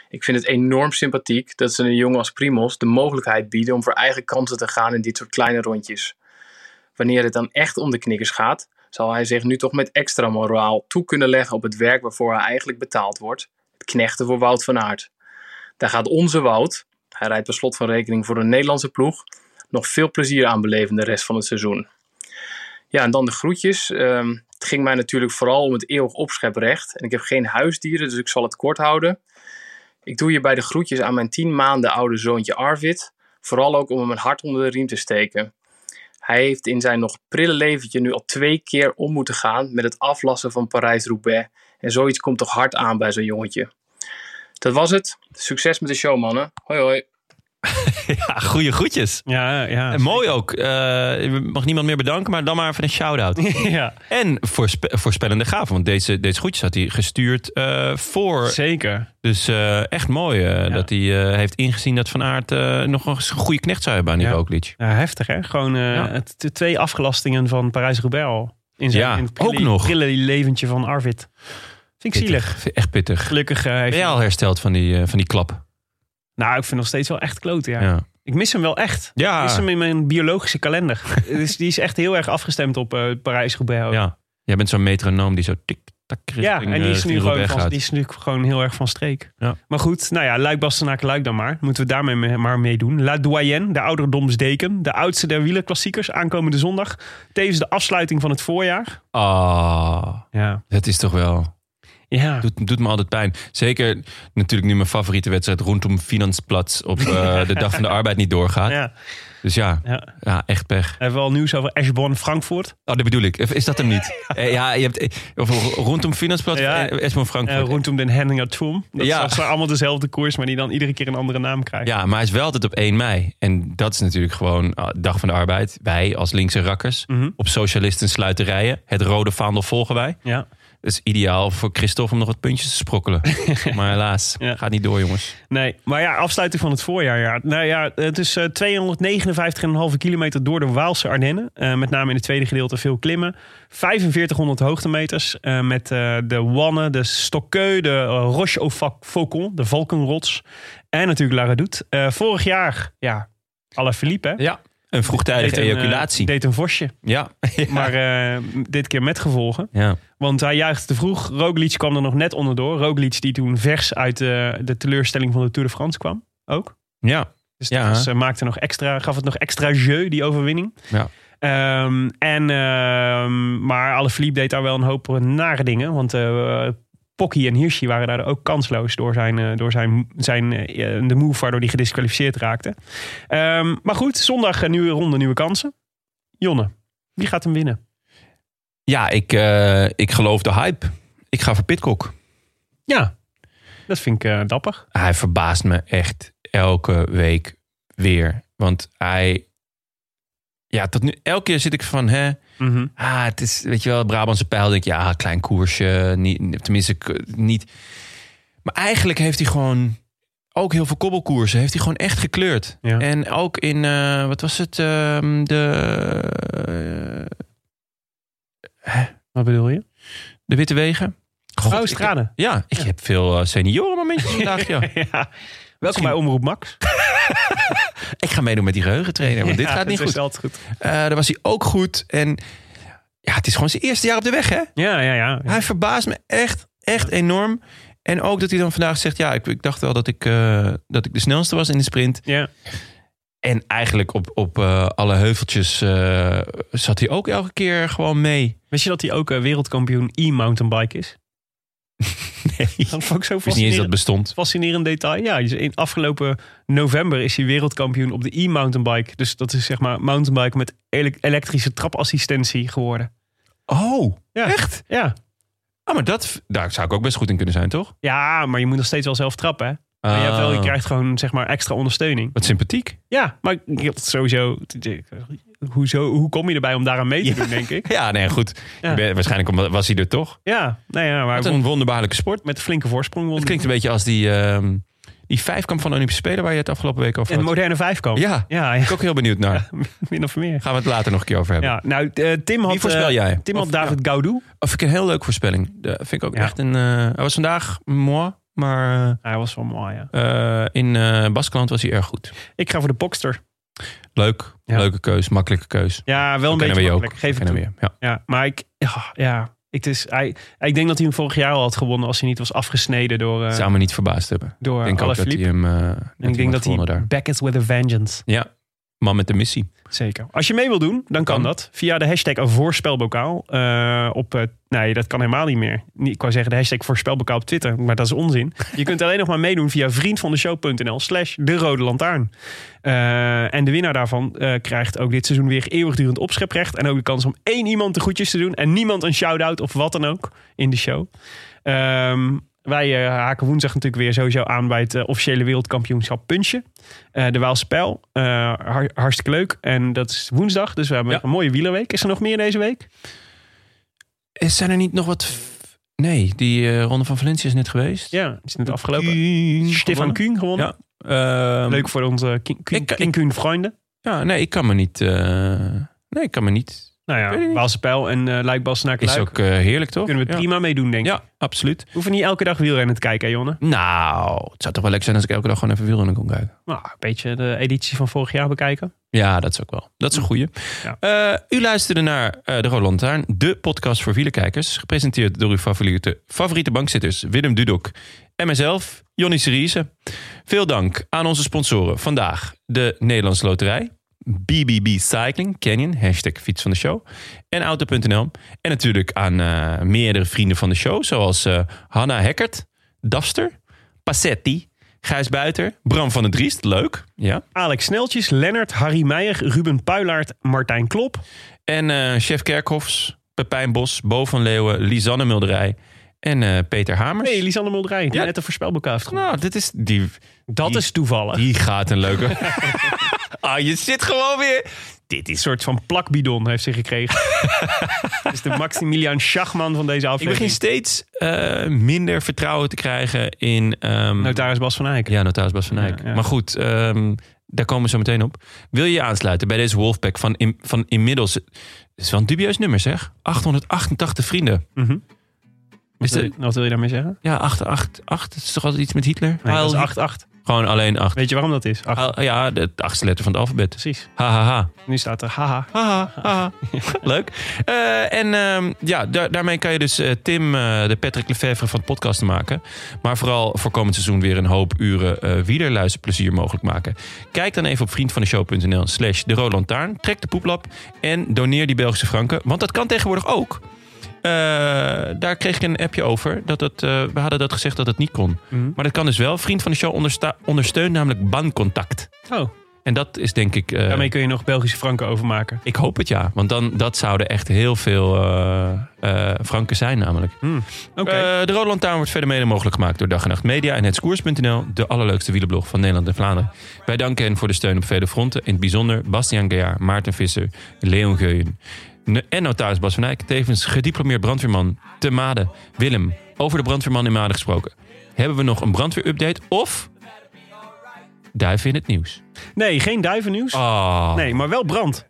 Speaker 8: Ik vind het enorm sympathiek dat ze een jongen als Primos de mogelijkheid bieden om voor eigen kansen te gaan in dit soort kleine rondjes. Wanneer het dan echt om de knikkers gaat, zal hij zich nu toch met extra moraal toe kunnen leggen op het werk waarvoor hij eigenlijk betaald wordt: het knechten voor Wout van Aert. Daar gaat onze Wout, hij rijdt per slot van rekening voor een Nederlandse ploeg, nog veel plezier aan beleven de rest van het seizoen. Ja, en dan de groetjes. Ehm, het ging mij natuurlijk vooral om het eeuwig opscheprecht. En ik heb geen huisdieren, dus ik zal het kort houden. Ik doe hierbij de groetjes aan mijn 10 maanden oude zoontje Arvid. Vooral ook om hem een hart onder de riem te steken. Hij heeft in zijn nog prille leventje nu al twee keer om moeten gaan met het aflassen van Parijs-Roubaix. En zoiets komt toch hard aan bij zo'n jongetje. Dat was het. Succes met de show, mannen. Hoi, hoi.
Speaker 3: ja, goede groetjes.
Speaker 4: Ja, ja.
Speaker 3: En <laughs>
Speaker 4: <laughs>
Speaker 3: mooi ook. Eh, mag niemand meer bedanken, maar dan maar even een shout-out.
Speaker 4: ja,
Speaker 3: En voorspe- voorspellende gaven, want deze, deze groetjes had hij gestuurd eh, voor.
Speaker 4: zeker.
Speaker 3: Dus eh, echt mooi eh, dat hij eh, heeft ingezien dat Van Aert eh, nog eens een goede knecht zou hebben aan die
Speaker 4: Ja.
Speaker 3: Roglic.
Speaker 4: Ja, heftig hè? Gewoon eh,
Speaker 3: Ja.
Speaker 4: het, de twee afgelastingen van Parijs-Roubaix al. In zijn
Speaker 3: Ja,
Speaker 4: in het
Speaker 3: ook
Speaker 4: prille-
Speaker 3: nog.
Speaker 4: prille leventje van Arvid. Vind ik zielig.
Speaker 3: Pittig. Echt pittig.
Speaker 4: Gelukkig eh, heeft
Speaker 3: Ben jij al hersteld van die, eh, van die klap?
Speaker 4: Nou, ik vind hem nog steeds wel echt kloten, ja.
Speaker 3: Ja.
Speaker 4: Ik mis hem wel echt. Ik mis
Speaker 3: Ja.
Speaker 4: hem in mijn biologische
Speaker 3: <laughs>
Speaker 4: kalender. dus die is echt heel erg afgestemd op eh Parijs-Roubaix. ook.
Speaker 3: ja. Jij bent zo'n metronoom die zo tik-tak
Speaker 4: Ja,
Speaker 3: richting,
Speaker 4: en
Speaker 3: eh,
Speaker 4: die is, nu
Speaker 3: richting
Speaker 4: gewoon
Speaker 3: Roubaix
Speaker 4: van,
Speaker 3: gaat.
Speaker 4: die is nu gewoon heel erg van streek.
Speaker 3: Ja.
Speaker 4: Maar goed, nou ja, Luik Bastenaken, Luik dan maar. Moeten we daarmee me- maar meedoen. La Doyenne, de ouderdomsdeken. De oudste der wielerklassiekers, aankomende zondag. Tevens de afsluiting van het voorjaar.
Speaker 3: Ah,
Speaker 4: Ja.
Speaker 3: dat is toch wel...
Speaker 4: Ja.
Speaker 3: Doet, doet me altijd pijn. Zeker natuurlijk nu mijn favoriete wedstrijd rondom Finansplatz op
Speaker 4: <laughs>
Speaker 3: eh, de dag van de arbeid niet doorgaat.
Speaker 4: ja.
Speaker 3: Dus ja,
Speaker 4: ja.
Speaker 3: ja, echt pech.
Speaker 4: Hebben we al nieuws over Eschborn Frankfurt?
Speaker 3: Oh, dat bedoel ik. Is dat hem
Speaker 4: <laughs>
Speaker 3: niet? Eh, ja, je hebt eh, of rondom Finansplatz,
Speaker 4: Ja.
Speaker 3: ja. Esmond
Speaker 4: Eh
Speaker 3: Frankfurt.
Speaker 4: rondom den Henninger Trom. Dat
Speaker 3: Ja.
Speaker 4: is allemaal dezelfde koers, maar die dan iedere keer een andere naam krijgt.
Speaker 3: Ja, maar hij is wel altijd op 1 mei. En dat is natuurlijk gewoon ah, dag van de arbeid. Wij als linkse rakkers
Speaker 4: Mhm.
Speaker 3: op socialisten sluiterijen. Het rode vaandel volgen wij.
Speaker 4: Ja.
Speaker 3: Dat is ideaal voor Christophe om nog wat puntjes te
Speaker 4: <laughs>
Speaker 3: sprokkelen. maar helaas,
Speaker 4: Ja.
Speaker 3: gaat niet door jongens.
Speaker 4: Nee, maar ja, afsluiting van het voorjaar. Ja. Nou ja, het is eh, 259,5 kilometer door de Waalse Ardennen. Eh, met name in het tweede gedeelte veel klimmen. 4500 hoogtemeters eh, met eh, de Wanne, de Stokkeu, de eh, Roche au Fac- Faucon, de Valkenrots. En natuurlijk La Redoute. Eh, vorig jaar, ja, Alaphilippe hè?
Speaker 3: Ja, een vroegtijdige
Speaker 4: Deed een, eh,
Speaker 3: ejaculatie.
Speaker 4: deed een vosje,
Speaker 3: ja. <laughs>
Speaker 4: maar eh, dit keer met gevolgen.
Speaker 3: ja.
Speaker 4: Want hij juichte te vroeg. Roglic kwam er nog net onderdoor. Roglic die toen vers uit eh, de teleurstelling van de Tour de France kwam. Ook.
Speaker 3: ja,
Speaker 4: Dus
Speaker 3: Ja.
Speaker 4: dat was, eh, maakte nog extra, gaf het nog extra jeu, die overwinning.
Speaker 3: Ja.
Speaker 4: Ehm, en, ehm maar Alaphilippe deed daar wel een hoop eh, nare dingen. Want eh Pocky en Hirschi waren daar ook kansloos door, zijn, eh, door zijn, zijn, eh, de move waardoor hij gedisqualificeerd raakte. Ehm, maar goed, zondag een nieuwe ronde, nieuwe kansen. Jonne, wie gaat hem winnen?
Speaker 3: ja ik, eh, ik geloof de hype. Ik ga voor Pitcock.
Speaker 4: Ja, dat vind ik eh, dapper.
Speaker 3: hij verbaast me echt elke week weer. Want hij. Ja, tot nu. Elke keer zit ik van. Hè,
Speaker 4: Mhm.
Speaker 3: ah, het is. Weet je wel, Brabantse pijl. Denk ik, ja, klein koersje. Niet, tenminste, k- niet. Maar eigenlijk heeft hij gewoon. Ook heel veel kobbelkoersen. Heeft hij gewoon echt gekleurd.
Speaker 4: Ja.
Speaker 3: En ook in. eh, wat was het? ehm, de.
Speaker 4: Wat bedoel je?
Speaker 3: eh, de Witte Wegen. God,
Speaker 4: oh,
Speaker 3: ik-
Speaker 4: Straden.
Speaker 3: ja, ik heb veel eh, seniorenmomentjes vandaag. <laughs> Ja.
Speaker 4: ja. Welkom
Speaker 3: Misschien-
Speaker 4: bij Omroep Max.
Speaker 3: Ik ga meedoen met die geheugentrainer. <laughs> Want dit
Speaker 4: <laughs> Ja,
Speaker 3: gaat niet
Speaker 4: dat
Speaker 3: goed.
Speaker 4: is altijd goed.
Speaker 3: Eh, daar was hij ook goed. En ja, het is gewoon zijn eerste jaar op de weg, hè?
Speaker 4: Ja, ja, ja.
Speaker 3: Hij verbaast me echt, echt enorm. En ook dat hij dan vandaag zegt, ja, ik, ik dacht wel dat ik, eh, dat ik de snelste was in de sprint.
Speaker 4: ja.
Speaker 3: En eigenlijk op, op eh, alle heuveltjes eh, zat hij ook elke keer gewoon mee.
Speaker 4: Wist je dat hij ook eh, wereldkampioen e-mountainbike is?
Speaker 3: <laughs> Nee, ik
Speaker 4: Dat vond ik zo
Speaker 3: wist niet eens dat het
Speaker 4: fascinerend,
Speaker 3: bestond.
Speaker 4: fascinerend detail. Ja, dus in afgelopen november is hij wereldkampioen op de e-mountainbike. Dus dat is zeg maar mountainbike met ele- elektrische trapassistentie geworden.
Speaker 3: Oh,
Speaker 4: Ja.
Speaker 3: echt?
Speaker 4: Ja.
Speaker 3: Ah, maar dat, daar zou ik ook best goed in kunnen zijn, toch?
Speaker 4: ja, maar je moet nog steeds wel zelf trappen. Hè? Maar
Speaker 3: Ah.
Speaker 4: je, hebt wel, je krijgt gewoon zeg maar extra ondersteuning.
Speaker 3: Wat sympathiek.
Speaker 4: Ja, maar ik- ik- sowieso... Hoezo, hoe kom je erbij om daaraan mee te
Speaker 3: Ja.
Speaker 4: doen, denk ik?
Speaker 3: Ja, nee, goed.
Speaker 4: Ja.
Speaker 3: Je bent- Waarschijnlijk omdat- was hij er toch.
Speaker 4: Ja, nou ja, maar
Speaker 3: Wat
Speaker 4: hij
Speaker 3: een
Speaker 4: won
Speaker 3: wonderbaarlijke sport.
Speaker 4: met een flinke voorsprong. Won.
Speaker 3: Het klinkt een beetje als die, ehm, die vijfkamp van de Olympische Spelen waar je het afgelopen week over
Speaker 4: en
Speaker 3: had.
Speaker 4: een moderne vijfkamp.
Speaker 3: Ja.
Speaker 4: Ja, ja,
Speaker 3: Ben ik ook heel benieuwd naar.
Speaker 4: min of meer.
Speaker 3: Gaan we het later nog een keer over hebben.
Speaker 4: Ja, nou, eh, Tim had,
Speaker 3: Wie voorspel
Speaker 4: eh,
Speaker 3: jij?
Speaker 4: Tim had
Speaker 3: Of-
Speaker 4: David Gaudu.
Speaker 3: Of ik een heel leuke voorspelling. Dat vind ik ook
Speaker 4: Ja.
Speaker 3: echt een. eh, hij was vandaag mooi, maar
Speaker 4: Hij was wel mooi, ja.
Speaker 3: eh, eh, in eh Baskeland was hij erg goed.
Speaker 4: Ik ga voor de Boxster.
Speaker 3: Leuk,
Speaker 4: Ja.
Speaker 3: leuke keus, makkelijke keus.
Speaker 4: Ja, wel
Speaker 3: Kennen
Speaker 4: een beetje
Speaker 3: we je
Speaker 4: makkelijk.
Speaker 3: ook.
Speaker 4: Geef het
Speaker 3: Kennen we
Speaker 4: toe.
Speaker 3: je. Ja.
Speaker 4: Ja, maar ik... Ja, ja. Het is, hij, ik denk dat hij hem vorig jaar al had gewonnen... als hij niet was afgesneden door, eh
Speaker 3: Zou me niet verbaasd hebben.
Speaker 4: door
Speaker 3: Ik denk ook dat hij
Speaker 4: Alaphilippe.
Speaker 3: hem. eh, dat
Speaker 4: En ik
Speaker 3: hem
Speaker 4: denk
Speaker 3: had
Speaker 4: dat hij
Speaker 3: gewonnen daar.
Speaker 4: back is with a vengeance.
Speaker 3: Ja, man met de missie.
Speaker 4: Zeker. Als je mee wil doen, dan kan
Speaker 3: Kan.
Speaker 4: dat. Via de hashtag voorspelbokaal. eh, op, eh, nee, dat kan helemaal niet meer. Niet- Ik wou zeggen de hashtag voorspelbokaal op Twitter, maar dat is onzin. Je kunt alleen nog maar meedoen via vriendvandeshow.nl slash de rode lantaarn. Eh, en de winnaar daarvan eh, krijgt ook dit seizoen weer eeuwigdurend opscheprecht. En ook de kans om één iemand de groetjes te doen. En niemand een shout-out of wat dan ook in de show. Ehm, Wij eh, haken woensdag natuurlijk weer sowieso aan bij het eh, officiële wereldkampioenschap Puntje. Eh, de Waalspel. Eh har- hartstikke leuk. En dat is woensdag, dus we hebben
Speaker 3: Ja.
Speaker 4: een mooie wielerweek. Is er nog meer deze week?
Speaker 3: Is- Zijn er niet nog wat... f- Nee, die eh, Ronde van Valencia is net geweest.
Speaker 4: Ja, het is net afgelopen.
Speaker 3: Kuhn
Speaker 4: Stefan
Speaker 3: gewonnen.
Speaker 4: Kuhn gewonnen.
Speaker 3: Ja. Ehm,
Speaker 4: Leuk voor onze eh, Kuhn- Kuhn-
Speaker 3: Ik- ik-
Speaker 4: Kuhn- Kuhn-vrienden.
Speaker 3: Ja, nee, ik kan me niet... eh, nee, ik kan me niet...
Speaker 4: Nou
Speaker 3: weet het
Speaker 4: ja,
Speaker 3: niet.
Speaker 4: Waalspel en eh Luikbas naar
Speaker 3: Is
Speaker 4: Luik.
Speaker 3: ook eh, heerlijk, toch?
Speaker 4: Kunnen we
Speaker 3: ja.
Speaker 4: prima mee doen, denk ik.
Speaker 3: Ja, absoluut.
Speaker 4: We hoeven niet elke dag wielrennen te kijken, hè, Jonne.
Speaker 3: Nou, het zou toch wel lekker zijn als ik elke dag gewoon even wielrennen kon kijken.
Speaker 4: Nou, een beetje de editie van vorig jaar bekijken.
Speaker 3: Ja, dat is ook wel. Dat is een goeie.
Speaker 4: Ja.
Speaker 3: Eh, u luisterde naar eh, De Rode Lantaarn, de podcast voor wielerkijkers. Gepresenteerd door uw favoriete, favoriete bankzitters Willem Dudok en mijzelf, Jonny Seriese. Veel dank aan onze sponsoren vandaag. De Nederlandse Loterij, BBB Cycling, Canyon, hashtag fiets van de show. En Auto.nl. En natuurlijk aan eh, meerdere vrienden van de show. Zoals eh, Hanna Hekkert, Dafster, Passetti, Gijs Buiter, Bram van den Driest. Leuk, ja.
Speaker 4: Alex Sneltjes, Lennart, Harry Meijer, Ruben Puilaert, Martijn Klop.
Speaker 3: En eh, chef Kerkhofs, Pepijn Bos, Bo van Leeuwen, Lisanne Mulderij en eh, Peter Hamers.
Speaker 4: Nee, Lisanne Mulderij, die
Speaker 3: Ja.
Speaker 4: net een voorspelbokaal heeft gewonnen.
Speaker 3: nou, dit is, die,
Speaker 4: Dat
Speaker 3: die-
Speaker 4: is toevallig.
Speaker 3: die gaat een
Speaker 4: <laughs>
Speaker 3: leuke. <laughs> ah, je zit gewoon weer. Dit
Speaker 4: Een
Speaker 3: is...
Speaker 4: soort van plakbidon heeft ze <laughs> gekregen. Dat is de Maximilian Schachman van deze
Speaker 3: Ik
Speaker 4: aflevering.
Speaker 3: begin steeds eh, minder vertrouwen te krijgen in... ehm,
Speaker 4: Notaris Bas van Eyck.
Speaker 3: ja, notaris Bas van Eyck.
Speaker 4: Nou, Ja, ja.
Speaker 3: Maar goed, ehm, daar komen we zo meteen op. Wil je je aansluiten bij deze Wolfpack van, in- van inmiddels... Het is wel een dubieus nummer, zeg. 888 vrienden.
Speaker 4: Mhm.
Speaker 3: Is
Speaker 4: Wat, wil,
Speaker 3: de,
Speaker 4: je- wat wil je daarmee zeggen?
Speaker 3: ja, 888. Het is toch altijd iets met Hitler?
Speaker 4: Nee, dat
Speaker 3: Heil-
Speaker 4: is 8-8.
Speaker 3: Gewoon alleen acht.
Speaker 4: Weet je waarom dat is? 8.
Speaker 3: Ah, ja, de het achtste letter van het alfabet. Dus
Speaker 4: Precies.
Speaker 3: Ha, ha, ha.
Speaker 4: Nu staat er haha.
Speaker 3: Ha, ha, ha. <laughs> Leuk. Eh, en ehm, ja, daar- daarmee kan je dus eh, Tim, eh, de Patrick Lefevre van het podcast maken. Maar vooral voor komend seizoen weer een hoop uren eh wielerluisterplezier mogelijk maken. Kijk dan even op vriendvandeshow.nl slash de Rode Lantaarn. Trek de poeplap en doneer die Belgische franken. Want dat kan tegenwoordig ook. Eh, daar kreeg ik een appje over. Dat het, eh, we hadden dat gezegd dat het niet kon.
Speaker 4: Mhm.
Speaker 3: Maar dat kan dus wel. Vriend van de show ondersta- ondersteunt namelijk bancontact.
Speaker 4: Oh,
Speaker 3: En dat is denk ik... eh,
Speaker 4: daarmee kun je nog Belgische franken overmaken.
Speaker 3: ik hoop het ja, want dan dat zouden echt heel veel eh eh, franken zijn namelijk.
Speaker 4: Oké.
Speaker 3: Eh, de Rode Lantaarn wordt verder mede mogelijk gemaakt door Dag en Nacht Media en Hetskoers.nl, de allerleukste wielenblog van Nederland en Vlaanderen. Wij danken hen voor de steun op vele fronten, in het bijzonder Bastiaan Gejaar, Maarten Visser, Leon Geuyen ne- en notaris Bas van Eyck, tevens gediplomeerd brandweerman te Made, Willem. Over de brandweerman in Made gesproken. Hebben we nog een brandweerupdate of duiven in het nieuws?
Speaker 4: Nee, geen duivennieuws.
Speaker 3: Oh,
Speaker 4: Nee, maar wel brand.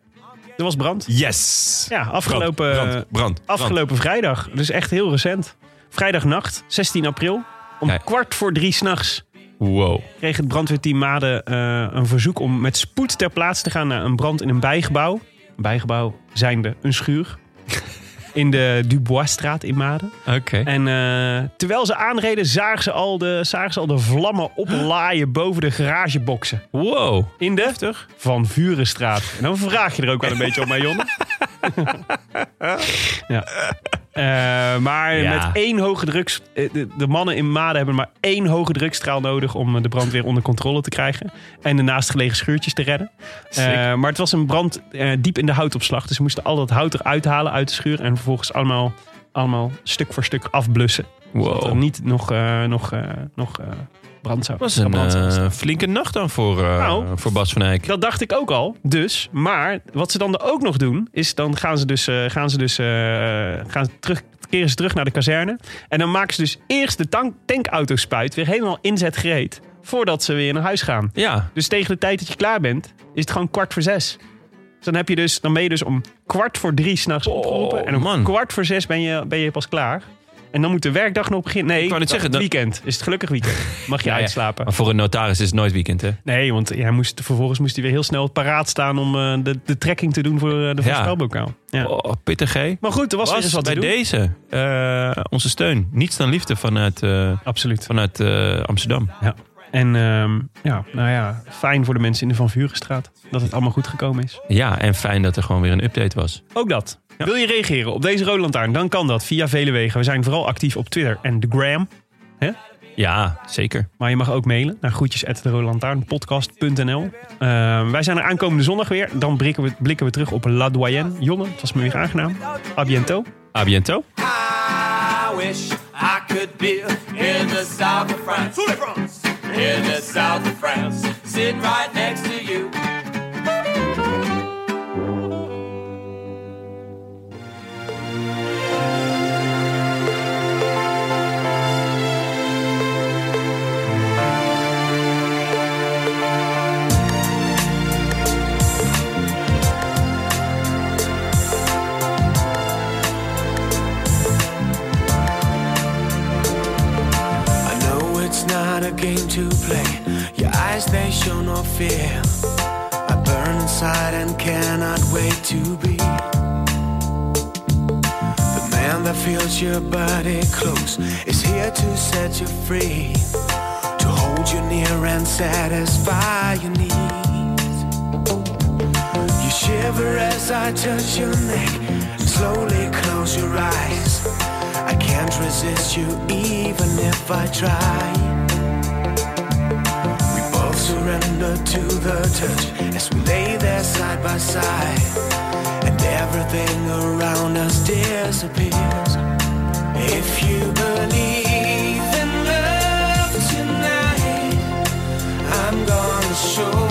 Speaker 4: Er was brand.
Speaker 3: yes!
Speaker 4: Ja,
Speaker 3: Brand,
Speaker 4: afgelopen,
Speaker 3: Oh, brand, brand.
Speaker 4: afgelopen vrijdag. Dus echt heel recent. Vrijdagnacht, 16 april. Om
Speaker 3: Kijk.
Speaker 4: kwart voor drie s'nachts
Speaker 3: Wow.
Speaker 4: kreeg het brandweerteam Maden eh, een verzoek om met spoed ter plaatse te gaan naar een brand in een bijgebouw. Een bijgebouw zijnde een schuur. In de Duboisstraat in Maden.
Speaker 3: Oké.
Speaker 4: En eh, terwijl ze aanreden, zagen ze, al de, zagen ze al de vlammen oplaaien boven de garageboxen.
Speaker 3: Wow.
Speaker 4: In de Van Vurenstraat. En dan vraag je er ook wel een beetje op, mij, <laughs> Jonne. ja. Eh, maar
Speaker 3: Ja.
Speaker 4: met één hoge druks... eh, De, de mannen in Maden hebben maar één hoge drukstraal nodig... om eh, de brand weer onder controle te krijgen. En de naastgelegen schuurtjes te redden. Eh, maar het was een brand eh, diep in de houtopslag. Dus ze moesten al dat hout eruit halen uit de schuur... en vervolgens allemaal, allemaal stuk voor stuk afblussen. Zodat er
Speaker 3: Wow.
Speaker 4: niet nog, eh, nog, eh, nog eh, brand zou
Speaker 3: Dat was een
Speaker 4: brand zou ontstaan.
Speaker 3: eh, flinke nacht dan voor, eh,
Speaker 4: Nou.
Speaker 3: voor Bas van Eyck.
Speaker 4: Dat dacht ik ook al. Dus, maar wat ze dan ook nog doen, is dan gaan ze dus, eh, gaan ze dus eh, gaan ze terug, keren ze terug naar de kazerne. En dan maken ze dus eerst de tank, tankauto-spuit weer helemaal inzet gereed. Voordat ze weer naar huis gaan.
Speaker 3: Ja.
Speaker 4: Dus tegen de tijd dat je klaar bent, is het gewoon kwart voor zes. Dus dan, heb je dus, dan ben je dus om kwart voor drie s'nachts
Speaker 3: Oh,
Speaker 4: opgeroepen. En om
Speaker 3: man.
Speaker 4: kwart voor zes ben je, ben je pas klaar. En dan moet de werkdag nog beginnen. Nee,
Speaker 3: Ik wou net zeggen,
Speaker 4: het
Speaker 3: dan-
Speaker 4: weekend. Is het gelukkig weekend. Mag
Speaker 3: <laughs>
Speaker 4: je
Speaker 3: Ja, ja.
Speaker 4: uitslapen.
Speaker 3: Maar voor een notaris is het nooit weekend, hè?
Speaker 4: Nee, want hij moest, vervolgens moest hij weer heel snel paraat staan om eh, de, de trekking te doen voor eh, de
Speaker 3: Ja.
Speaker 4: voorspelbokaal. Ja.
Speaker 3: Oh, pittig, hè?
Speaker 4: Maar goed, er was,
Speaker 3: Bas,
Speaker 4: weer eens wat
Speaker 3: bij
Speaker 4: te doen.
Speaker 3: deze eh, onze steun. Niets dan liefde vanuit, eh,
Speaker 4: Absoluut.
Speaker 3: vanuit eh, Amsterdam.
Speaker 4: En ehm, ja, nou ja, fijn voor de mensen in de Van Vurenstraat dat het allemaal goed gekomen is.
Speaker 3: Ja, en fijn dat er gewoon weer een update was.
Speaker 4: Ook dat. Wil je reageren op deze Roland Lantaarn? Dan kan dat via vele wegen. We zijn vooral actief op Twitter en de Gram.
Speaker 3: Ja, zeker.
Speaker 4: Maar je mag ook mailen naar groetjes Ehm, wij zijn er aankomende zondag weer. Dan blikken we, blikken we terug op La Doyenne. Jonne, het was me weer aangenaam. A bientôt.
Speaker 3: A biento.
Speaker 7: I wish I could be in the south of France. France. In the south of France, sitting right next to you.
Speaker 9: I know it's not a game to play. Your eyes, they show no fear. I burn inside and cannot wait to be the man that feels your body close. Is here to set you free, to hold you near and satisfy your needs. You shiver as I touch your neck and slowly close your eyes. I can't resist you even if I try. We both surrender to the touch as we lay there side by side. And everything around us disappears. If you believe in love tonight, I'm gonna show